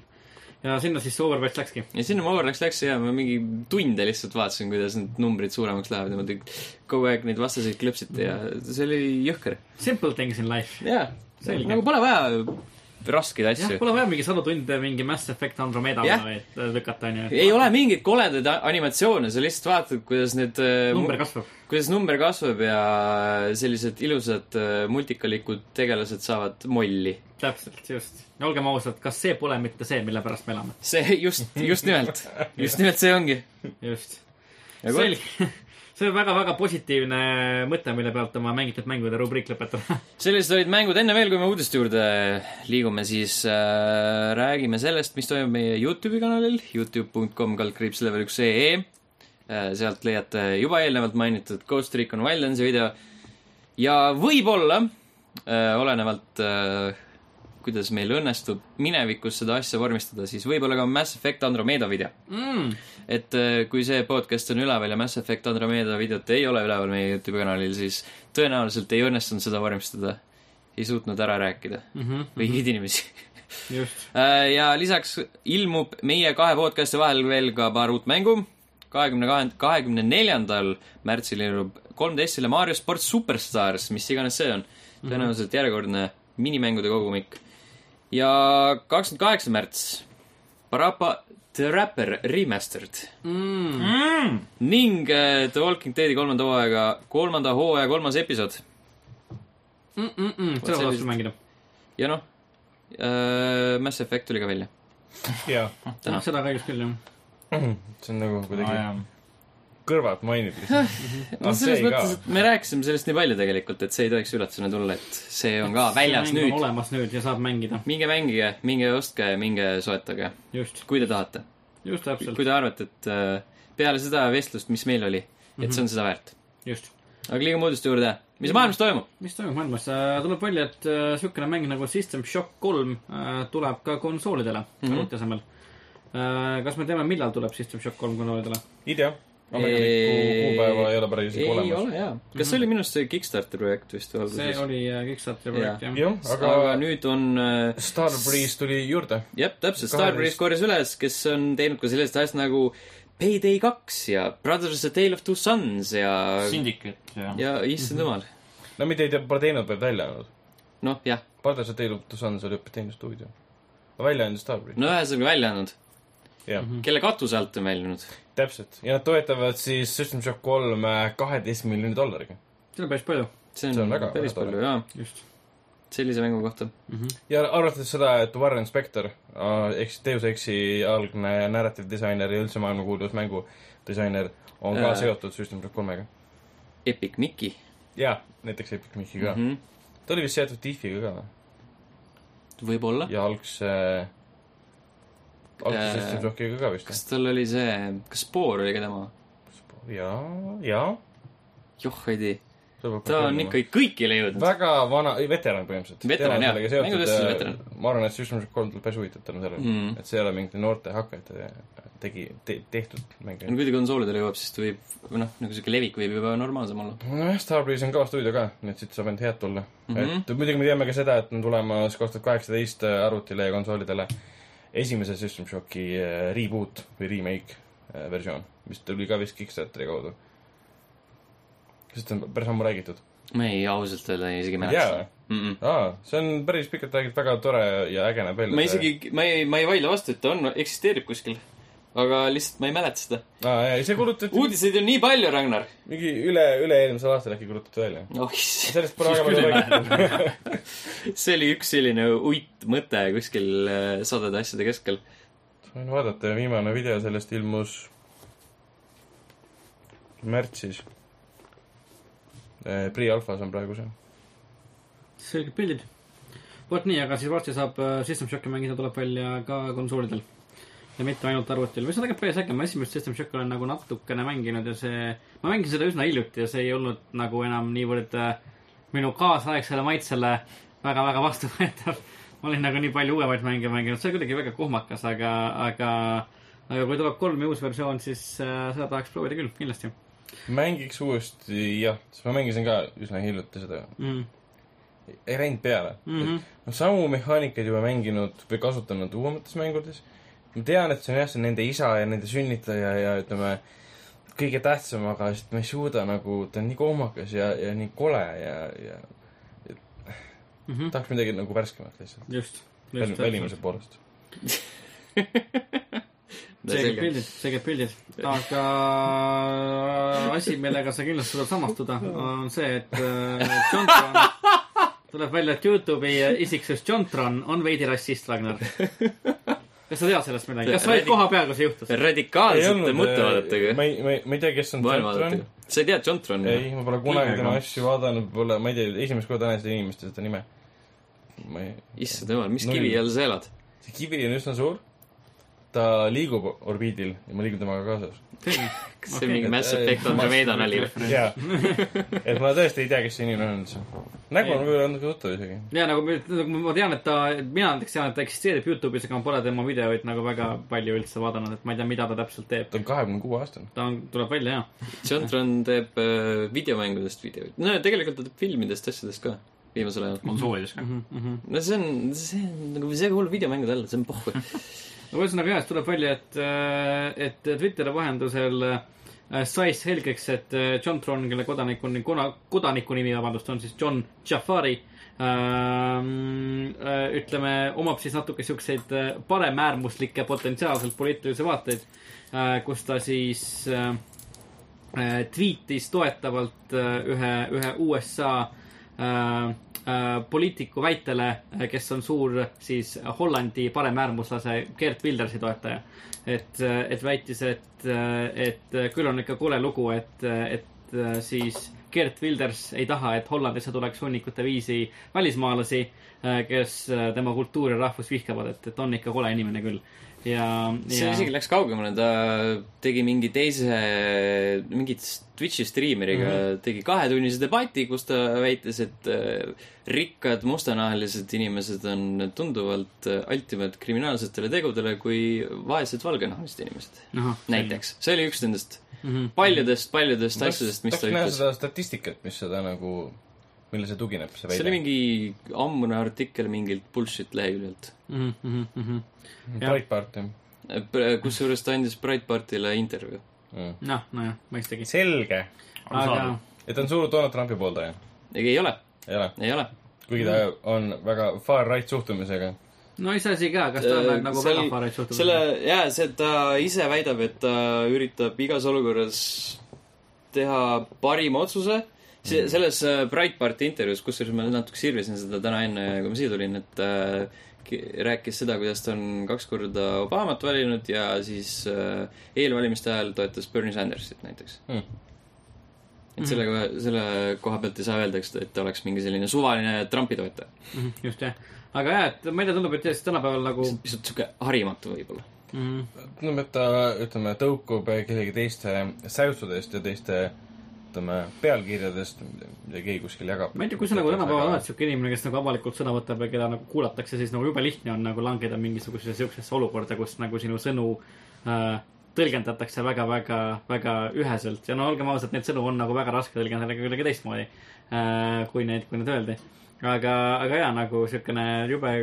B: ja sinna siis see Overwatch läkski .
A: ja sinna ma Overwatch läks ja ma mingi tunde lihtsalt vaatasin , kuidas need numbrid suuremaks lähevad ja ma tegin kogu aeg neid vastaseid klõpsiti ja see oli jõhker .
B: Simple things in life .
A: jaa ,
B: Selge.
A: nagu pole vaja raskeid
B: jah ,
A: asju .
B: pole vaja mingi sadu tunde mingi Mass Effect Andromeda
A: Jah.
B: peale et äh, lükata , onju .
A: ei ole mingeid koledaid a- animatsioone , sa lihtsalt vaatad , kuidas need äh,
B: number kasvab .
A: kuidas number kasvab ja sellised ilusad äh, multikalikud tegelased saavad molli .
B: täpselt , just . ja olgem ausad , kas see pole mitte see , mille pärast me elame ?
A: see just , just nimelt , just nimelt see ongi .
B: just . selge . see on väga-väga positiivne mõte , mille pealt oma mängitud mängude rubriik lõpetada .
A: sellised olid mängud , enne veel , kui me uudiste juurde liigume , siis äh, räägime sellest , mis toimub meie Youtube'i kanalil , Youtube.com kaldkriips level üks ee äh, . sealt leiate juba eelnevalt mainitud Ghost Recon Wildlandsi video ja võib-olla äh, olenevalt äh, kuidas meil õnnestub minevikus seda asja vormistada , siis võib-olla ka Mass Effect Andromeda video
B: mm, .
A: et äh, kui see podcast on üleval ja Mass Effect Andromeda videot ei ole üleval meie Youtube'i kanalil , siis tõenäoliselt ei õnnestunud seda vormistada . ei suutnud ära rääkida
B: Mm -hmm,
A: või hiid inimesi .
B: just .
A: Äh, ja lisaks ilmub meie kahe podcast'i vahel veel ka paar uut mängu . kahekümne kahend- , kahekümne neljandal märtsil ilmub kolmteistile Mario Sport Superstars , mis iganes see on . tõenäoliselt järjekordne minimängude kogumik . ja kakskümmend kaheksa märts , Parapa The Rapper Remastered
B: Mm,
A: ning äh, The Walking Deadi kolmanda hooaega , kolmanda hooaja kolmas episood .
B: mm, mm, mm.
A: Vot
B: seda
A: see
B: saab
A: vist-
B: sul mängida .
A: ja noh äh, , Mass Effect tuli ka välja .
C: jaa ,
A: Täna.
B: seda kahjuks küll , jah .
C: see on nagu kuidagi
D: aa
C: kõrvalt mainitud lihtsalt .
A: no
C: Ah, see
A: selles
C: ka.
A: mõttes , et me rääkisime sellest nii palju tegelikult , et see ei tohiks üllatusena tulla , et see on ka väljas nüüd .
B: olemas nüüd ja saab mängida .
A: minge mängige , minge ostke , minge soetage ,
B: just ,
A: kui te tahate .
B: just
A: kui
B: täpselt ,
A: te arvate , et äh, peale seda vestlust , mis meil oli , et see on seda väärt .
B: just
A: aga liigume uudiste juurde , mis maailmas toimub ?
B: mis toimub maailmas ? tuleb välja , et äh, niisugune mäng nagu System Shock kolm äh, tuleb ka konsoolidele mm
A: Mhm.
B: -hmm. arvutiasemel . kas me teame , millal tuleb System Shock kolm konsoolidele ?
C: ei tea , ametlikku kuupäeva ei ole päris
A: ei
C: isegi olemas .
A: ole Mhm. jaa . kas see oli minu arust see Kickstarteri projekt vist
B: see
A: alguses ?
B: oli äh, Kickstarteri projekt , jah .
C: jah ,
A: aga
C: aga
A: nüüd on äh,
C: Starbreeze tuli juurde .
A: jah , täpselt , Starbreeze korjas üles , kes on teinud ka sellised asjad nagu Payday kaks ja Brothers A Tale of Two Sons ja ,
D: Syndicate ja, ja.
A: ja issand jumal ,
C: no mitte ei tea , pole teinud , vaid välja olnud .
A: noh jah ,
C: Padres ja Teilub Tussans oli hoopis teine stuudio . välja andis Starbreeze .
A: no Mhm. ühesõnaga välja andnud ,
C: jah ,
A: kelle katuse alt on välja andnud .
C: täpselt . ja nad toetavad siis System Shock kolme kaheteist miljoni dollariga .
B: seda on päris palju ,
A: see
C: See on
A: on
C: väga-
A: päris
C: väga tore.
A: palju jaa ,
B: just .
A: sellise mängu kohta .
C: ja arvates seda , et Warren Spector äh, ehk siis Deus Exi algne narrative disainer ja üldse maailmakuulus mängudisainer on ka
A: Äh.
C: seotud System Shock kolmega .
A: Epic Mickey ,
C: jaa , näiteks Epic Mickey ka mm .
A: Mhm.
C: -hmm. ta oli vist seotud Diffiga ka või ?
A: võib-olla ,
C: ja algse , algse
A: Äh.
C: System Shockiga ka vist .
A: kas tal oli see , kas Spoor oli ka tema ?
C: jaa , jaa .
A: joh , ei tea , ta on ikka kõikile jõudnud .
C: väga vana , ei veteran põhimõtteliselt .
A: Veteran, jah. Mängutööstuse veteran.
C: ma arvan , et System Shock kolm tuleb päris huvitav tänu sellele
A: Mm.
C: mm. , et see ei ole mingi noorte hakkajate tegi te, , tehtud mäng .
A: no kui ta konsoolidele jõuab , siis ta võib , või noh , nagu siuke levik võib juba normaalsem olla .
C: nojah , Starbreeze on kõva stuudio ka , nii et siit saab ainult head tulla mm .
A: Mhm.
C: -hmm. et muidugi me teame ka seda , et on tulemas kaks tuhat kaheksateist äh, arvutile ja konsoolidele esimese System Shocki äh, reboot või remake äh, versioon , mis tuli ka vist Kickstarteri kaudu . sest on päris ammu räägitud .
A: ma ei , ausalt öelda ei isegi mäleta
C: jaa
A: seda . Mm -mm.
C: aa , see on päris pikalt räägitud , väga tore ja äge näeb välja .
A: ma isegi , ma ei , ma ei vaidle vastu , et ta on , eksisteerib kuskil . aga lihtsalt ma ei mäleta seda .
C: aa , jaa , see kulutati
A: uudiseid on nii palju , Ragnar .
C: mingi üle , üle-eelmisel aastal äkki kulutati välja .
A: oh issand ,
C: sellest pole väga palju räägitud .
A: see oli üks selline uitmõte kuskil äh, sadade asjade keskel .
C: võin vaadata , viimane video sellest ilmus märtsis . Pre-alfas on praegu see .
B: selged pildid . vot nii , aga siis varsti saab äh, System Shocki mängida , tuleb välja ka konsoolidel . ja mitte ainult arvutil , mis on tegelikult päris äge , ma esimest System Shocki olen nagu natukene mänginud ja see , ma mängisin seda üsna hiljuti ja see ei olnud nagu enam niivõrd äh, minu kaasaegsele maitsele väga-väga vastuvõetav . ma olin nagu nii palju uuemaid mänge mänginud , see oli kuidagi väga kohmakas , aga , aga , aga kui tuleb kolm ja uus versioon , siis äh, seda tahaks proovida küll , kindlasti
C: mängiks uuesti , jah , sest ma mängisin ka üsna hiljuti seda
B: mm. .
C: ei läinud peale mm .
B: Mhm.
C: -hmm. noh , samu mehaanikaid juba mänginud või kasutanud uuemates mängudes . ma tean , et see on jah , see on nende isa ja nende sünnitaja ja ütleme , kõige tähtsam , aga lihtsalt ma ei suuda nagu , ta on nii kohmakas ja , ja nii kole ja , ja
B: mm . -hmm.
C: tahaks midagi nagu värskemat lihtsalt .
B: just , just .
C: välimuse poolest .
B: see käib pildis , see käib pildis . aga asi , millega sa kindlasti saad samastuda , on see , et äh, Jontron , tuleb välja , et Youtube'i isiksus Jontron on veidi rassist , Ragnar . kas sa tead sellest midagi , kas sa olid koha peal , kui see juhtus ?
A: radikaalsete mõttevaadetega ,
C: äh, ma ei , ma ei , ma ei tea , kes on
A: maailmavaadetega . sa ei tea Jontron ?
C: ei , ma pole kunagi
D: Nimega.
C: tema asju vaadanud , pole , ma ei tea , esimest korda näen seda inimest ja seda nime . ma ei ,
A: issand jumal , mis
C: No
A: kivi
C: ei.
A: all sa elad ?
C: see kivi on üsna suur , ta liigub orbiidil ja ma liigun temaga kaasas .
A: kas see
B: Okei.
A: mingi Mass
C: Et, äh,
A: Effect Andromeda nali või ?
C: jaa . et ma tõesti ei tea , kes see inimene on üldse . nägu on võib-olla natuke tuttav isegi .
B: ja nagu ma nagu ma tean , et ta , mina näiteks tean , et ta eksisteerib Youtube'is , aga ma pole tema videoid nagu väga palju üldse vaadanud , et ma ei tea , mida ta täpselt teeb .
C: ta on kahekümne kuue aastane .
B: ta on , tuleb välja ja ,
A: Jontron teeb äh, videomängudest videoid . no ja tegelikult ta teeb filmidest asjadest ka viimasel ajal .
D: konsoolides
B: Mhm.
D: ka .
A: no see on , see on nagu , see ei kuulu videomängude alla , see on pohhu .
B: no ühesõnaga jah , tuleb välja , et , et Twitteri vahendusel äh, sai selgeks , et äh, John Tron , kelle kodanik on , kodaniku nimi , vabandust , on siis John Jafari . ütleme , omab siis natuke siukseid äh, paremäärmuslikke potentsiaalselt poliitilisi vaateid , kus ta siis äh, äh, tweetis toetavalt äh, ühe , ühe USA äh, äh, poliitiku väitele , kes on suur siis Hollandi paremäärmuslase Gerd Wildersi toetaja . et , et väitis , et , et äh, küll on ikka kole lugu , et , et äh, siis Gerd Wilders ei taha , et Hollandisse tuleks hunnikute viisi välismaalasi , kes äh, tema kultuuri ja rahvust vihkavad , et , et on ikka kole inimene küll . ja ,
A: see
B: ja
A: isegi läks kaugemale , ta tegi mingi teise , mingi Twitch'i striimeriga mm , -hmm. tegi kahetunnise debati , kus ta väitis , et äh, rikkad mustanahalised inimesed on tunduvalt äh, altimad kriminaalsetele tegudele kui vaesed valgenahalised inimesed .
B: Ahah,
A: näiteks , see oli üks nendest
B: Mhm.
A: paljudest ,
C: Noh,
A: paljudest asjadest , mis
C: tahaks
A: ta
C: näha
A: ütles .
C: seda statistikat , mis seda nagu , millele see tugineb , see
A: see oli
C: väide .
A: mingi ammune artikkel mingilt bullshit leheküljelt ,
B: Mhm, mhm, mhm. jah.
C: Breitbart jah
A: kusjuures ta andis Breitbartile intervjuu .
C: mm. .
B: noh , nojah , mõistagi .
C: selge ,
B: aga
D: arusaadav .
C: et ta on suur Donald Trumpi pooldaja .
A: ei ole ,
C: ei ole ,
A: ei ole
C: kuigi ta on väga far-right suhtumisega .
B: no iseasi ka , kas ta on nagu
A: seal-
B: väga pareid suhtumisi
A: Äh, selle , jaa , see , et ta ise väidab , et ta üritab igas olukorras teha parima otsuse ,
B: Mm.
A: see , selles äh, Breitbarti intervjuus , kusjuures ma natuke sirvisin seda täna enne , kui ma siia tulin , et äh, ki- rääkis seda , kuidas ta on kaks korda Obamat valinud ja siis äh, eelvalimiste ajal toetas Bernie Sandersit näiteks
C: Hmm.
B: Mm.
A: et selle , selle koha pealt ei saa öelda , eks , et ta oleks mingi selline suvaline Trumpi toetaja .
B: Mhm, just jah , aga jah , et meile tundub , et tõesti tänapäeval nagu
A: pisut sihuke harimatu võib-olla .
B: mm,
C: tundub , et ta , ütleme , tõukub kellegi teiste säutsudest ja teiste , ütleme , pealkirjadest , mida keegi kuskil jagab .
B: ma ei tea , kui sa nagu tänapäeval oled siuke inimene , kes nagu avalikult sõna võtab ja keda nagu kuulatakse , siis nagu jube lihtne on nagu langeda mingisugusesse siuksesse olukorda , kus nagu sinu sõnu äh, tõlgendatakse väga-väga-väga üheselt ja no olgem ausad , neid sõnu on nagu väga raske tõlgendada ka kuidagi teistmoodi äh, , kui neid , kui need öeldi . aga , aga jaa , nagu siukene jube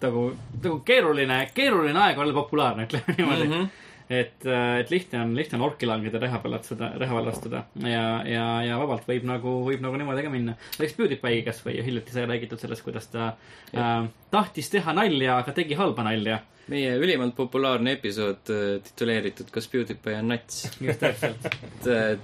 B: nagu , nagu keeruline , keeruline aeg olla populaarne , ütleme niimoodi mm . -hmm et , et lihtne on , lihtne on orki langeda , reha peal astuda , reha peal astuda ja , ja , ja vabalt võib nagu , võib nagu niimoodi ka minna . näiteks PewDiePie kas või hiljuti sai räägitud sellest , kuidas ta äh, tahtis teha nalja , aga tegi halba nalja .
A: meie ülimalt populaarne episood äh, tituleeritud Kas PewDiePie on nats ?
B: just täpselt ,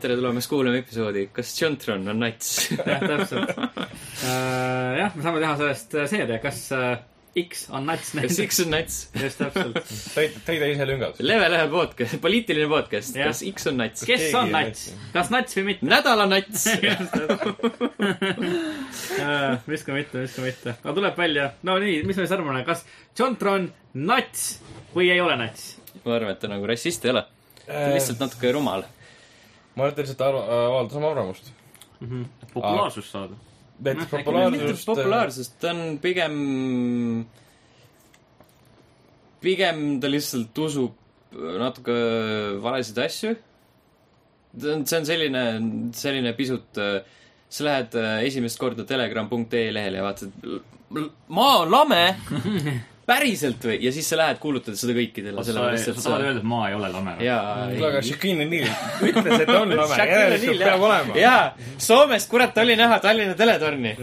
A: tere tulemast kuulama episoodi Kas Jontron on nats ?
B: jah , täpselt äh, . jah , me saame teha sellest äh, seeria , kas äh, X on nats
A: kas
B: näiteks .
A: X on nats ?
B: just täpselt .
C: täida , täida ise lüngad .
A: Leve Lehe podcast , poliitiline podcast ,
B: Jah.
A: kas X on nats ?
B: kes
C: Keegi ei
B: on nats
C: natsi. ,
B: kas nats või mitte ?.
A: nädala nats
B: viska Äh, mitte , viska mitte . aga tuleb välja , no nii , mis me siis arvame , kas John Tron nats või ei ole nats ?
A: ma arvan , et ta nagu rassist ei ole . ta on lihtsalt natuke rumal .
C: ma arvan , et ta lihtsalt arv- avaldas oma arvamust .
D: populaarsust saada .
C: et
B: Noh, äkki
A: mitte
C: populaarsust .
A: populaarsust , ta on pigem , pigem ta lihtsalt usub natuke valesid asju . see on selline , selline pisut äh, sa lähed äh, esimest korda telegram.ee lehele ja vaatad , maa on lame , päriselt või , ja siis sa lähed , kuulutad seda kõikidele ,
D: sa
A: sellepärast et
D: sa
A: sa
D: tahad öelda , et maa ei ole lame ?
A: jaa ,
C: kuule , aga Shaquille O'Neal ütles , et on lame ,
A: Shaquille
C: järelikult
A: O'Neal,
C: peab olema .
A: jaa , Soomest , kurat , oli näha Tallinna teletorni .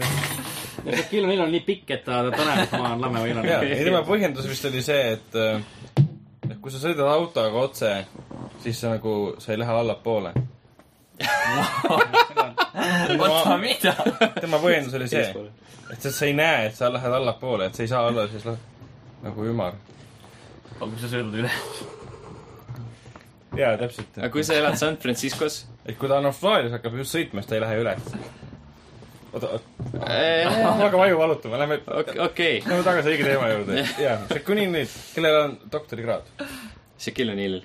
B: film , neil on nii pikk , et ta , ta näeb , et ma olen lame või ei
C: ja ,
B: ole .
C: ja tema põhjendus vist oli see , et äh, et kui sa sõidad autoga otse , siis sa nagu , sa ei lähe allapoole .
D: oota , mida ?
C: tema põhjendus oli see , et sa, sa ei näe , et sa lähed allapoole , et sa ei saa alla , siis lähed nagu ümar .
D: aga kui sa sõidad üle ,
C: jaa , täpselt .
A: aga kui sa elad San Franciscos
C: et kui ta on Austraalias , hakkab just sõitma , siis ta ei lähe üle . oota ,
A: äh, ?
C: ma hakkan aju valutama , lähme okay.
A: okei ,
C: lähme tagasi õige teema juurde . jaa , Šekuninil , kellel on doktorikraad .
A: Shaquille O'Neal .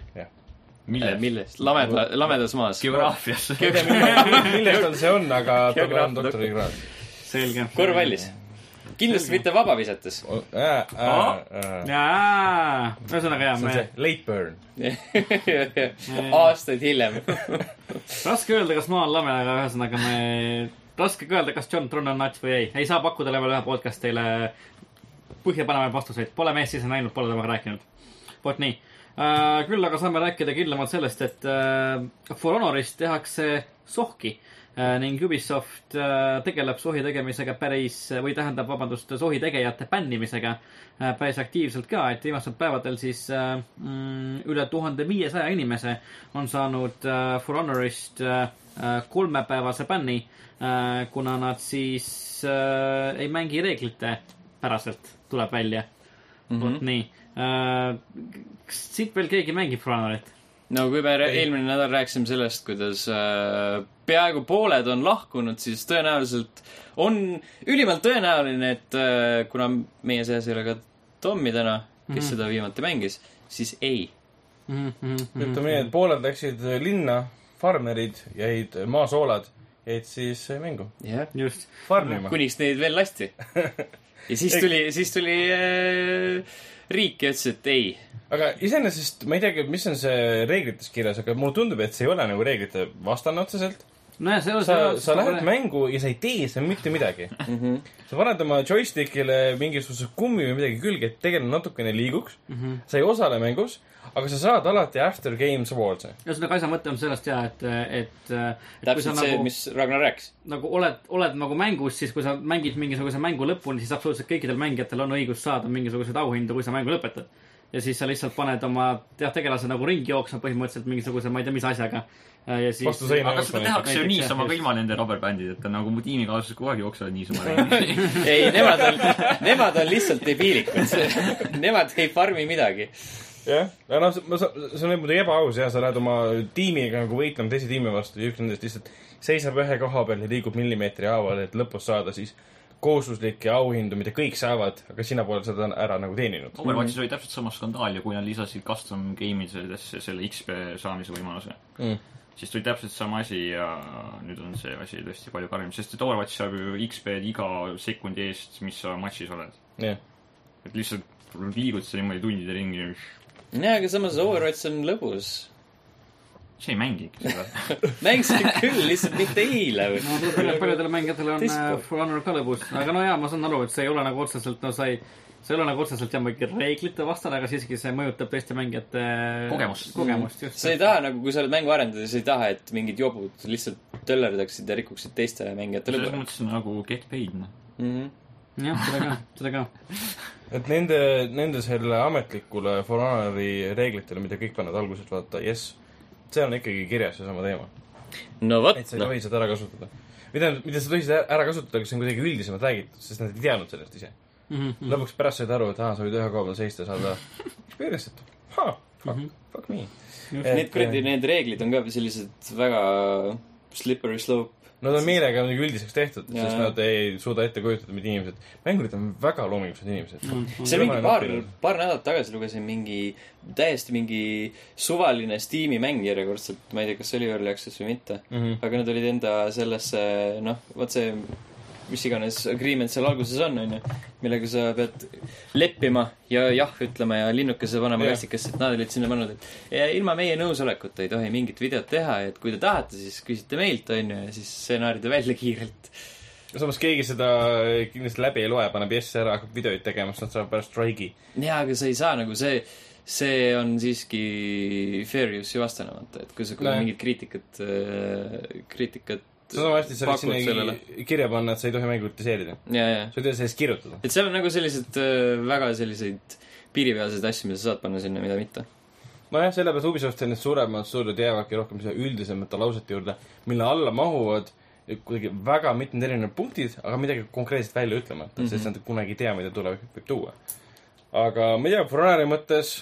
D: milles ?
A: millest ? lameda , lamedas maas .
D: geograafias .
C: millest tal see on , aga tal on doktorikraad .
B: selge .
A: korvpallis . kindlasti mitte vabavisates .
C: Äh,
B: ühesõnaga jaa , Ah.
C: see äh. on
B: me
C: see , late burn .
A: aastaid hiljem .
B: raske öelda , kas maa on lame , aga ühesõnaga me , raske ka öelda , kas John Tron on nats või ei . ei saa pakkuda level ühe podcast'ile põhjapanevaid vastuseid . Pole meest ise näinud , pole temaga rääkinud . vot nii . küll aga saame rääkida kindlamalt sellest , et äh, For Honoris tehakse sohki äh, ning Ubisoft äh, tegeleb sohi tegemisega päris , või tähendab , vabandust , sohi tegejate bännimisega äh, päris aktiivselt ka , et viimastel päevadel siis äh, mm, üle tuhande viiesaja inimese on saanud äh, For Honorist äh, äh, kolmepäevase bänni äh, , kuna nad siis äh, ei mängi reeglite päraselt , tuleb välja
C: Mm-hmm.
B: mm . -hmm. nii äh, , kas siit veel keegi mängib For Honorit ?
A: no kui me rää- eelmine nädal rääkisime sellest , kuidas äh, peaaegu pooled on lahkunud , siis tõenäoliselt on ülimalt tõenäoline , et äh, kuna meie seas ei ole ka Tommi täna , kes mm -hmm. seda viimati mängis , siis ei .
B: Mm-hmm. Mhm.
C: ütleme nii , et pooled läksid linna , farmerid jäid maasoolad , jäid siis mängu ,
A: jah ,
B: just ,
C: farmima .
A: kuniks neid veel lasti . ja siis tuli , siis tuli äh, riik ja ütles , et ei .
C: aga iseenesest ma ei teagi , mis on see reeglites kirjas , aga mulle tundub , et see ei ole nagu reeglite vastane otseselt .
B: nojah , see on
C: sa , sa lähed . mängu ja sa ei tee seal mitte midagi .
D: Mhm.
C: sa paned oma joystick'ile mingisuguse kummi või midagi külge , et tegelane natukene liiguks mm .
B: Mhm.
C: -hmm. sa ei osale mängus , aga sa saad alati after games award'i .
B: ühesõnaga , asja mõte on sellest jaa , et , et, et kui sa
A: täpselt see , mis Ragnar rääkis .
B: nagu oled , oled nagu mängus , siis kui sa mängid mingisuguse mängu lõpuni , siis absoluutselt kõikidel mängijatel on õigus saada mingisuguseid auhindu , kui sa mängu lõpetad . ja siis sa lihtsalt paned oma , jah , tegelase nagu ringi jooksma põhimõtteliselt mingisuguse , ma ei tea , mis asjaga . ja siis
C: vastu , seina
D: aga seda
C: jooksma näiteks .
D: tehakse ju niisama ka ilma nende rubberbändideta , nagu mu tiimikaaslased kogu aeg jooksevad niisama ringi .
A: ei , nemad on , nemad on lihtsalt debiilikud . Nemad ei farmi midagi .
C: jah , aga noh , ma saan , see on muidugi ebaaus jah , sa lähed oma tiimiga nagu võitlema teise tiimi vastu ja üks nendest lihtsalt seisab ühe koha peal ja liigub millimeetri haaval , et lõpus saada siis kohustuslikke auhindu , mida kõik saavad , aga sina pole seda ära nagu teeninud .
D: Overwatchis oli täpselt sama skandaal ja kui nad lisasid custom game idesse selle XP saamise võimaluse
C: Mm.
D: siis tuli täpselt sama asi ja nüüd on see asi tõesti palju karmim , sest et Overwatch saab ju XP-d iga sekundi eest , mis sa matšis oled .
C: jah ,
D: et lihtsalt liigud sa niimoodi tundide ringi ,
A: nojah , aga samas Overwatch on lõbus .
D: sa ei mängigi seda .
A: mängisin küll , lihtsalt mitte eile või .
B: no paljudel , paljudel mängijatel on
A: Disco.
B: äh, For Honor ka lõbus , aga no jaa , ma saan aru , et see ei ole nagu otseselt , no sa ei , see ei ole nagu otseselt jah , muidugi reeglite vastane , aga siiski see mõjutab teiste mängijate äh,
D: Kogemust.
B: kogemust , just .
A: sa ei taha nagu , kui sa oled mänguarendaja , sa ei taha , et mingid jobud lihtsalt töllerdaksid ja rikuksid teiste mängijate Mhm.
D: selles
A: lõbu .
D: mõttes nagu get paid , noh .
B: jah , seda ka , seda ka
C: et nende , nende selle ametlikule For Honori reeglitele , mida kõik panevad alguses vaata , jess , see on ikkagi kirjas seesama teema .
A: no vot
C: et sa , ei
A: noh .
C: tohi seda ära kasutada . või tähendab , mida sa tohisid ära kasutada , aga see on kuidagi üldisemalt räägitud , sest nad ei teadnud sellest ise
B: mm . -hmm.
C: Mm-hmm. lõpuks pärast said aru , et aa , sa võid ühe koha peal seista ja saada experience'it . Fuck , fuck me .
A: Mm-hmm.
C: eh,
A: Need kuradi , need reeglid on ka sellised väga slippery slope .
C: Nad on meelega muidugi üldiseks tehtud ,
A: Jaa,
C: sest
A: jaa.
C: nad ei suuda ette kujutada , mida inimesed , mängurid on väga loomingulised inimesed .
A: see mingi paar , paar nädalat tagasi lugesin mingi , täiesti mingi suvaline Steam'i mäng järjekordselt , ma ei tea , kas see oli Early Access või mitte . aga nad olid enda sellesse , noh , vot see mis iganes agreement seal alguses on , onju , millega sa pead leppima ja jah ütlema ja linnukese panema
C: Jah.
A: kastikesse , et nad olid sinna pannud , et ja ilma meie nõusolekuta ei tohi mingit videot teha , et kui te tahate , siis küsite meilt , onju , ja siis stsenaaride välja kiirelt .
C: samas keegi seda eh, kindlasti läbi ei loe , paneb jess ära , hakkab videoid tegema , siis nad saavad pärast streigi .
A: jaa , aga sa ei saa nagu see , see on siiski fair use'i vastane , vaata , et kui sa kui
C: Nojah.
A: mingit kriitikat , kriitikat
C: sa sama hästi , sa võid
A: pakud sellele .
C: sinna kirja panna , et sa ei tohi mängu kritiseerida .
A: jaa , jaa .
C: sa ei tohi sellest kirjutada .
A: et seal on nagu sellised öö, väga selliseid piiripealseid asju , mida sa saad panna sinna , mida mitte .
C: nojah , sellepärast Ubisofti need suuremad stuudiod jäävadki rohkem siia üldisemate lausete juurde , mille alla mahuvad kuidagi väga mitmed erinevad punktid , aga midagi konkreetselt välja ütlemata mm , -hmm. sest nad kunagi ei tea , mida tulevik võib tuua . aga ma ei tea , Foraneri mõttes ,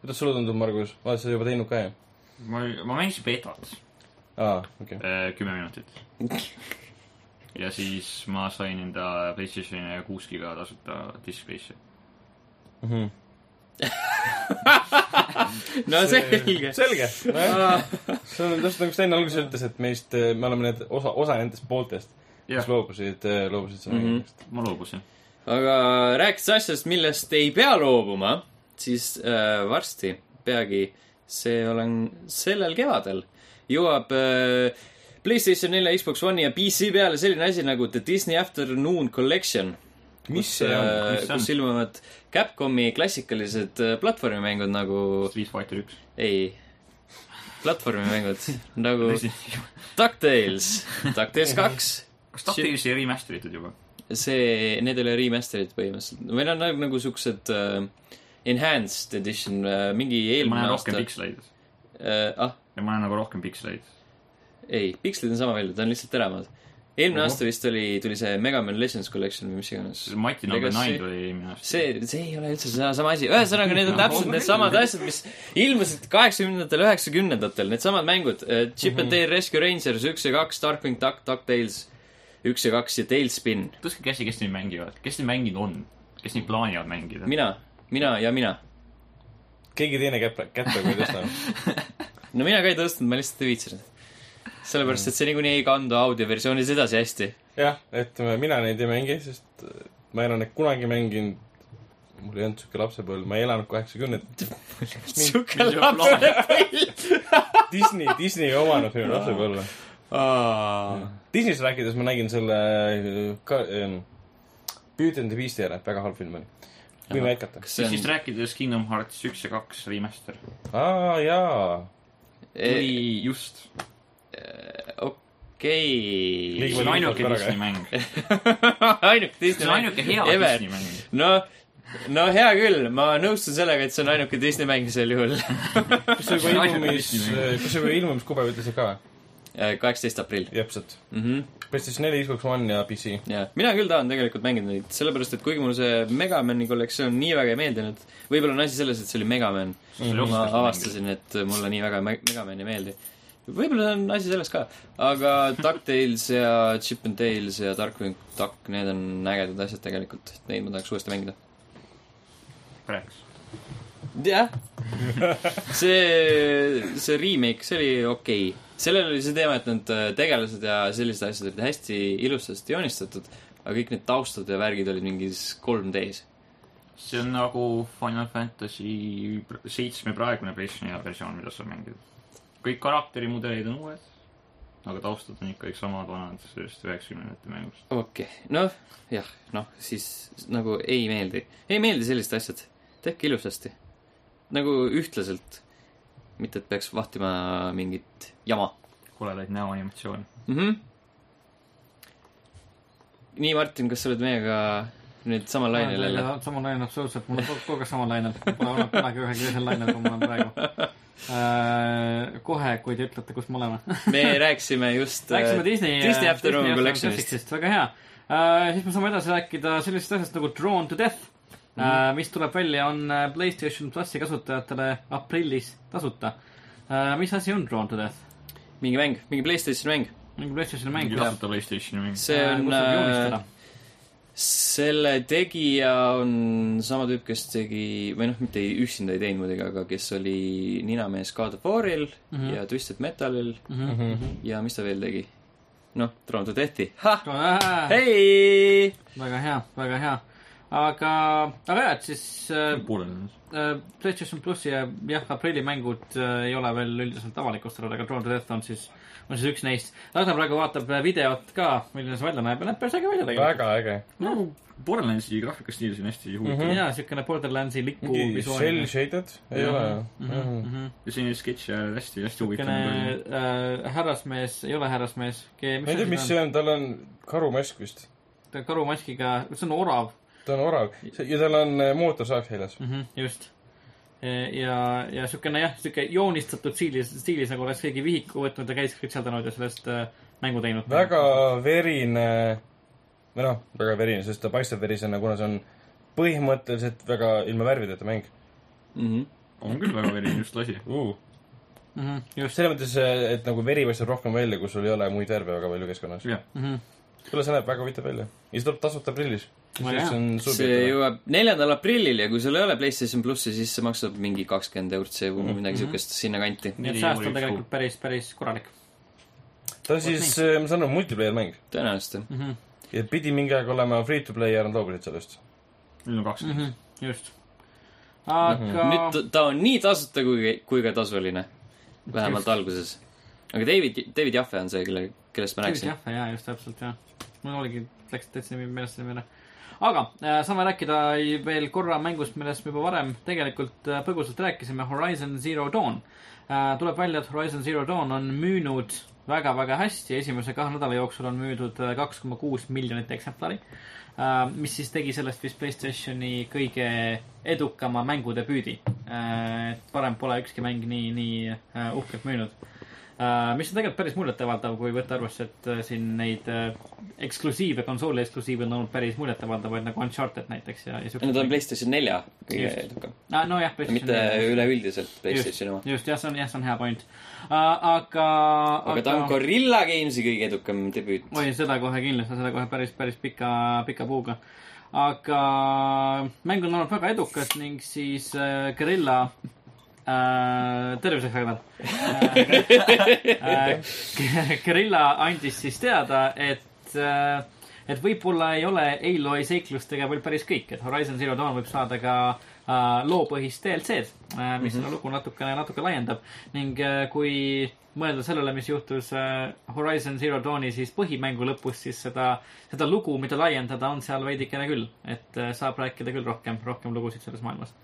C: kuidas sulle tundub , Margus , oled sa seda juba teinud ka , jah ?
D: ma , ma mängisin beetot
C: aa , okei okay. .
D: eh, kümme minutit . ja siis ma sain enda PlayStationi kuus giga tasuta disklaisse .
A: no selge .
C: selge , nojah . see on täpselt nagu Sten alguses ütles , et meist , me oleme need osa , osa nendest pooltest ,
D: Jah.
C: kes loobusid , loobusid selle mängust .
D: ma loobusin .
A: aga rääkides asjast , millest ei pea loobuma , siis äh, varsti , peagi , see olen sellel kevadel , jõuab äh, PlayStation 4 , Xbox One'i ja PC peale selline asi nagu The Disney Afternoon Collection .
C: mis see on ?
D: Mis see on?
A: kus ilmuvad Capcomi klassikalised äh, platvormimängud nagu ,
D: Street Fighter üks .
A: ei , platvormimängud nagu DuckTales , DuckTales kaks ,
D: kas Tactilis'i ei remasteritud juba ?
A: see , need ei ole remaster'id põhimõtteliselt või nad on nagu- nagu siuksed uh, enhanced edition uh, , mingi
D: ma
A: eelmine
D: näen
A: aasta
D: rohkem . piksleid .
A: Uh, ah ,
D: ja ma näen nagu rohkem piksleid .
A: ei , pikslid on sama välja , ta on lihtsalt teravamad . eelmine aasta vist oli , tuli see Mega Man Legends Collection või mis iganes .
D: Mati number
A: Ega
D: nine
A: see-
D: tuli eelmine aasta .
A: see , see ei ole üldse sama , sama asi , ühesõnaga need on täpselt needsamad asjad , mis ilmusid kaheksakümnendatel , üheksakümnendatel , needsamad mängud , Chip
D: Mhm.
A: and Dale Rescue Rangers üks ja kaks , Darkwing Duck , DuckTales üks ja kaks ja Tailspin .
D: tõstke käsi , kes neid mängivad , kes neid mänginud on , kes neid plaanivad mängida .
A: mina , mina ja mina .
C: keegi teine kätte , kätte kui ei tõsta .
A: no mina ka ei tõstnud , ma lihtsalt ei viitsinud . sellepärast , et see niikuinii ei kandu audioversioonis edasi hästi .
C: jah , et mina neid ei mängi , sest äh, ma ei ole neid kunagi mänginud . mul ei olnud siuke lapsepõlv , ma ei elanud kaheksakümnendatel .
A: siuke lapsepõlv .
C: Disney , Disney ei omanud minu lapsepõlve . Disneyst rääkides ma nägin selle ka- ähm, Beauty and the Beast'i ära , väga halb film oli . võime jätkata .
A: kas
D: siis
A: see
D: vist
A: on ,
D: rääkides Kingdom Hearts üks ja kaks remaster .
C: aa jaa .
A: e-
D: tuli just .
A: okei .
C: Liiga-
D: see on ainuke
C: Väga
D: Disney
C: hea.
D: mäng .
A: ainuke
D: see
A: Disney
D: on ainuke hea
A: ever.
D: Disney mäng .
A: no , no hea küll , ma nõustun sellega , et see on ainuke Disney mäng sel juhul .
C: kas see juba
D: Ainult
C: ilmumis ,
D: Disney mäng.
C: kas see juba ilmumiskubev ütles ka või ?
A: kaheksateist aprill
C: täpselt .
A: mm . -hmm.
C: PlayStation neli , Xbox One ja PC .
A: ja mina küll tahan tegelikult mängida neid , sellepärast et kuigi mulle see Megamani kollektsioon nii väga ei meeldinud , võib-olla on asi selles , et see oli Megaman . ma avastasin , et mulle nii väga Meg- Megaman ei meeldi . võib-olla on asi selles ka , aga DuckTales ja Chip n Tales ja Darkwing Duck , need on ägedad asjad tegelikult , neid ma tahaks uuesti mängida .
D: praegu .
A: jah . see , see remake , see oli okei okay. . sellel oli see teema , et need äh, tegelased ja sellised asjad olid hästi ilusasti joonistatud , aga kõik need taustad ja värgid olid mingis 3D-s .
D: see on nagu Final Fantasy pr- seitsme praegune PlayStationi hea versioon , mida sa mängid . kõik karakterimudelid on uued , aga taustad on ikkagi samad vanad sellest üheksakümnendate mängust .
A: okei okay. , noh , jah , noh , siis nagu ei meeldi . ei meeldi sellised asjad . tehke ilusasti . nagu ühtlaselt . mitte , et peaks vahtima mingit jama
D: koledaid näoanimatsioone .
A: mm . -hmm. nii , Martin , kas sa oled meiega nüüd samal lainel jälle ?
B: samal lainel , absoluutselt , mul on kogu- kogu aeg samal lainel , pole olnud kunagi ühelgi teisel lainel , kui ma olen praegu . kohe , kui te ütlete , kus me oleme .
A: me rääkisime just äh,
B: rääkisime Disney .
A: Disney Afternoon Collectionist .
B: väga hea . siis me saame edasi rääkida sellisest asjast nagu Drawn to Death . Mm -hmm. mis tuleb välja , on äh, Playstation plussi kasutajatele aprillis tasuta . mis asi on Drawn to Death ?
A: mingi mäng , mingi Playstationi mäng .
B: mingi Playstationi mäng
D: mingi . tasuta PlayStationi mäng .
A: see on , äh, selle tegija on sama tüüp , kes tegi , või noh , mitte ei- üksinda ei teinud muidugi , aga kes oli Mhm. ninamees God of War'il mm -hmm. ja Twisted Metalil mm -hmm. ja mis ta veel tegi ? noh , Toronto tehti .
B: väga
A: hei ,
B: hea , väga hea . aga , aga jah , et siis äh,
D: pooleli .
B: äh, PlayStation plussi ja jah , aprillimängud äh, ei ole veel üldiselt avalikustatud , aga Toronto Death on siis , on siis üks neist . Lasna praegu vaatab äh, videot ka , milline see välja näeb ja näeb päris äge välja tegelikult .
C: väga äge .
D: no Borderlandsi graafikastiilis on hästi huvitav
C: Mhm.
B: jaa , siukene Borderlandsi liku
C: mingi
B: visuaalne
C: cell . shaded , ei
D: Jah.
C: ole
B: Mhm,
C: ju ?
B: mhm.
D: ja selline sketš ja hästi , hästi huvitav
B: siukene
D: oli .
B: äh, härrasmees , ei ole härrasmees .
C: ma ei tea , mis see on , tal on karumask vist .
B: ta on karumaskiga , see on orav
C: ta on orav See- ja tal on äh, mootorsaak seljas .
B: mm , -hmm, just . ja , ja siukene jah , siuke joonistatud stiilis , stiilis nagu oleks keegi vihiku võtnud ja käis kritseldanud ja sellest äh, mängu teinud .
C: väga verine , või noh , väga verine , sest ta paistab verisena , kuna see on põhimõtteliselt väga ilma värvideta mäng
A: Mhm.
D: on küll väga erinev just lasi .
C: uh. .
B: mm . -hmm, just
C: selles mõttes , et nagu veri paistab rohkem välja , kui sul ei ole muid värve väga palju keskkonnas .
D: jah ,
B: mm . -hmm.
C: kuule , see näeb väga huvitav välja . ja see tuleb tasuta aprillis .
B: Väga hea.
A: see . jõuab neljandal aprillil ja kui sul ei ole Playstation plussi , siis see maksab mingi kakskümmend eurtsi või midagi siukest sinnakanti .
B: nii
D: Neli
B: et sääst on
D: euri
B: tegelikult päris , päris korralik
C: ta on siis , ma saan aru , multiplayer mäng .
A: tõenäoliselt .
B: mm . -hmm,
C: ja pidi mingi aeg olema free to play ja nad loobusid sellest .
D: nüüd on kaks
B: mm .
C: Mhm.
B: -hmm, just . aga
A: nüüd ta- ta on nii tasuta kui , kui ka tasuline . vähemalt alguses . aga David , David Jaffe on see , kelle , kellest ma rääkisin .
B: jah , jaa , just täpselt , jah . mul oligi , läks täitsa nimi meelest selle meelde . aga äh, saame rääkida veel korra mängust , millest me juba varem tegelikult äh, põgusalt rääkisime , Horizon Zero Dawn äh, . tuleb välja , et Horizon Zero Dawn on müünud väga-väga hästi , esimese kahe nädala jooksul on müüdud äh, kaks koma kuus miljonit eksemplari äh, . mis siis tegi sellest vist Playstationi kõige edukama mängudebüüdi äh, . varem pole ükski mäng nii , nii äh, uhkelt müünud Äh, mis on tegelikult päris muljetavaldav , kui võtta arvesse , et äh, siin neid äh, eksklusiive , konsooli eksklusiive on olnud päris muljetavaldavaid nagu Uncharted näiteks ja , Ah, ja
A: no ta on . Playstation nelja kõige
B: Just.
A: edukam ,
B: nojah ,
A: mitte . üleüldiselt Playstationi oma .
B: just , jah , see on , jah , see on hea point uh, . aga .
A: aga ta on Gorilla Gamesi kõige edukam debüüt .
B: oi , seda kohe kindlasti , seda kohe päris , päris pika , pika puuga . aga mäng on olnud väga edukas ning siis äh, Guerilla äh, , terviseks , Ragnar äh, . äh, Guerilla andis siis teada , et äh, , et võib-olla ei ole Aloy seiklustega veel päris kõik , et Horizon Zero Dawn võib saada ka äh, loopõhist DLC-d , mis mm -hmm. seda lugu natukene , natuke laiendab ning äh, kui mõelda sellele , mis juhtus äh, Horizon Zero Dawni siis põhimängu lõpus , siis seda , seda lugu , mida laiendada , on seal veidikene küll , et äh, saab rääkida küll rohkem , rohkem lugusid selles maailmas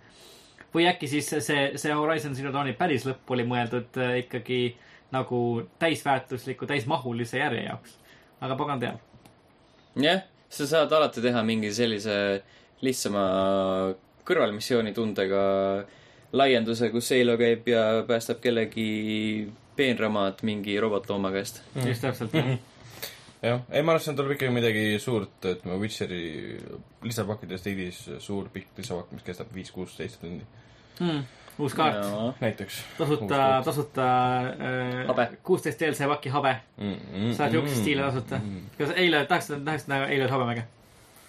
B: või äkki siis see , see Horizon Zero Dawni päris lõpp oli mõeldud äh, ikkagi nagu täisväärtusliku , täismahulise järje jaoks . aga pagan teab .
A: jah , sa saad alati teha mingi sellise lihtsama kõrvalmissiooni tundega laienduse , kus Seilo käib ja päästab kellegi peenramad mingi robotlooma käest .
B: mm. just täpselt , jah .
C: jah , ei ma arvan , et seal tuleb ikkagi midagi suurt , et me Witcheri lisapakkide stiilis suur pikk lisapakk , mis kestab viis-kuusteist tundi
B: Mm. uus kaart ,
C: näiteks .
B: tasuta , tasuta
A: Habe.
B: kuusteist äh, DLC paki habe ,
C: Mm-hmm.
B: saad jooksu stiili tasuta . kas eile , tahaks , tahaks näha eile habe
C: nüüd ,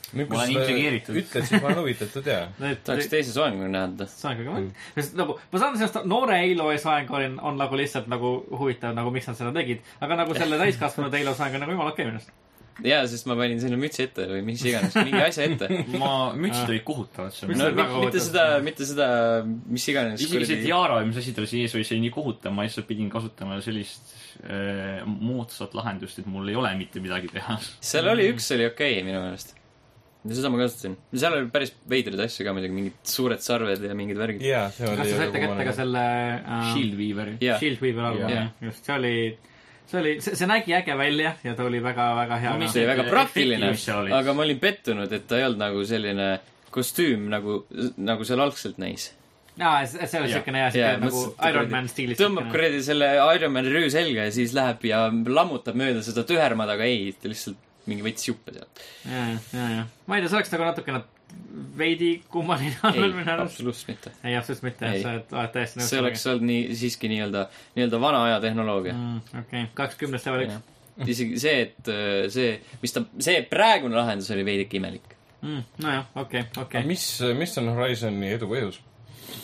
D: Ma
C: kui
D: olen
C: sa
D: intrigeeritud.
C: seda ütled , siis ma olen huvitatud ja .
B: väga
A: tahaks ? teise soengu näha .
B: soenguga mäng , sest nagu ma saan sellest noore Halo soeng on , on nagu lihtsalt nagu huvitav , nagu miks nad seda tegid , aga nagu selle täiskasvanud Halo soeng on nagu jumala okei minu arust .
A: jaa , sest ma panin sinna mütsi ette või mis iganes , mingi asja ette .
D: ma , mütsid olid kohutavad seal .
A: no
B: See on väga
A: mi- mitte
B: huvitav.
A: seda , mitte seda , mis iganes .
D: isegi see tiara , mis asi tal sees oli , see oli nii kohutav , ma lihtsalt pidin kasutama sellist äh, moodsat lahendust , et mul ei ole mitte midagi teha .
A: seal oli üks oli okei okay, minu meelest . ja seda ma kasutasin . seal oli päris veidraid asju ka muidugi , mingid suured sarved ja mingid värgid .
C: jaa , see
B: kas
C: oli nagu
B: te saite kätte ka selle äh,
D: Shield Weaveri .
A: jaa ,
B: Shield Weaver albumi
A: Jah.
B: yeah. , just , see oli , see oli , see see nägi äge välja ja ta oli väga-väga hea
D: No mis
A: see
B: ka.
A: oli väga
D: Efekti,
A: praktiline
D: mis seal , oli.
A: aga ma olin pettunud , et ta ei olnud nagu selline kostüüm nagu , nagu seal algselt näis .
B: aa , see oli
D: Jah.
B: siukene jah ,
A: Jaa,
B: siuke nagu
A: mõtlesin, et
B: Iron
A: kuradi-
B: Man stiilis .
A: tõmbab kuradi selle Ironmani röö selga ja siis läheb ja lammutab mööda seda tühermad , aga ei , ta lihtsalt mingi võttis juppe sealt .
B: ja , ja , ja , ma ei tea , see oleks nagu natukene veidi kummaline
A: ei
B: olnud minu , arust .
A: absoluutselt mitte .
B: ei , absoluutselt mitte ,
A: Ei.
B: sa oled oled täiesti
A: see oleks olnud nii , siiski nii-öelda , nii-öelda vana aja tehnoloogia .
B: sellega . Mm, okei , kaks kümnest level üks .
A: isegi see , et öö, see , mis ta , see praegune lahendus oli veidike imelik .
B: nojah , Mm, okei , okei .
C: mis , mis on Horizoni edu põhjus ?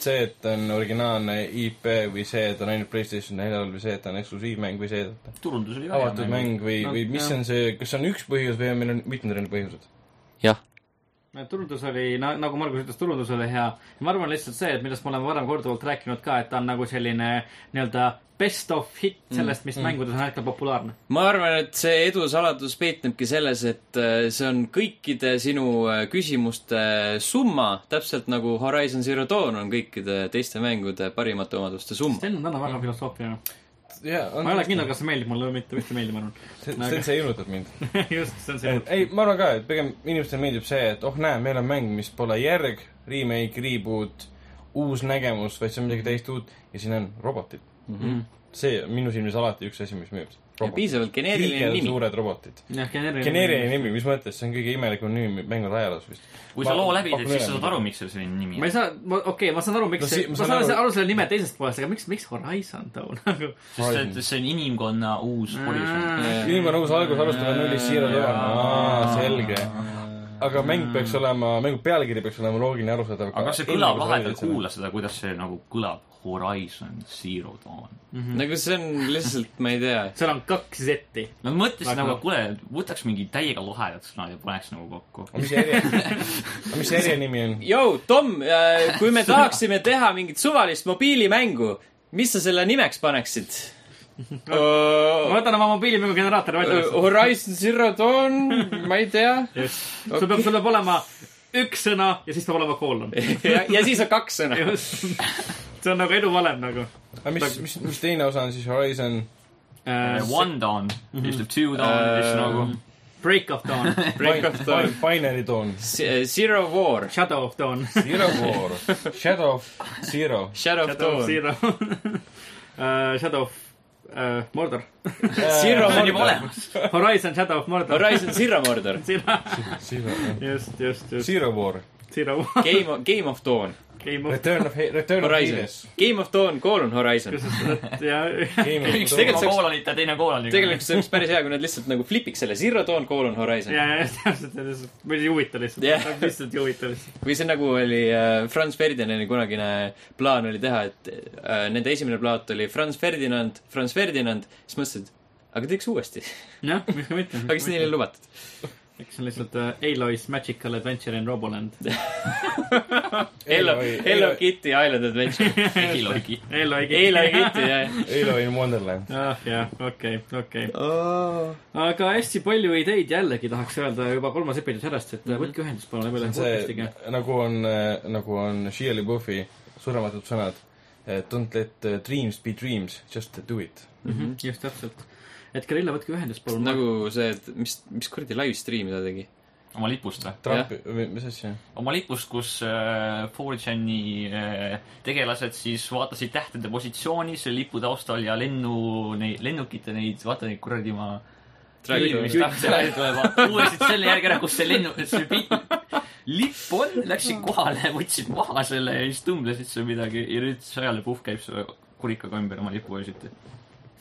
C: see , et ta on originaalne IP või see , et ta on ainult Playstation neljal või see , et ta on eksklusiivmäng või see , et
D: turundus oli
C: ta on avatud mäng või
B: No,
C: no, , või mis
B: jah.
C: on see , kas on üks põhjus või on meil on mitmed erinevad põhjused ?
A: jah ,
B: turundus oli , nagu Margus ütles , turundus oli hea . ma arvan lihtsalt see , et millest me oleme varem korduvalt rääkinud ka , et ta on nagu selline nii-öelda best of hit sellest , mis mm. mängudes on hetkel populaarne .
A: ma arvan , et see edu saladus peitnebki selles , et äh, see on kõikide sinu äh, küsimuste äh, summa , täpselt nagu Horizon Zero Dawn on kõikide teiste mängude parimate omaduste summa .
B: Sten on täna väga filosoofiline .
C: jaa , on
B: ma ei ole kindel , kas see meeldib mulle või mitte , mitte meeldib , ma
C: see ,
B: arvan .
C: see hirmutab mind .
B: just , see on see .
C: ei , ma arvan ka , et pigem inimestele meeldib see , et oh näe , meil on mäng , mis pole järg , remake , reboot , uus nägemus , vaid see on midagi täiesti uut ja siin on robotid mm . -hmm.
D: Mhm.
C: see on minu silmis alati üks asi , mis müüb .
A: piisavalt geneeriline nimi .
C: suured robotid .
B: jah ,
C: geneeriline . nimi , mis mõttes , see on kõige imelikum nimi mängude ajaloos vist .
D: kui sa loo läbi teed , siis sa saad aru , miks seal selline nimi
B: ma ei
D: on .
B: saa , ma , okei okay, , ma saan aru , miks
C: No
B: no, see ,
C: si-
B: ma saan aru, aru selle nime teisest poolest , aga miks , miks Horizon Dawn nagu ?
D: sest et see on inimkonna
C: Mm.
D: uus horisont .
C: inimene uus algus alustame nullist siiralt üle , selge . aga mäng peaks olema , mängu pealkiri peaks olema loogiline , arusaadav .
D: aga see kõlab vahepeal , kuula seda , kuidas see nagu kõlab . Horizon Zero Dawn .
A: nagu see on lihtsalt , ma ei tea ,
B: seal on kaks Z-i .
D: no ma mõtlesin
B: Väga-
D: nagu , kuule , võtaks mingi täiega lahedad sõnad ja paneks nagu kokku .
C: mis see eri , mis see eri nimi on ?
A: Jou , Tom , kui me tahaksime teha mingit suvalist mobiilimängu , mis sa selle nimeks paneksid ?
B: ma võtan oma mobiilimängu generaatori
A: Oh,
B: välja .
A: Äh, Horizon Zero Dawn , ma ei tea .
B: sul peab , sul peab olema üks sõna ja siis peab olema koolon .
A: ja siis on kaks sõna .
B: just . see on nagu eduvalem nagu .
C: aga mis , mis , mis teine osa on siis Horizon ?
D: Äh,
B: Äh,
D: One Dawn , siis tuleb Two Dawn , siis nagu
B: Break of Dawn ,
A: Break of Dawn .
C: Binary Dawn ,
A: Zero War ,
B: Shadow of Dawn ,
C: Zero War , Shadow of Zero .
A: Shadow of
B: Shadow of
A: Dawn ,
B: Zero , Shadow of äh, Mordor ,
A: Zero
D: see on juba
A: Mordor ,
D: olemas .
B: Horizon Shadow of Mordor .
A: Horizon Zero Mordor ,
B: just , just , just ,
C: Zero War ,
B: Zero ,
A: Game of , Game of Dawn ,
B: Game of
C: Return of , Return of
A: Horizon
C: Venus .,
A: Game of Dawn , koolon Horizon .
B: ja
C: üks
A: tegelikult
D: üks
A: saaks-
D: koolonit ja teine koolonik .
A: tegelikult see oleks päris hea , kui nad lihtsalt nagu flipiks selle Zero Dawn , koolon Horizon .
B: ja , ja täpselt , täpselt , meil ei huvita lihtsalt
A: Jah.
B: yeah. , lihtsalt ei huvita lihtsalt .
A: või see nagu oli äh, Franz Ferdinandi kunagine plaan oli teha , et äh, nende esimene plaat oli Franz Ferdinand , Franz Ferdinand , siis mõtlesid , aga teeks uuesti .
B: jah , miks ka mitte .
A: aga siis neile ei lubatud .
B: eks see on lihtsalt uh, Alois Magical Adventure in Roboland .
A: Hello , Hello Kitty Island Adventure .
D: Egiloigi .
B: Eloi .
A: Hello Kitty , jah .
C: Halo in Wonderland .
B: jah , jah , Ah, okei , okei . aga hästi palju ideid jällegi tahaks öelda juba kolmas episood sellest ,
A: Mhm.
B: et mm -hmm. võtke ühendust palun läbi
C: see
B: läheb .
C: nagu on , nagu on Shia LaBeoufi surematud sõnad . Don't let uh, dreams be dreams , just do it .
B: Mhm, just täpselt . et Kirille , võtke ühendust palun .
A: Mhm. nagu see , et mis , mis kuradi live stream'i ta tegi .
D: oma lipust või ?
C: Trump , või mis asja ?
D: oma lipust , kus äh, 4chan'i äh, tegelased siis vaatasid tähtede positsiooni selle lipu taustal ja lennu , neid , lennukite neid , vaata neid kuradi ma uurisid selle järgi ära , kus see lennu , see pi- lipp on , läksid kohale , võtsid maha selle ja siis tõmblesid seal midagi ja nüüd sõjale puhk käib selle kurikaga ümber oma lipu öösiti .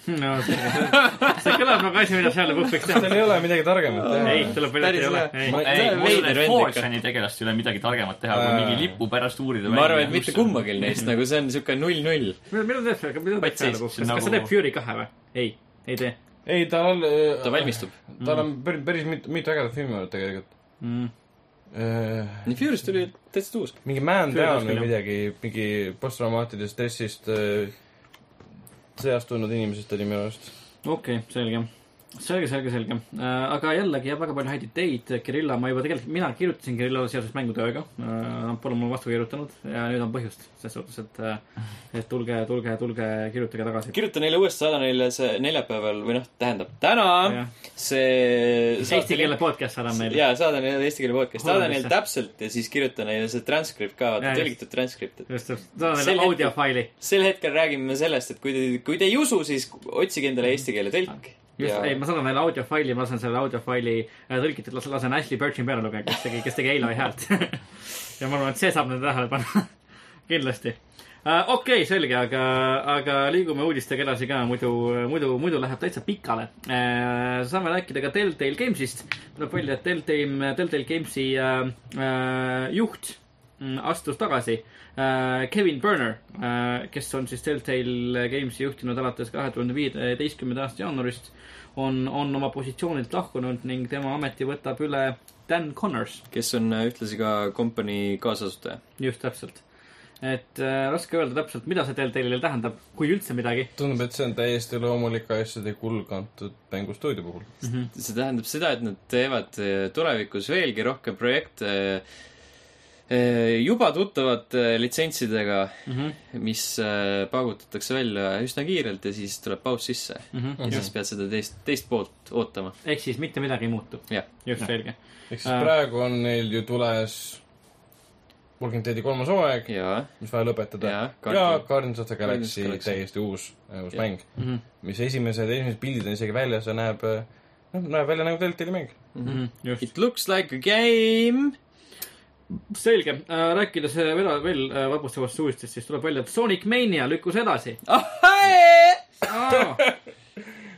B: no see, see kõlab nagu asi , mida seal võiks teha .
C: tal ei ole midagi targemat
B: ei ,
C: teha .
B: tuleb välja , et ei
A: Päris
B: ole .
A: hea.
B: ei ,
A: Ma-
D: ei ,
A: see on
D: ma usun ,
A: veider
D: et
A: vend ikka.
D: 4chan'i tegelast ei ole midagi targemat teha , kui
C: Aa.
D: mingi lipu pärast uurida .
A: ma arvan , et mitte kummalgi neist , nagu see on siuke null-null .
B: mida ta teeb , mida ta teeb
A: Pats
B: seal
A: sees,
B: lõpuks ?
D: see on
B: kas ta
D: nagu-
B: teeb Fury kahe või ? ei , ei tee
C: ei , tal on . äh,
A: ta valmistub .
C: tal on päris , päris mitu , mitu ägedat filmi olnud tegelikult
B: mm. .
C: uh, .
A: nii , Fury'st tuli täitsa uus .
C: mingi Man
B: Küll
C: Down
B: oleks
C: või
B: küll,
C: midagi , mingi posttraumaatilisest stressist äh, sõjast tulnud inimesest oli minu arust .
B: okei okay, , selge . selge , selge , selge . aga jällegi jah , väga palju häid ideid . Kirilla , ma juba tegelikult , mina kirjutasin Kirillale seoses mängutööga . Nad pole mulle vastu kirjutanud ja nüüd on põhjust , selles suhtes , et , et tulge , tulge , tulge , kirjutage tagasi .
A: kirjuta neile uuesti , saada neile see neljapäeval või noh , tähendab täna
B: Jah.
A: see
B: Eesti keele podcast saadab meile .
A: jaa , saada neile eesti keele podcast , saada
B: Hollandisse.
A: neile täpselt ja siis kirjuta neile see transkript ka ,
B: Jaa,
A: vaata
B: just.
A: tõlgitud transkript , et
B: just , just , saadame
A: Sel
B: neile
A: hetkel-
B: audiofaili .
A: sel hetkel räägime me sellest , et kui te , kui te ei usu , siis otsige endale eesti keele tõlk .
B: Mhm. just , ei , ma saadan neile audiofaili , ma lasen selle audiofaili äh, tõlgitud , lasen , lasen Ashley Birch'i peale lugeda , kes tegi , kes tegi Aloy häält . ja ma arvan , et see saab nende tähele panna . kindlasti uh, . okei okay, , selge , aga , aga liigume uudistega edasi ka , muidu , muidu , muidu läheb täitsa pikale uh, . saame rääkida ka Deltale Games'ist . tuleb välja , et Deltale , Deltale Games'i uh, uh, äh, juht mm, astus tagasi äh, Kevin Berner äh, , kes on siis Telltale Games'i juhtinud alates kahe tuhande viieteistkümnenda aasta jaanuarist , on , on oma positsioonilt lahkunud ning tema ameti võtab üle Dan Connors ,
A: kes on äh, ühtlasi ka kompanii kaasasutaja .
B: just täpselt . et äh, raske öelda täpselt , mida see Telltale'ile tähendab , kui üldse midagi .
C: tundub , et see on täiesti loomulik asjade kulg antud mängustuudio puhul .
A: see tähendab seda , et nad teevad äh, tulevikus veelgi rohkem projekte äh, juba tuttavate äh, litsentsidega mm , -hmm. mis äh, paugutatakse välja üsna kiirelt ja siis tuleb paus sisse mm . -hmm. ja siis pead seda teist , teist poolt ootama .
B: ehk siis mitte midagi ei muutu .
A: jah ,
B: just , selge .
C: ehk siis praegu on neil ju tules Walking Deadi kolmas hooaeg ,
A: jaa ,
C: mis vaja lõpetada
A: Jaa, ,
C: ja
A: Guardian-
C: Guardians of the
A: Guardians
C: Galaxy
A: of the Galaxy.
C: täiesti uus , uus
A: Jah.
C: mäng . mis esimesed , esimesed pildid on isegi väljas ja näeb , noh , näeb välja nagu Deltali mäng .
B: Mhm, just .
A: it looks like a game .
B: selge , rääkides äh, veel , veel äh, vapustavast uudistest , siis tuleb välja , et Sonic Mania lükkus edasi .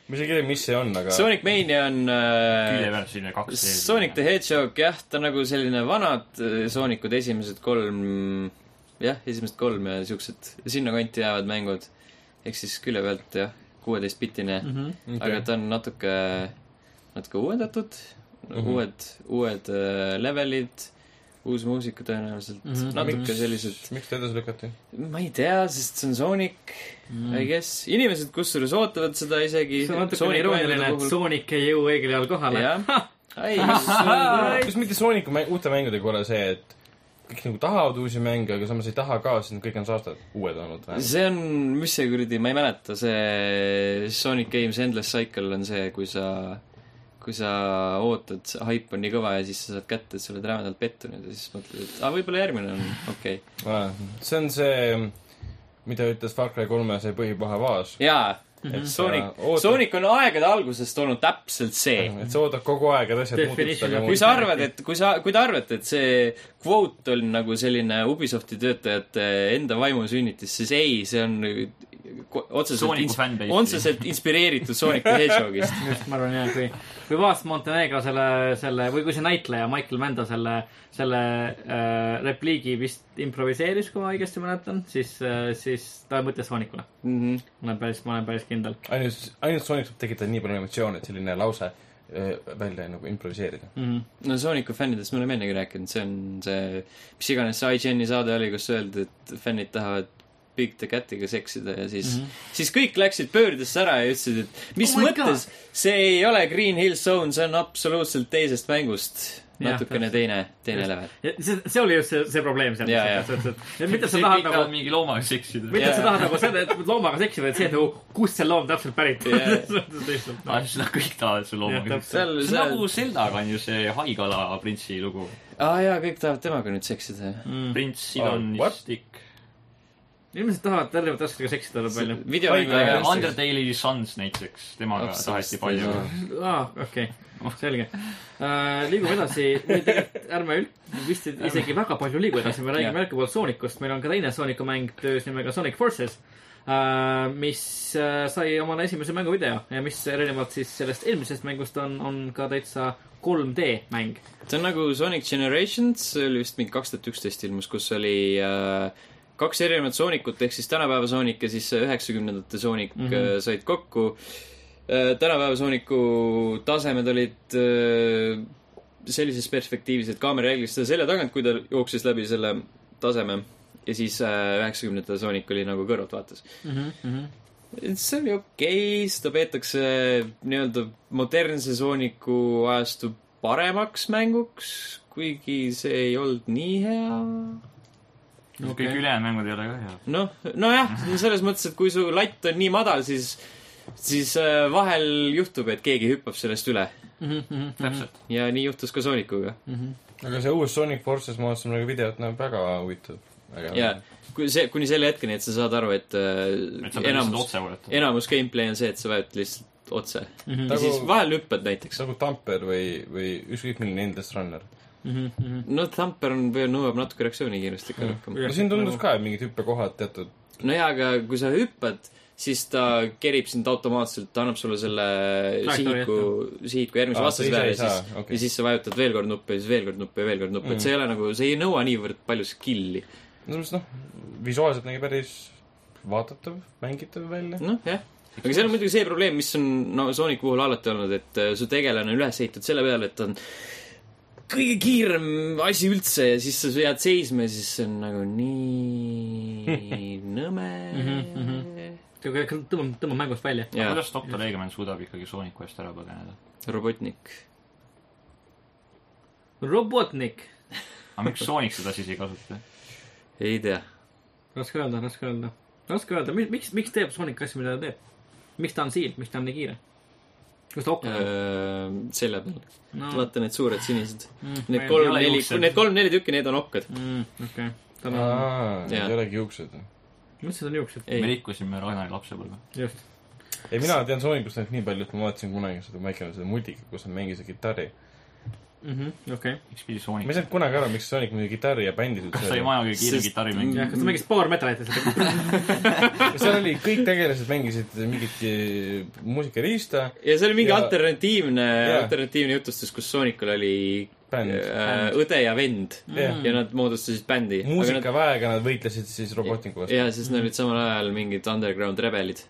C: ma isegi ei tea , mis see on , aga
A: Sonic Mania on
D: külje
A: äh,
D: peal selline kaks .
A: Sonic the Hedgehog , jah , ta on nagu selline vanad äh, Soonikud , esimesed kolm , jah , esimesed kolm ja siuksed sinnakanti jäävad mängud . ehk siis külje pealt jah , kuueteistbitine
B: Mhm.
A: mm , -hmm. aga ta on natuke , natuke uuendatud mm ,
B: Mhm.
A: -hmm. uued , uued äh, levelid , uus muusika tõenäoliselt mm ,
B: Mhm.
A: -hmm. natuke sellised
C: miks ta edasi lükati ?
A: ma ei tea , sest see on Sonic mm. , I guess . inimesed kusjuures ootavad seda isegi .
B: Mhm. see on natuke nii irooniline , et Sonic ei jõua õigel ajal kohale .
A: nagu jah . ei , mis ,
C: kas mitte Sooniku mäng, uute mängudega ole see , et kõik nagu tahavad uusi mänge , aga samas ei taha ka , sest nad kõik on saastad uued olnud või ?
A: see on , mis see kuradi , ma ei mäleta , see Sonic Games Endless Cycle on see , kui sa , kui sa ootad , see haip on nii kõva ja siis sa saad kätte , et sa oled rämedalt pettunud ja siis mõtled , et aa , võib-olla järgmine on okei okay. .
C: see on see , mida ütles Far Cry kolme see põhipaha vaas .
A: jaa , et Sonic
C: Mhm. sa ootad- ,
A: Sonic on aegade algusest olnud täpselt see
C: et sa ootad kogu aeg , et asjad
B: Definition of-
A: kui
C: muutuvad .
A: sa arvad , et kui sa , kui te arvate , et see kvoot on nagu selline Ubisofti töötajate enda vaimusünnitis , siis ei , see on ko- otseselt
D: Sooniku fanbase. ,
A: otseselt inspireeritud Sonic the Hedgehogist .
B: just , ma arvan jah , kui , kui Vaas Montenegro selle , selle või kui see näitleja Michael Manda selle , selle äh, repliigi vist improviseeris , kui ma õigesti mäletan , siis äh, , siis ta mõtles Sonicule .
A: Mhm.
B: ma olen päris , ma olen päris kindel .
C: ainult , ainult Soonik saab tekitada nii palju emotsioone , et selline lause äh, välja nagu improviseerida .
B: Mhm.
A: no Sooniku fännidest me oleme ennegi rääkinud , see on see , mis iganes see IGN-i saade oli , kus öeldi , et fännid tahavad Big the Catiga seksida ja siis mm , -hmm. siis kõik läksid pöördesse ära ja ütlesid , et mis oh
B: Mhm. Oh my
A: mõttes , see ei ole Green Hill Zone , see on absoluutselt teisest mängust .
B: Jah,
A: natukene
B: täpselt.
A: teine , teine level .
B: see , see oli just see , see probleem seal .
A: Jaa, jaa.
B: mida sa tahad nagu
D: mingi loomaga seksida .
B: mitte , et sa
A: Jaa.
B: tahad nagu seda , et loomaga seksida , et see , et nagu kust see loom täpselt pärit on
A: Jaa. .
D: aa , Ah, siis nad kõik tahavad selle
B: Jah,
D: loomaga
B: täpselt.
A: Seal-
D: seksida . see on
A: seal-
D: nagu Zeldaga on ju see haigala printsi lugu .
A: aa ah, jaa , kõik tahavad temaga nüüd seksida ju mm. .
D: prints
C: Oh, what?
D: Ivanistik .
B: inimesed tahavad tervete asjadega seksida väga palju .
A: videomängu jaoks .
D: Undertale'i Äh, Sons näiteks , temaga
A: Absoluutselt.
D: taheti palju .
B: aa , okei , selge uh, . liigume edasi , või tegelikult ärme üld- , vist ei- isegi väga palju liigu edasi , me räägime
A: Jah.
B: jätkuvalt Soonikust , meil on ka teine Sooniku mäng töös nimega Sonic Forces uh, , mis uh, sai omale esimese mänguvideo ja mis erinevalt siis sellest eelmisest mängust on , on ka täitsa 3D mäng .
A: see on nagu Sonic Generations , see oli vist mingi kaks tuhat üksteist ilmus , kus oli äh, kaks erinevat Soonikut ehk siis tänapäeva Soonik ja siis üheksakümnendate Soonik mm -hmm. said kokku äh, . tänapäeva Sooniku tasemed olid äh, sellises perspektiivis , et kaamera jälgis seda selja tagant , kui ta jooksis läbi selle taseme ja siis üheksakümnendate äh, Soonik oli nagu kõrvalt vaatas . Et see oli okei okay, , seda peetakse nii-öelda modernse sooniku ajastu paremaks mänguks , kuigi see ei olnud nii hea .
D: kõik ülejäänud mängud ei ole ka head .
A: noh , nojah , selles mõttes , et kui su latt on nii madal , siis , siis äh, vahel juhtub , et keegi hüppab sellest üle
D: täpselt .
A: ja nii juhtus ka soonikuga
C: aga see uus Sonic Forces , ma vaatasin nagu videot , näeb väga huvitav .
A: ja kui see , kuni selle hetkeni , et sa saad aru , et, äh,
D: et sa pead lihtsalt
A: enamus ,
D: otse Mhm. vajutama .
A: enamus gameplay on see , et sa vajutad lihtsalt otse mm . -hmm. ja
C: Nagu-
A: siis vahel hüppad näiteks .
C: nagu Tamper või , või ükskõik milline Endless Runner .
A: no Thumper on , nõuab natuke
C: Hmm.
A: reaktsiooni kiirust ikka rohkem .
C: nagu- no siin tundus ka , et mingid hüppekohad teatud
A: nojaa , aga kui sa hüppad , siis ta kerib sind automaatselt , ta annab sulle selle
B: Trajektoori,
A: sihiku , sihiku järgmise
C: Aa,
A: vastase
C: sa ise
A: peale
C: ei
A: ja siis
C: saa, , okei. Hmm.
A: ja siis sa vajutad veel kord nuppu ja siis veel kord nuppu ja veel kord nuppu , et see ei ole nagu , see ei nõua niivõrd palju skill'i .
C: selles mõttes noh , visuaalselt nägi päris vaatatav , mängitav välja .
A: noh , jah . aga seal on muidugi see probleem , mis on no Sonic puhul alati olnud , et äh, su tegelane on üles ehitatud selle peale , et ta on kõige kiirem asi üldse ja siis sa jääd seisma ja siis see on nagu nii nõme .
B: tõmbab , tõmbab mängust välja .
A: jaa ,
D: Mhm, kuidas doktor Eggman suudab ikkagi Sooniku eest ära põgeneda ?
A: Robotnik .
B: Robotnik ,
D: aga miks Soonik seda siis ei kasuta ?
A: ei tea .
B: raske öelda , raske öelda , raske öelda , miks , miks teeb Sonic asju , mida ta teeb ? miks ta on siin , miks ta on nii kiire ? kus ta hokkab ?
A: Äh, selja peal .
B: No.
A: vaata need suured sinised .
D: Mm. ma
A: Need
D: ei- ei ole Mm.
A: kolm-neli ,
D: juuksed.
A: need kolm-neli tükki , need on okkad .
B: Mm, okei , tal
D: Mm.
B: on ,
C: aa ,
A: Jaa.
C: ei olegi juuksed .
B: mis need on juuksed ?
D: me
A: ei ,
D: rikkusime Ragnari lapsepõlve .
B: just ,
C: ei , mina tean Soonikust ainult nii palju , et ma vaatasin kunagi seda Michael seda multika , kus ta mängis kitarri .
B: Mhm, okei .
D: miks pidi
C: ma
D: Soonik
C: ei , saanud kunagi aru , miks Soonik mingi kitarri ja bändi
D: kas ta oli maja kõige kiirem
A: Sest-
B: jah ,
D: kitarrimängija ?
B: kas ta mängis Power Metalit ja seda
C: seal oli , kõik tegelased mängisid mingit eh, muusikariista
A: ja see oli mingi
C: Ja-
A: alternatiivne
C: Jaa. ,
A: alternatiivne jutustus , kus Soonikul oli
C: Bänd.
A: äh, õde ja vend
D: Mm.
C: Jah.
A: ja nad moodustasid bändi .
C: muusikaväega nad võitlesid siis robotniku vastu .
A: ja siis nad olid samal ajal mingid underground rebelid .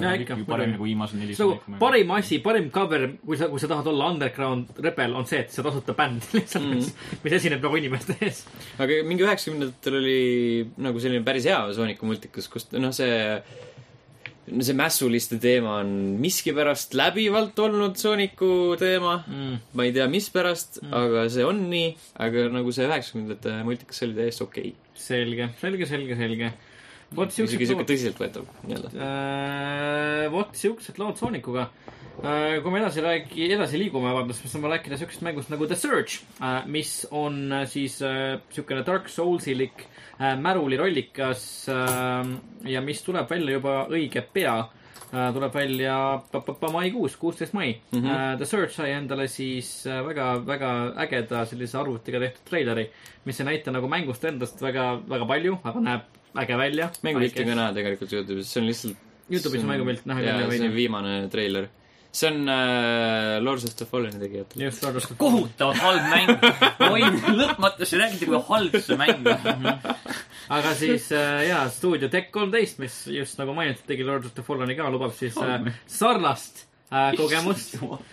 B: ja ikka
D: ikkagi , parem nagu viimased neli
B: see on nagu . parim asi , parim cover , kui sa , kui sa tahad olla underground rebel , on see , et sa tasuta bänd lihtsalt , mis , mis esineb nagu inimeste ees .
A: aga mingi üheksakümnendatel oli nagu selline päris hea Sooniku multikas , kus noh , see no see mässuliste teema on miskipärast läbivalt olnud Sooniku teema mm. . ma ei tea , mispärast mm. , aga see on nii , aga nagu see üheksakümnendate multikas oli täiesti okei okay. .
B: selge , selge , selge , selge . vot
A: isegi
B: siuksed
A: sihuke
B: lood ,
A: tõsiseltvõetav nii-öelda .
B: Äh, vot siuksed lood Soonikuga . kui me edasi räägi- , edasi liigume , vabandust , me saame rääkida siuksest mängust nagu The Surge , mis on äh, siis äh, siukene Dark Soulsilik äh, märulirollikas äh, ja mis tuleb välja juba õige pea Äh, tuleb välja pa- pa- pa- maikuus , kuusteist mai mm . -hmm. The Search sai endale siis äh, väga , väga ägeda sellise arvutiga tehtud treileri , mis ei näita nagu mängust endast väga , väga palju , aga näeb äge välja .
A: mängupilti ka . näha tegelikult Youtube'is , see on lihtsalt .
B: Youtube'is on mängupilt näha küll,
A: küll .
B: jah,
A: see on
B: veidi.
A: viimane treiler . see on äh, Lords of the Falleni tegijatel .
B: just , arvestades .
D: kohutavalt halb mäng . ma võin lõpmatuseni rääkida , kui halb see mäng on .
B: aga siis äh, jaa , stuudio Tech kolmteist , mis just nagu mainitud , tegi Lord of the Fallen'i ka , lubab siis äh, sarnast äh, kogemust äh, .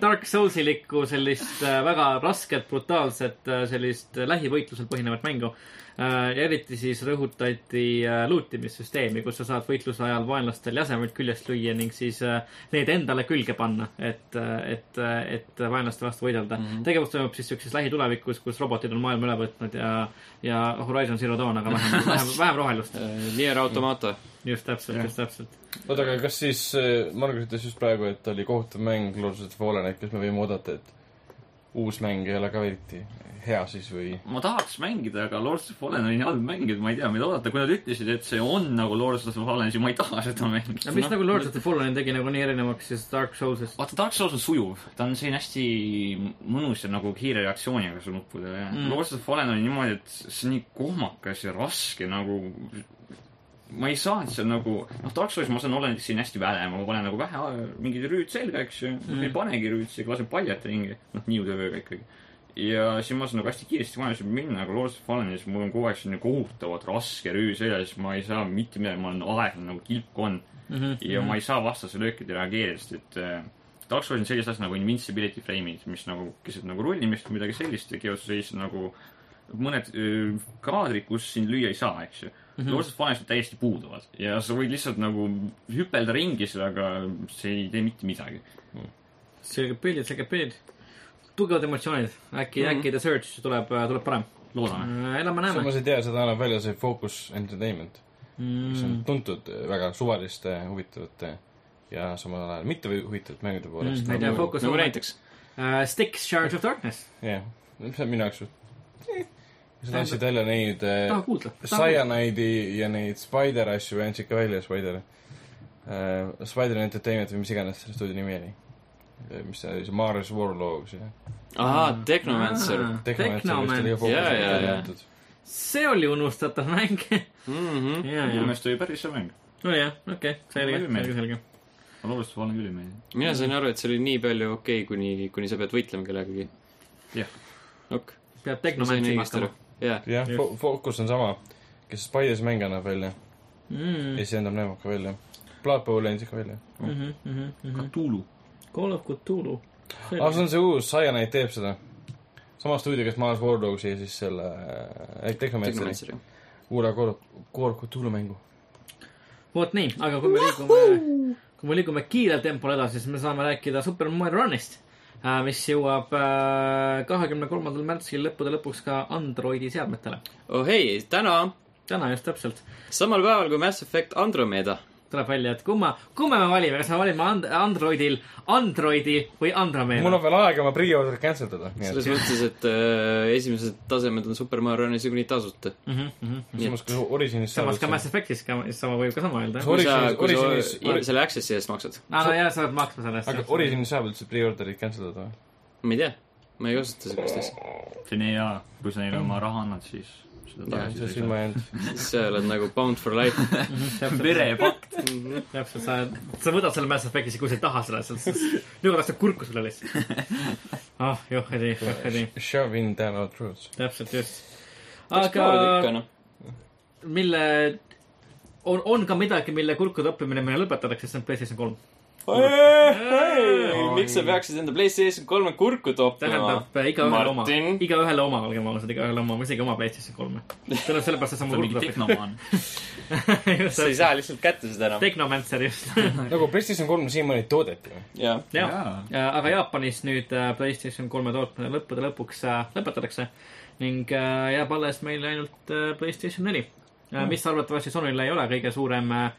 B: Dark Soulsilikku sellist äh, väga rasket , brutaalset äh, sellist lähivõitlusel põhinevat mängu äh, . ja eriti siis rõhutati äh, lootimissüsteemi , kus sa saad võitluse ajal vaenlastel jäsemeid küljest lüüa ning siis äh, need endale külge panna , et , et , et vaenlaste vastu võidelda mm .
C: Mhm.
B: -hmm. tegevus toimub siis siukses lähitulevikus , kus robotid on maailma üle võtnud ja , ja Horizon Zero Dawn , aga vähem , vähem , vähem rohelust .
A: Äh, Nier Automata .
B: just täpselt , just täpselt .
C: oota , aga kas siis , Margus ütles just praegu , et oli kohutav mäng Lords of the Fallen , et kas me võime oodata , et uus mäng ei ole ka eriti hea siis või ?
D: ma tahaks mängida , aga Lords of Fallen oli nii halb mäng , et ma ei tea , mida oodata , kui nad ütlesid , et see on nagu Lords of Fallen , siis ma ei taha seda mängida
B: aga .
C: noh.
B: mis nagu Lord of the Fallen tegi nagu nii erinevaks siis Dark Soulsist ?
D: vaata , Dark Souls on sujuv , ta on selline hästi mõnus ja nagu kiire reaktsiooniga su nuppudele mm. . Lords of Fallen oli niimoodi , et see on nii kohmakas ja raske nagu , ma ei saanud seal nagu , noh , Dark Soulis ma saan olla näiteks siin hästi väle , ma panen nagu vähe mingeid rüüd selga , eks ju mm. , ei panegi rüütsi , lasen paljalt ringi , noh , niiudevööga ikkagi . ja siis ma saan nagu hästi kiiresti vaja minna , aga Lords of Fallenis mul on kogu aeg selline kohutavalt raske rüü seljas , ma ei saa mitte midagi , ma olen aeglane nagu kilp on mm .
C: Mhm.
D: -hmm. ja ma ei saa vastase löökide reageerida , sest et äh, Dark Souls on sellised asjad nagu invincibility frame'id , mis nagu keset nagu rullimist või midagi sellist tekivad siis nagu mõned öö, kaadrid , kus sind lüüa ei saa , eks ju mm
C: Mhm.
D: -hmm. . Lords of Fallenis nad täiesti puuduvad ja sa võid lihtsalt nagu hüpelda ringi sellega , see ei tee mitte midagi .
B: selged pildid , selged pildid . tugevad emotsioonid ,
C: Mhm.
B: äkki mm , -hmm. äkki The Search tuleb , tuleb parem . Äh,
D: loodame .
B: elame-näeme .
C: samas ei tea , seda annab välja see Focus Entertainment mm. , kes on tuntud väga suvaliste , huvitavate ja samal ajal mitte või- huvitavate mängude poolest
B: ma ei tea , fookus
A: nagu . näiteks .
B: Äh, Sticks , Shards of Darkness .
C: jah , see on minu jaoks suht- eh, sa tahtsid välja neid eh,
B: taha kuulda .
C: Cyanide'i ja neid Spider asju ei andnud ikka välja , Spider uh, , Spider Entertainment või mis iganes selle stuudio nimi oli . mis see oli , see Mars Warlords ja .
A: ahaa , Technomancer .
B: Technomancer .
A: Jaa, jaa, jaa.
B: see oli unustatav mäng .
A: Mhm.
C: Mhm.
D: minu meelest oli päris hea mäng .
B: nojah , okei , selge , selge , selge .
D: ma loodan , et olen küll meeldiv .
A: mina sain aru , et see oli nii palju okei okay, , kuni , kuni sa pead võitlema kellegagi .
D: jah ,
A: ok , ma
B: peab
A: sain
B: tehnomantsima
A: õigesti
B: hakkama
A: aru .. jah ,
C: jah , fookus on sama , kes Spy's mänge annab välja
B: Mm,
C: ja siis endal näeb ka välja . Blood Bowl andis ka välja .
B: mhm, mhm, mhm.
D: Cthulhu .
B: Call of Cthulhu .
C: aga Ah, see on see uus , Cyanide teeb seda . sama stuudio , kes maalas War Dogsi ja siis selle , ei , Tehnomeetri ,
A: Technomancer .
C: uue Call of , Call of Cthulhu mängu .
B: vot nii , aga kui me liigume , kui me liigume kiirel tempol edasi , siis me saame rääkida Super Mario Runist , mis jõuab äh, kahekümne kolmandal märtsil lõppude lõpuks ka Androidi seadmetele .
A: oh hei , täna ,
B: täna just täpselt
A: samal päeval kui Mass Effect Andromeda .
B: tuleb välja , et kumma , kumma me valime , kas me valime and- Androidil Androidi või
C: mul
B: Andromeda
C: on ? veel aega oma pre-order cancel ida , nii et
A: selles mõttes , et äh, esimesed tasemed on Super Mario Runis ju kuni tasuta .
C: samas kui Originis
B: Mhm, samas ka Mass Effectis ka , sama võib ka sama öelda .
A: kui sa
C: Originis- ,
A: kui
C: Originis-
A: sa i- selle access'i eest maksad .
B: aa , no jaa , sa pead maksma selle
C: aga
B: eest .
C: Originis saab üldse pre-order'id cancel ida või ?
A: ma ei tea , ma ei kasuta sihukest asja .
D: see on nii hea , kui sa neile oma raha annad , siis seda tagasi
C: Mhm. see
D: ei
C: on silma jäänud .
A: siis sa oled nagu bound for life .
D: saa . verepakt .
B: täpselt , sa , sa võtad selle Mass Effectis ja kui sa ei taha seda , siis lükatakse kurku sulle lihtsalt . ah , johhedi , johhedi ,
C: Shove in down our throats .
B: täpselt just . aga
A: noh.
B: mille , on , on ka midagi , mille kurkude õppimine meile lõpetatakse , see on PlayStation kolm .
A: miks sa peaksid enda PlayStation kolme kurku toppima
B: tähendab ? igaühele oma ,
A: Martin.
B: igaühele oma , olgem ausad , igaühele oma , isegi oma PlayStation kolme . tähendab sellepärast , et sa
D: sa
B: mu
D: oled mingi
B: kurku
D: tehnomaan .
A: sa ei
B: õpid .
A: saa lihtsalt kätte seda enam .
B: Technomancer just .
C: nagu PlayStation kolm siiamaani toodeti või ?
A: jah ,
B: jah , aga Jaapanis nüüd äh, PlayStation kolme tootmine lõppude lõpuks äh, lõpetatakse ning äh, jääb alles meil ainult äh, PlayStation neli ,
A: Hmm.
B: mis arvatavasti Sonyle ei ole kõige suurem äh,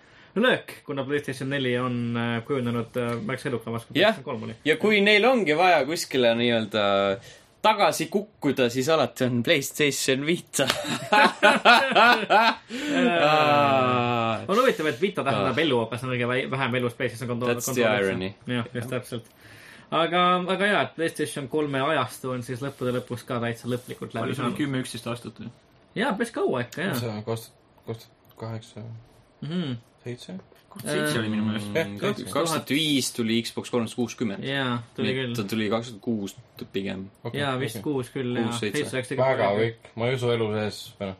B: löök , kuna PlayStation neli on äh, kujunenud äh, märksa edukamaks kui
A: Jah.
B: PlayStation kolm oli .
A: ja kui neil ongi vaja kuskile nii-öelda tagasi kukkuda , siis alati on Playstation Vita .
B: on huvitav , et Vita tähendab elu , aga see on kõige väi- vähem elus PlayStation kontroll .
A: Ah. That's the irony. .
B: jah , just täpselt . aga , aga jaa , et PlayStation kolme ajastu on siis lõppude lõpuks ka täitsa lõplikult läbi
D: palju sul on
B: saanud .
D: kümme , üksteist aastat või ?
B: jaa , päris kaua ikka , jaa . Mhm,
C: see on kaks , kaks , kaheksa , seitse ?
D: seitse oli minu meelest .
A: kaks tuhat viis tuli Xbox kolmsada kuuskümmend .
B: jaa , tuli küll
A: ta . tuli kakskümmend kuus pigem .
B: jaa , vist kuus küll ja
A: Kuus, seitse.
B: seitse läks
C: väga . kõik , ma ei usu elu sees , või noh ,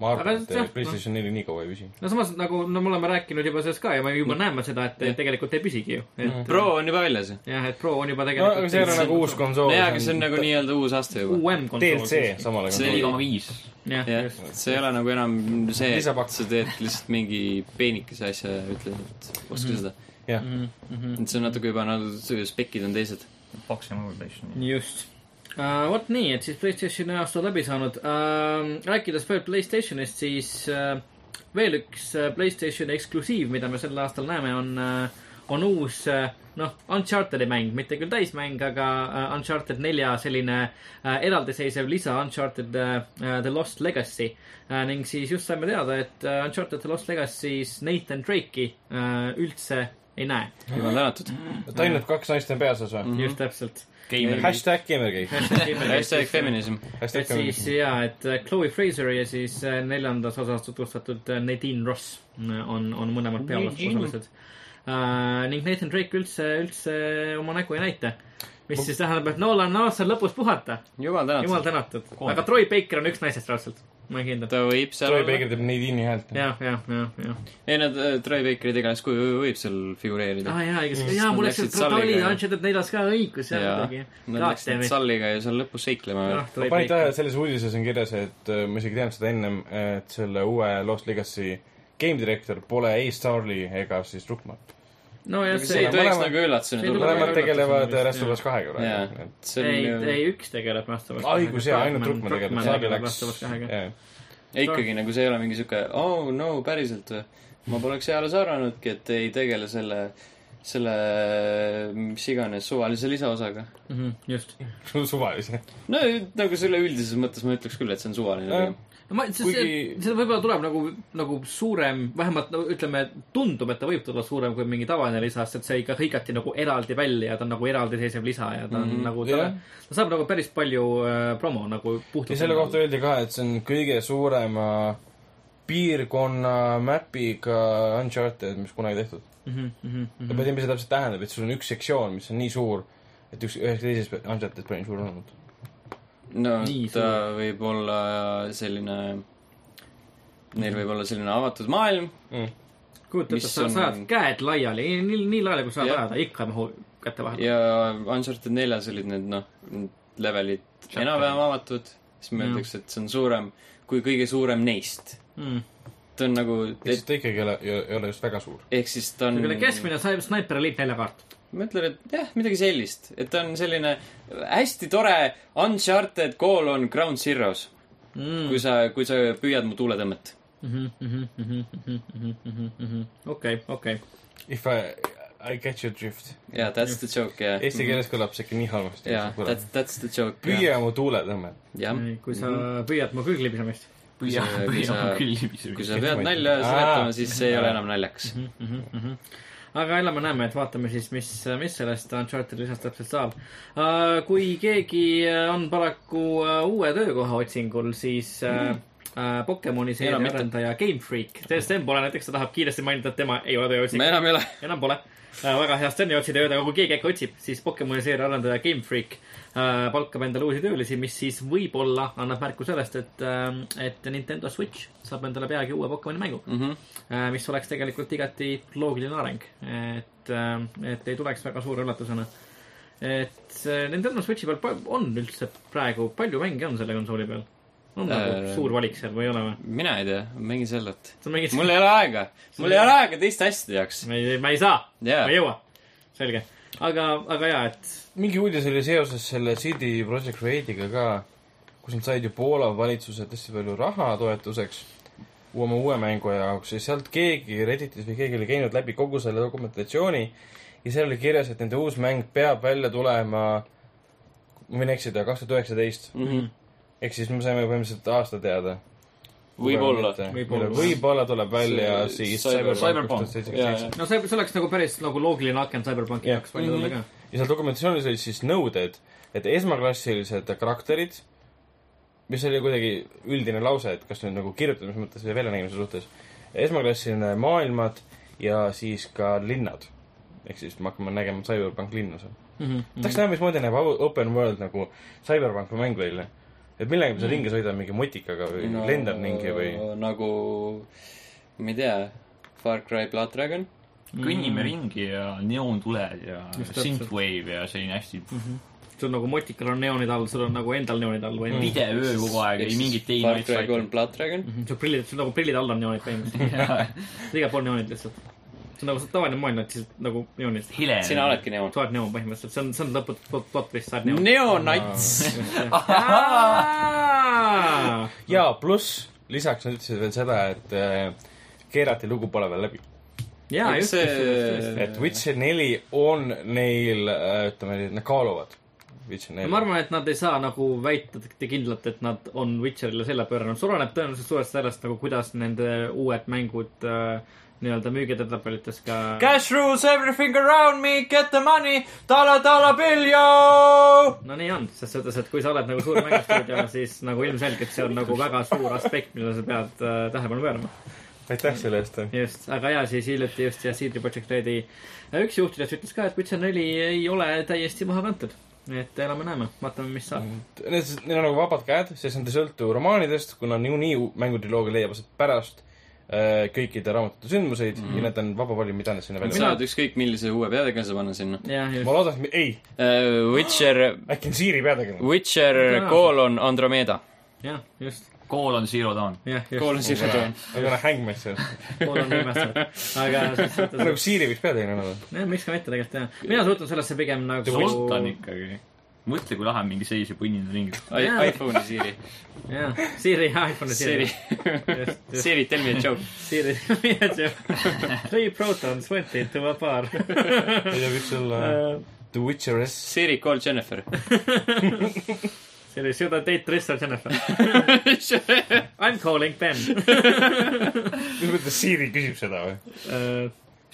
C: ma
B: Aga
C: arvan , et
B: jah, noh.
C: eh, PlayStation neli nii kaua ei püsi .
B: no samas nagu , no me oleme rääkinud juba sellest ka ja me juba näeme seda , et
A: Mm. Jah.
B: tegelikult ei püsigi ju . et
A: Pro on juba väljas .
B: jah , et Pro on juba
C: Mm. no aga see ei ole
B: tegelikult
C: nagu uus konsool .
A: jaa , aga see on nagu nii-öelda uus aste juba .
B: uuem konsool .
C: DLC samale
A: See
D: neli
C: konsoolile .
D: koma viis .
B: jah ,
A: jah ,
B: just .
A: see ei ole nagu enam see ,
C: Lisapakk.
A: et sa teed lihtsalt mingi peenikese asja ja ütled , et oska seda .
B: Mhm.
C: jah ,
A: et see on natuke juba , no spekid on teised .
D: Foxi Mobilization .
B: just . Uh, vot nii , et siis Playstationi aasta on läbi saanud uh, . rääkides veel Playstationist , siis uh, veel üks uh, Playstationi eksklusiiv , mida me sel aastal näeme , on uh, , on uus uh, noh , Uncharted'i mäng , mitte küll täismäng , aga uh, Uncharted nelja selline uh, eraldiseisev lisa Uncharted uh, The Lost Legacy uh, . ning siis just saime teada , et uh, Uncharted The Lost Legacy's Nathan Drake'i uh, üldse ei näe mm .
A: jumal tänatud .
C: Tainep kaks naist on peaosas või ?
A: Mhm.
B: -hmm. just täpselt .
C: hashtag Gamergate ,
A: hashtag feminism .
C: hashtag
B: et siis
C: Gamergate .
B: jaa , et äh, Chloe Fraser ja siis äh, neljandas osas tutvustatud äh, Nadine Ross äh, on , on mõlemad peaosalised . ning Nathan Drake üldse , üldse oma nägu ei näita . mis siis tähendab , et Nolan on aastal lõpus puhata .
A: jumal
B: jumal
A: tänatud .
B: tänatud . aga Troy Baker on üks naisest raudselt . ma olen kindel .
A: ta võib seal
C: Troy
A: olla .
C: Baker teeb Nadine'i häält .
B: jah , jah , jah , jah .
A: ei , nad , Troy Bakeri tegelas kuju võib seal figureerida
B: aa . Ah, jaa , õigus . jaa ,
A: Mm, nad
B: mul läks ,
A: läksid
B: et ta oli
A: Sulliga, jah.
B: Uncharted neljas ka õigus , jah ,
A: jaa ,
B: muidugi .
A: nad läksid Sulliga ja seal lõpus seiklema
B: Ah,
A: veel .
C: ma panin tähele , selles uudises on kirjas , et äh, ma isegi teadnud seda ennem , et selle uue Lost Legacy game director pole ei Starly ega siis Ruckmann .
B: nojah ,
A: see ei
B: see ,
A: tohiks
C: mõlemad-
A: nagu üllatusena
B: see ei tule-
A: tulla .
C: mõlemad
B: üllatusena
C: tegelevad äh,
B: vist,
C: Last of Us kahega
A: jaa
C: praegu .,
A: see
B: ei ,
A: on nagu-
B: ei
A: ju
B: üks tegeleb Last of Us
C: aa , õigus jaa , ainult
B: Druckmann-
C: Ruckmann tegeleb ,
B: Druckmann
C: Starly
B: tegeleb Last of Us kahega.
C: läks .
A: Ja ikkagi nagu see ei ole mingi siuke , oh no päriselt või . ma poleks eales arvanudki , et ei tegele selle , selle mis iganes suvalise lisaosaga .
B: Mhm, just .
C: suvalise .
A: no nagu selle üldises mõttes ma ütleks küll , et see on suvaline
C: Jah.
A: film .
B: no ma , see , see
C: Kuigi- ,
B: see võib-olla tuleb nagu , nagu suurem , vähemalt no ütleme , tundub , et ta võib tulla suurem kui mingi tavaline lisa , sest et see ikka hõigati nagu eraldi välja ja ta on nagu eraldiseisev lisa ja ta on mm -hmm. nagu , ta
C: jah.
B: yeah. , ta saab nagu päris palju äh, promo nagu puhtalt .
C: ja selle kohta öeldi ka , et see on kõige suurema piirkonna mäpiga Uncharted , mis kunagi tehtud mm .
B: Mhm.
C: -hmm. ma ei tea , mis see täpselt tähendab , et sul on üks sektsioon , mis on nii suur , et üks , ühes teises Uncharted pole nii suur olnud .
A: no
B: Nii,
A: ta võib olla selline , neil võib olla selline avatud maailm ,
B: kujuta ette ,
A: Mis
B: sa
A: on-
B: sajad käed laiali , nii , nii laiali , kui saad
A: Jah.
B: ajada , ikka ei mahu kätte vahele .
A: ja Uncharted neljas olid need noh , levelid enam-vähem avatud , siis mõeldakse , et see on suurem kui kõige suurem neist .
B: Mhm.
A: ta on nagu ,
C: ehk siis ta ikkagi ei ole , ei ole just väga suur .
A: ehk siis ta on
B: niisugune keskmine sai- Sniper Elite näljakaart .
A: ma ütlen , et jah , midagi sellist , et ta on selline hästi tore Uncharted call on Ground Zeroes
B: Mhm,
A: mm. . kui sa , kui sa püüad mu tuuletõmmet .
B: mhm, okei , okei .
C: If I , I catch your drift .
A: jaa , that's the joke , jah .
C: Eesti keeles kõlab see ikka nii halvasti .
A: Mhm. jaa , that's , that's the joke ,
C: püüa mu tuuletõmmet .
A: jah .
B: kui sa püüad mu kõõglipisemist .
A: Püüa- kui
D: püüame ,
A: sa-
D: püüame küll
A: kui
D: libisema .
A: sa pead nalja seletama , siis see ei ole enam naljakas .
B: aga elame-näeme , et vaatame siis , mis , mis sellest Uncharted lisast täpselt saab . kui keegi on paraku äh, uue töökoha otsingul , siis äh, äh, Pokemoni seeria
A: Enam mitte.
B: arendaja Game Freak , Sten Pole näiteks , ta tahab kiiresti mainida , et tema ei ole tööotsing
A: me . enam ei ole .
B: enam pole . väga hea Steni otsida ja öelda , aga kui keegi äkki otsib , siis Pokemoni seeria arendaja Game Freak äh, palkab endale uusi töölisi , mis siis võib-olla annab märku sellest , et , et Nintendo Switch saab endale peagi uue Pokemoni mängu mm ,
A: Mhm.
B: -hmm. mis oleks tegelikult igati loogiline areng , et , et ei tuleks väga suure üllatusena et äh, Nintendo Switchi peal pa- on üldse praegu , palju mänge on selle konsooli peal ? on nagu
A: Äh,
B: suur valik seal või ei ole või ?
A: mina ei tea , mängi sellelt .
B: sa mängid
A: mul ei ole aega , mul ei ole aega teiste asjade jaoks .
B: ma ei , ma ei saa
A: Jaa.
B: ma ei jõua . selge , aga , aga jaa , et
C: mingi uudis oli seoses selle CD Projekt Rediga ka , kus nad said ju Poola valitsuse tõesti palju raha toetuseks oma uue mängu jaoks ja sealt keegi Redditis või keegi oli käinud läbi kogu selle dokumentatsiooni ja seal oli kirjas , et nende uus mäng peab välja tulema , ma võin eksida , kaks tuhat üheksateist .
A: Mhm.
C: ehk siis me saime põhimõtteliselt aasta teada .
A: võib-olla .
B: Võib-olla.
C: võib-olla tuleb välja
A: See-
C: siis
A: Cyber-
D: Cyberpunk.
C: seitsekümmend
B: no see , see oleks nagu päris nagu loogiline aken Cyberpunki
C: Jah.
B: jaoks
A: Mhm.
B: paljudele ka .
C: ja seal dokumentatsioonis olid siis nõuded , et esmaklassilised karakterid , mis oli kuidagi üldine lause , et kas nüüd nagu kirjutamise mõttes või väljanägemise suhtes , esmaklassiline maailmad ja siis ka linnad . ehk siis me hakkame nägema Cyberpunk linna seal .
B: Mhm.
C: tahaks näha , mismoodi näeb au- open world nagu Cyberpunki mäng välja . et millega sa ringi sõidad mingi motikaga või no, lendad mingi või
A: nagu , ma ei tea , Far Cry Blood Dragon .
D: kõnnime ringi ja neontuled ja
B: Just täpselt.
D: synthwave ja selline hästi
B: sul nagu motikal on neoonid all , sul on nagu endal neoonid all
D: Mhm.
B: või midagi .
D: pidev öö kogu aeg , ei mingit ei
A: Far Cry kolm . Blood Dragon .
C: Mhm.
B: sul prillid , sul nagu prillid all on neoonid põhimõtteliselt . igal pool neoonid lihtsalt . see on nagu see tavaline maailm , et siis nagu neoonid .
D: hile .
A: sina . oledki neoon .
B: sa oled neoon põhimõtteliselt , see on , see on lõputu plot , plot vist , sa oled neoon .
A: neonats .
C: ja pluss lisaks nad ütlesid veel seda , et äh, keerati lugu pole veel läbi .
B: jaa ,
A: Aga
B: just ,
A: see-
B: just , just , just .
C: et Witcher neli on neil , ütleme , nad kaaluvad . Witcher neli .
B: ma arvan , et nad ei saa nagu väita t- kindlalt , et nad on Witcherile selja pööranud , see oleneb tõenäoliselt suurelt sellest nagu , kuidas nende uued mängud äh, nii-öelda müügiedetabeelites ka
A: Cash rules everything around me , get the money , dollar , dollar bill , yo .
B: no nii on , selles suhtes , et kui sa oled nagu suur mängustuudio , siis nagu ilmselgelt see on nagu väga suur aspekt , millele sa pead äh, tähelepanu pöörama .
C: aitäh selle eest .
B: just , aga jaa , siis hiljuti just ja CD Projekt Redi äh, üks juhtidest ütles ka , et Witcher neli ei ole täiesti maha kantud . et elame-näeme , vaatame , mis saab .
C: Need , neil on nagu vabad käed , sest nad ei sõltu romaanidest , kuna niikuinii uu- mängutriloog leiab aset pärast äh, kõikide raamatute sündmuseid mm -hmm. ja need on vaba valik , mida nad sinna
A: sa
C: välja
A: saad ükskõik millise uue peategelase panna sinna .
B: jah ,
C: teevad .
B: just
C: ma . loodan , et , ei ,
A: Witcher ,
C: äkki on Siiri peategelane .
A: Witcher koolon Andromeda .
B: jah , just .
D: kool on Zero Dawn .
B: jah , just .
A: koolon Sirdoon .
C: aga noh , hängmees seal .
B: pool on nimestatud . aga selles suhtes ,
C: nagu Siiri võiks peategelane olla .
B: nojah , miks ka mitte tegelikult jah . mina suhtun sellesse pigem nagu
D: sultan ikkagi . mõtle , kui lahe on mingi seis ja põnnida ringi .
B: Jaa.
A: iPhone'i Siri .
B: jah , Siri , iPhone'i Siri
A: Siri ., Siri , tell me a joke .
B: Siri , mina tean . Three protons went into a bar .
C: see võiks olla The Witcheress .
A: Siri , call Jennifer .
B: Siri , should I date Tristan Jennifer ? I m calling Ben . Uh,
C: mis mõttes Siiri küsib seda või ?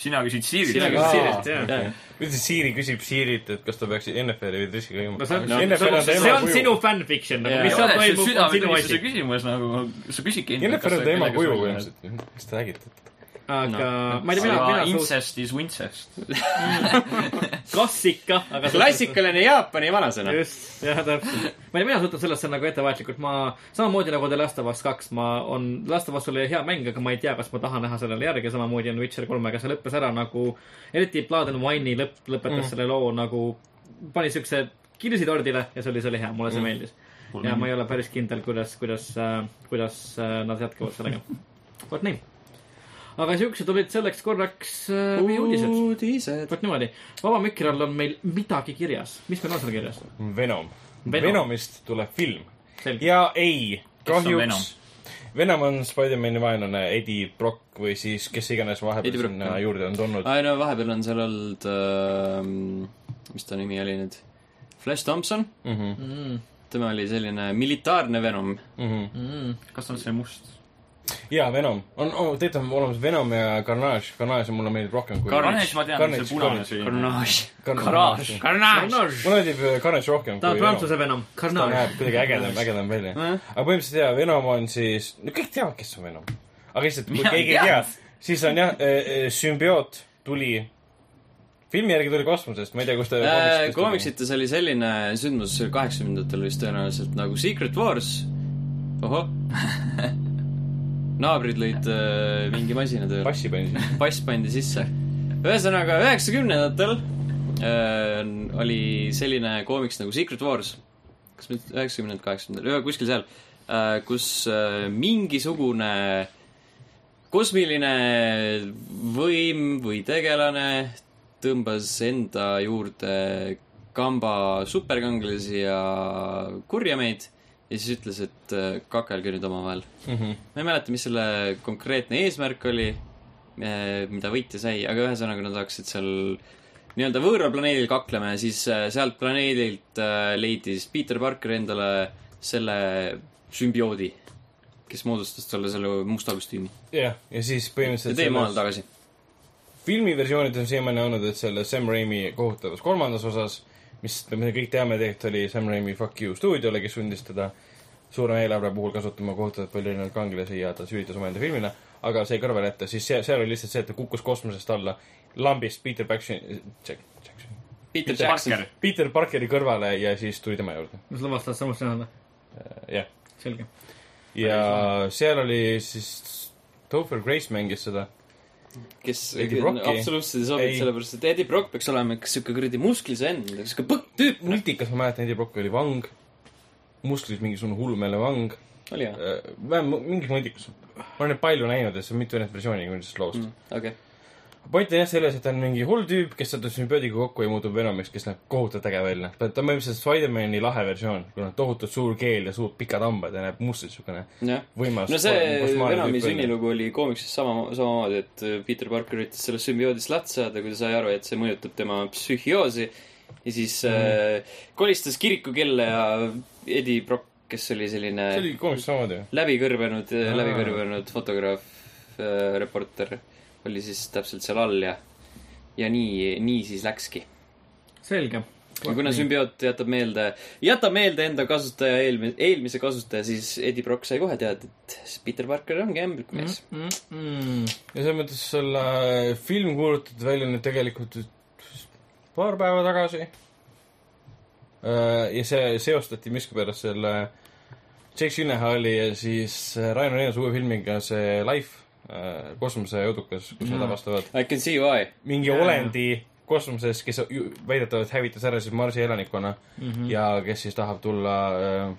D: sina küsid Siirilt .
B: Sina küsid Siirilt, jah.
C: üldse Siiri küsib Siirilt , et kas ta peaks NFL-i või Driski käima .
B: no see on
A: No,
B: no, , see on,
C: NFL-i
B: see on
C: kuju.
B: sinu fanfiction nagu , mis
D: ei
B: seal toimub ,
D: ole , see on
B: on sinu
D: südametunnistuse
B: asi .
D: küsimus nagu , sa küsidki
C: NFL on tema kuju ilmselt , mis te räägite ?
B: aga
A: No.
B: ma ei tea , mina , mina suht- ,
D: incest is wintsest .
B: klassika , aga .
A: klassikaline Jaapani vanasõna .
B: just , jah , täpselt . ma ei tea , mina suhtun sellesse nagu ettevaatlikult , ma samamoodi nagu The Last of Us kaks , ma on , Last of Us oli hea mäng , aga ma ei tea , kas ma tahan näha sellele järge , samamoodi on Witcher kolmega , see lõppes ära nagu , eriti Blood and Wine'i lõpp , lõpetas mm. selle loo nagu , pani siukse kirsi tordile ja see oli , see oli hea , mulle see mm. meeldis . ja ma ei ole päris kindel , kuidas , kuidas , kuidas äh, nad jätkavad sellega . vot nii . aga siuksed olid selleks korraks äh, meie uudised .
A: uudised .
B: vot niimoodi , Vaba Mikri all on meil midagi kirjas , mis meil on seal kirjas ?
C: Venom,
B: Venom.
C: Venom. . Venomist tuleb film .
B: Selge.
C: ja ei ,
D: on
C: kahjuks
D: Venom?
C: Venom? Venom on Spider-man'i vaenlane Eddie Brock või siis kes iganes
A: Eddie
C: vahepeal
A: Brock,
C: sinna
A: jah.
C: juurde on tulnud .
B: Ah.
A: ei no vahepeal on seal olnud äh, , mis ta nimi oli nüüd , Flash Thompson mm . -hmm. tema oli selline militaarne Venom .
D: kas on see must ?
C: jaa , Venom . on oh, , tegelikult on olemas Venom ja Carnage . Carnage mulle meeldib rohkem kui
D: Carnage , ma tean ,
C: Carnage,
D: see punane
C: Carnage.
D: siin .
A: Carnage .
C: Carnage .
B: Carnage .
C: mulle meeldib äh, Carnage rohkem
B: ta on
C: kui Venom .
B: prantsuse Venom ,
C: ta
B: Carnage .
C: näeb kuidagi ägedam , ägedam välja . aga põhimõtteliselt jaa , Venom on siis , no kõik teavad , kes on Venom . aga lihtsalt , kui
D: Mina
C: keegi
D: ei
C: ei tea
D: tea. ,
C: siis on jah , sümbioot tuli , filmi järgi tuli kosmosest , ma ei tea , kust
A: Äh,
C: ta koomiksis-
A: koomiksites oli selline sündmus , see oli kaheksakümnendatel vist tõenäoliselt nagu Secret Wars . ohoh . naabrid lõid äh, mingi masina tööle ,
C: passi pani sinna .
A: pass pandi sisse . ühesõnaga üheksakümnendatel äh, oli selline koomiks nagu Secret Wars . kas nüüd üheksakümnendad , kaheksakümnendad , kuskil seal äh, , kus äh, mingisugune äh, kosmiline võim või tegelane tõmbas enda juurde kamba superkangelasi ja kurjameid ja siis ütles , et äh, kakelge nüüd omavahel mm . -hmm. ma ei mäleta , mis selle konkreetne eesmärk oli , mida võitja sai , aga ühesõnaga nad hakkasid seal nii-öelda võõral planeedil kaklema ja siis äh, sealt planeedilt äh, leidis Peter Parker endale selle sümbioodi , kes moodustas talle selle musta kostüümi .
C: jah , ja siis
A: ja
C: põhimõtteliselt
A: tee maal
C: selles
A: tagasi .
C: filmiversioonid on siiamaani olnud , et selle Sam Raimi kohutavas kolmandas osas , mis , me kõik teame , tegelikult oli Sam Raimi Fuck You stuudiole , kes sundis teda suurema eelarve puhul kasutama kohutavalt palju erinevaid kangelasi ja ta süüditas omaenda filmile , aga see jäi kõrvale jätta , siis see , seal oli lihtsalt see , et ta kukkus kosmosest alla lambist Peter Jackson , Jackson ,
A: Peter Jackson
D: Parker ..
C: Peter Parkeri kõrvale ja siis tuli tema juurde ,
B: mis lubas tast samuti näha ,
C: jah .
B: selge .
C: ja seal oli siis , Topher Grace mängis seda
A: kes
C: Eddie Brocki.
A: absoluutselt ei sobi
C: Ei. ,
A: sellepärast et Eddie Brock peaks olema üks siuke kuradi musklis vend , siuke põkk tüüp .
C: multikas ma mäletan , Eddie Brock oli vang , musklis mingisugune hullumeelne vang ,
A: oli
C: Äh.
A: jah ?
C: vähemalt mingis multikas , ma olen neid palju näinud ja see on mitu erinevat versiooni küll sellest loost mm. .
A: okei .
C: point on jah selles , et ta on mingi hull tüüp , kes satub sümbioodiga kokku ja muutub Venomiks , kes näeb kohutavalt äge välja . ta ta on põhimõtteliselt Spider-man'i lahe versioon , kuna tohutult suur keel ja suured pikad hambad ja näeb mustalt siukene
A: jah .
C: võimas .
A: no see Venomi . sünnilugu oli koomiksis sama , samamoodi , et äh, Peter Parker üritas sellest sümbioodist lahti saada , kui ta sai aru , et see mõjutab tema psühhioosi . ja siis
C: Mhm.
A: mm. äh, kolistas kirikukella ja Eddie Brock , kes oli selline
C: see oli koomiks samamoodi ju .
A: läbikõrbenud ,
C: Aa.
A: läbikõrbenud fotograaf , reporter oli siis täpselt seal all ja , ja nii , nii siis läkski .
B: selge .
A: ja kuna sümbioot jätab meelde , jätab meelde enda kasutaja eelmise , eelmise kasutaja , siis Eddie Brock sai kohe teada , et Peter Parker ongi
C: Mhm.
A: ämblikumees mm .
C: Hmm. ja selles mõttes selle film kuulutati välja nüüd tegelikult paar päeva tagasi . ja see seostati miskipärast selle Jake Gyllenhaali ja siis Rainer Eenas uue filmiga see Life , kosmosejõudukas , kus nad avastavad
A: -hmm. I can see why .
C: mingi olendi kosmoses , kes ju- väidetavalt hävitas ära siis Marsi elanikkonna mm -hmm. ja kes siis tahab tulla äh,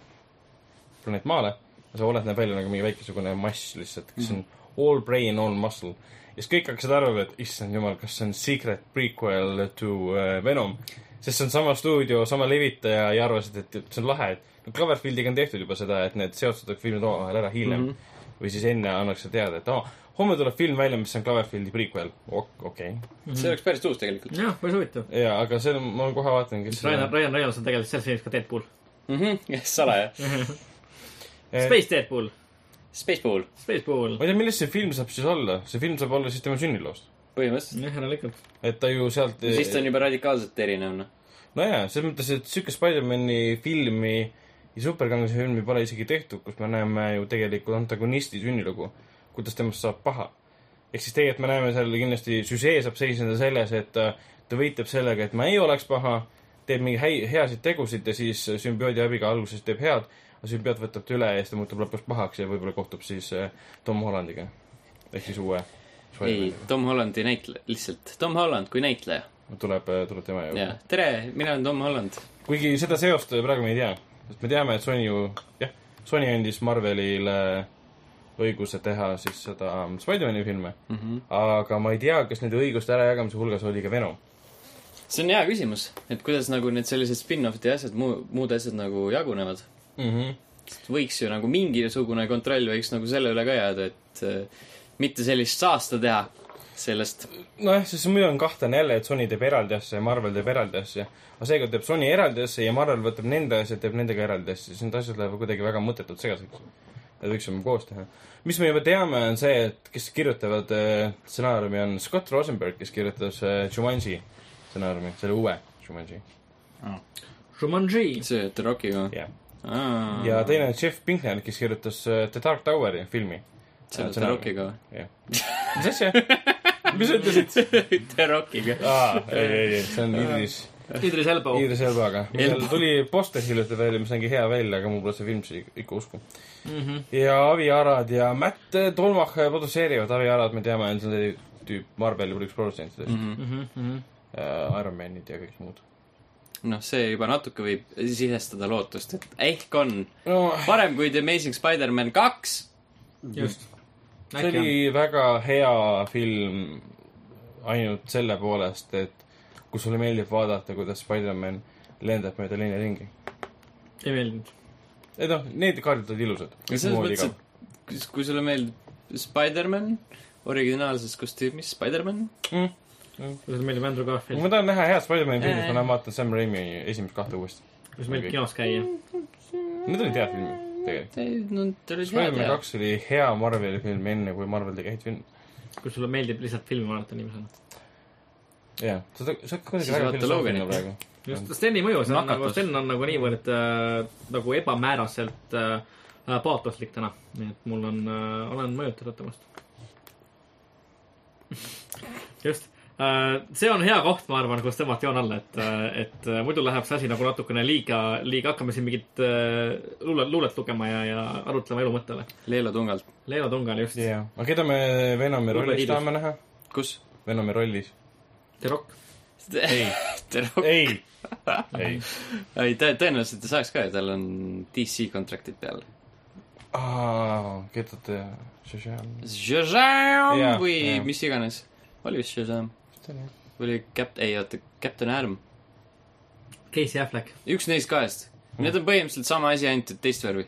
C: planeet Maale . see olend näeb välja nagu mingi väikesugune mass lihtsalt , kes on all brain , all muscle . ja siis kõik hakkasid arvama , et issand jumal , kas see on secret prequel to äh, Venom . sest see on sama stuudio , sama levitaja ja arvasid , et et see on lahe , et no Coverfieldiga on tehtud juba seda , et need seostatakse filmid omavahel ära hiljem mm . -hmm. või siis enne annakse teada , et aa , homme tuleb film välja , mis on Coverfieldi prequel ok, . okei okay. .
A: see oleks päris tuus tegelikult .
B: jah , päris huvitav .
C: jaa , aga see , ma kohe vaatan , kes
B: Ryan , Ryan Reynolds on tegelikult selles filmis ka Deadpool .
A: Mhm, salaja .
C: Eh,
B: Space Deadpool ,
A: Spacepool .
B: Spacepool
C: ma . ei tea , millest see film saab siis olla , see film saab olla siis tema sünniloost .
A: põhimõtteliselt .
B: järelikult .
C: et ta ju sealt .
A: siis ta on juba radikaalselt erinev , noh .
C: nojaa , selles mõttes , et sihuke Spider-man'i filmi ja superkangelase filmi pole isegi tehtud , kus me näeme ju tegelikult antagonisti sünnilugu , kuidas temast saab paha . ehk siis tegelikult me näeme seal kindlasti , süžee saab seisneda selles , et ta, ta võitleb sellega , et ma ei oleks paha , teeb mingeid häi- , heasid tegusid ja siis sümbioodi abiga alguses teeb head , aga sümbioot võtab ta üle ja siis ta muutub lõpuks pahaks ja võib-olla kohtub siis äh, Tom Hollandiga . ehk siis uue .
A: ei , Tom Hollandi näitleja , lihtsalt Tom Holland kui näitleja .
C: tuleb , tuleb tema juurde
A: jaa , tere , mina olen Tom Holland .
C: kuigi seda seost praegu me ei tea , sest me teame , et Sony ju , jah , Sony andis Marvelile õiguse teha siis seda Spider-man'i filme mm , -hmm. aga ma ei tea , kas nende õiguste ärajagamise hulgas oli ka Venom .
A: see on hea küsimus , et kuidas nagu need sellised spin-off'id ja asjad , muu , muud asjad nagu jagunevad .
C: Mm -hmm.
A: võiks ju nagu mingisugune kontroll võiks nagu selle üle ka jääda , et äh, mitte sellist saasta teha sellest .
C: nojah , sest muidu on kahtlane jälle , et Sony teeb eraldi asja ja Marvel teeb eraldi asja . aga seekord teeb Sony eraldi asja ja Marvel võtab nende asja , teeb nendega eraldi asja , siis need asjad lähevad kuidagi väga mõttetult segaseks . Need võiksime koos teha . mis me juba teame , on see , et kes kirjutavad äh, stsenaariumi , on Scott Rosenberg , kes kirjutas äh, Jumanji stsenaariumi , selle uue Jumanji ,
B: Jumanji .
A: see , et Rockiga .
C: jah .
A: see ,
C: ja teine on Jeff Pinkner , kes kirjutas äh, The Dark Toweri filmi .
A: et Rockiga või ?
C: jah . mis asja ? mis sa ütlesid ?
A: The Rockiga . Äh.
C: aa , ei , ei , ei , see on Idris
B: Idris Elba .
A: Oh.
C: Idris Elbaga , millel tuli poster hiljuti välja , mis nägi hea välja , aga mul pole see film siis ikka usku mm .
A: Mhm.
C: -hmm. ja Avi Arad ja Matt Tolmach produtseerivad , Avi Arad , me teame , on see tüüp Marveli üks produtsentidest
A: Mhm.
C: mm .
B: Mhm,
C: -hmm. Iron Manid ja kõik muud .
A: noh , see juba natuke võib sisestada lootust , et ehk on
C: no
A: parem kui The Amazing Spider-man kaks .
B: just .
C: see oli väga hea film ainult selle poolest , et kui sulle meeldib vaadata , kuidas Spider-man lendab mööda leine ringi .
B: ei meeldinud .
C: ei noh , need kaardid olid ilusad .
A: selles mõttes , et kui- kui sulle meeldib Spider-man originaalses kostüümis , Spider-man ,
C: mm.
B: kuidas meeldib Andrew
C: kui
B: Garfield
C: ma , tahan näha head Spider-man'i
A: Äh.
C: filmi , siis ma lähen vaatan Sam Raimi esimest kahte uuesti .
B: kuidas meeldib kinos käia .
C: Need olid head filmid , tegelikult .
A: no ta oli hea
C: Spider-man
A: teha .
C: kaks oli hea Marveli film enne , kui Marvel tegi häid filme .
B: kui sulle meeldib lihtsalt filmi vaadata niiviisi .
C: jah , sa , sa hakkad
A: Siis
C: kuidagi väga
A: vaata
C: filosoofiline
A: Loganit.
C: praegu .
B: just , Sten ei mõju , see on nagu ,
D: Nakatus.
B: Sten on nagu niivõrd äh, nagu ebamääraselt äh, äh, paatoslik täna , nii et mul on äh, , olen mõjutatud temast . just äh, , see on hea koht , ma arvan , kus tõmmata joon alla , et äh, , et äh, muidu läheb see asi nagu natukene liiga , liiga hakkame siin mingit äh, luule , luulet lugema ja , ja arutlema elu mõttele .
A: Leelo Tungalt ,
B: Leelo Tungal just yeah. ,
C: jah , aga keda me Venomi
B: Võib-olla
C: rollis
B: hiljem.
C: tahame näha ?
A: kus ?
C: Venomi rollis .
B: The Rock .
A: ei ,
C: ei , ei .
A: tä- , tõenäoliselt ta saaks ka , tal on DC kontraktid peal .
C: aa , keda te , Shazam , Jaa,
A: Shazam või
C: jaa.
A: mis iganes , oli vist Shazam või oli Cap- , ei oota , Captain Atom ,
B: Casey Affleck .
A: üks neist kahest . Need on põhimõtteliselt sama asi , ainult et teist värvi .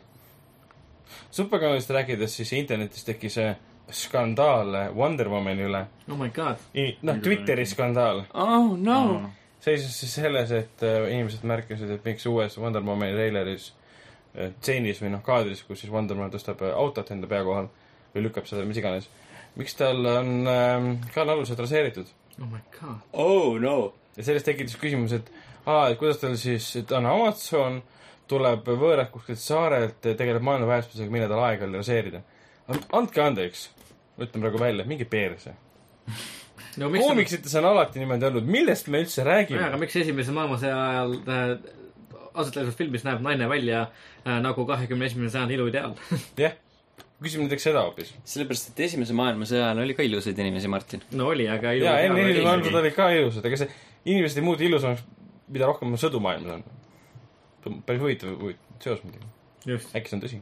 C: superkanalist rääkides , siis internetis tekkis eh, skandaal Wonder Womani üle .
B: Oh my god .
C: noh , Twitteri skandaal
A: oh no .
C: seisnes siis selles , et äh, inimesed märkasid , et miks uues Wonder Womani treileris äh, stseenis või noh , kaadris , kus siis Wonder Woman tõstab äh, autot enda pea kohal või lükkab seda , mis iganes , miks tal on äh, kaelalused raseeritud
B: Oh my god .
A: oh no .
C: ja sellest tekitas küsimus , et aa , et kuidas tal siis , ta on Amazon , tuleb võõras kuskilt saarelt , tegeleb maailma päästmisega , millal tal aega oli raseerida . andke andeks , ma ütlen praegu välja , minge perse .
B: no miks ta-
C: koomiksites on alati niimoodi olnud , millest me üldse
B: jaa , aga
C: räägime ?
B: miks esimese maailmasõja ajal äh, aset leidnud filmis näeb naine välja äh, nagu kahekümne esimese sajandi iluideaal ?
C: jah , küsime näiteks seda hoopis .
A: sellepärast , et Esimese maailmasõja ajal oli ka ilusaid inimesi , Martin .
B: no oli , aga
C: jaa , enne
B: iluideaal
C: inimesed
B: oli .
C: maailmad olid ka ilusad , ega see , inimesed ei muutu ilusamaks , mida rohkem sõdu maailmas on . päris huvitav huvitav seos muidugi ,
B: just .
C: äkki see on tõsi .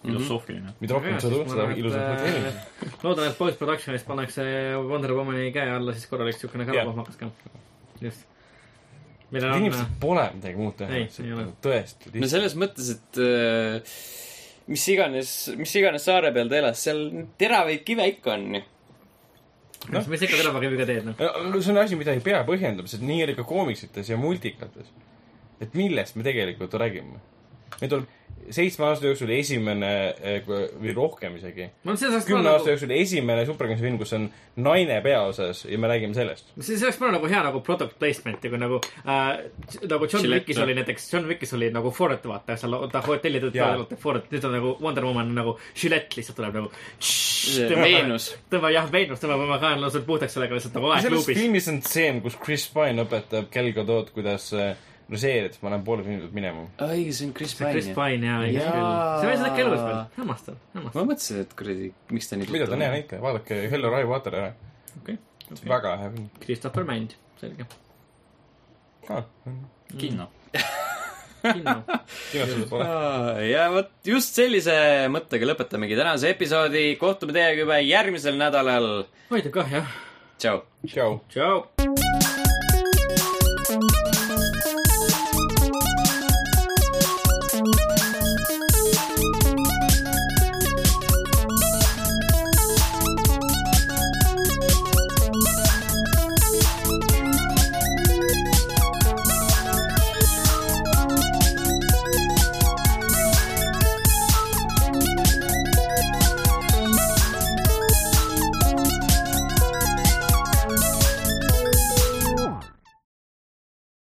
A: Mm-hmm.
D: filosoofiline .
C: mida rohkem sõdu , seda
B: äh,
C: ilusamaks mõtled inimesed .
B: loodan , et post-production'is pannakse Wonder Womani käe alla siis korralik siukene
C: Jah.
B: karvapahmakas ka . just . millel on
C: inimesed pole midagi muud teha
B: Ei, , ei ole.
C: tõesti .
A: no selles mõttes , et äh, mis iganes , mis iganes saare peal ta elas , seal teravaid kive ikka on ju .
B: äh, , mis sa ikka teravakiviga teed , noh .
C: see on asi , mida ei pea põhjendama , sest nii oli ka koomiksites ja multikates . et millest me tegelikult räägime ? nüüd tuleb seitsme aasta jooksul esimene eh, või rohkem isegi ,
B: ma olen selles mõttes
C: kümne aasta
B: nagu ,
C: jooksul esimene superkangelase film , kus on naine peaosas ja me räägime sellest .
B: see oleks mulle nagu hea nagu product placement ja kui nagu äh, , nagu John
A: Gillette,
B: Wickis
A: jah.
B: oli näiteks , John Wickis oli nagu Ford , vaata , seal ta hotelli
C: Jaa.
B: töötajal oli Ford , nüüd on nagu Wonder Woman nagu Gillette lihtsalt tuleb nagu .
A: Veenus. .
B: tõmbab jah , Veenus tõmbab oma kaela lausa puhtaks sellega lihtsalt nagu
C: selles
B: aegluubis .
C: filmis on stseen , kus Chris Pine õpetab Kel Gadot , kuidas eh, režeerida , ma lähen poole filmi pealt minema .
A: ai , see on Chris
B: Chris
A: Pine .
B: Pine ja õigus
A: Jaa.
B: küll . see oli seda kelus veel , hämmastav , hämmastav .
A: ma mõtlesin , et kuradi , miks ta nii
C: mida ta on hea näitleja , vaadake Hello Rai Water ära ,
B: okei ,
C: väga hea film
B: Christopher Mänd , selge .
C: ah, .
D: kinno .
C: kindlasti pole .
A: ja vot just sellise mõttega lõpetamegi tänase episoodi , kohtume teiega juba järgmisel nädalal ,
B: ma ei tea kah jah .
A: tšau .
C: tšau .
B: tšau .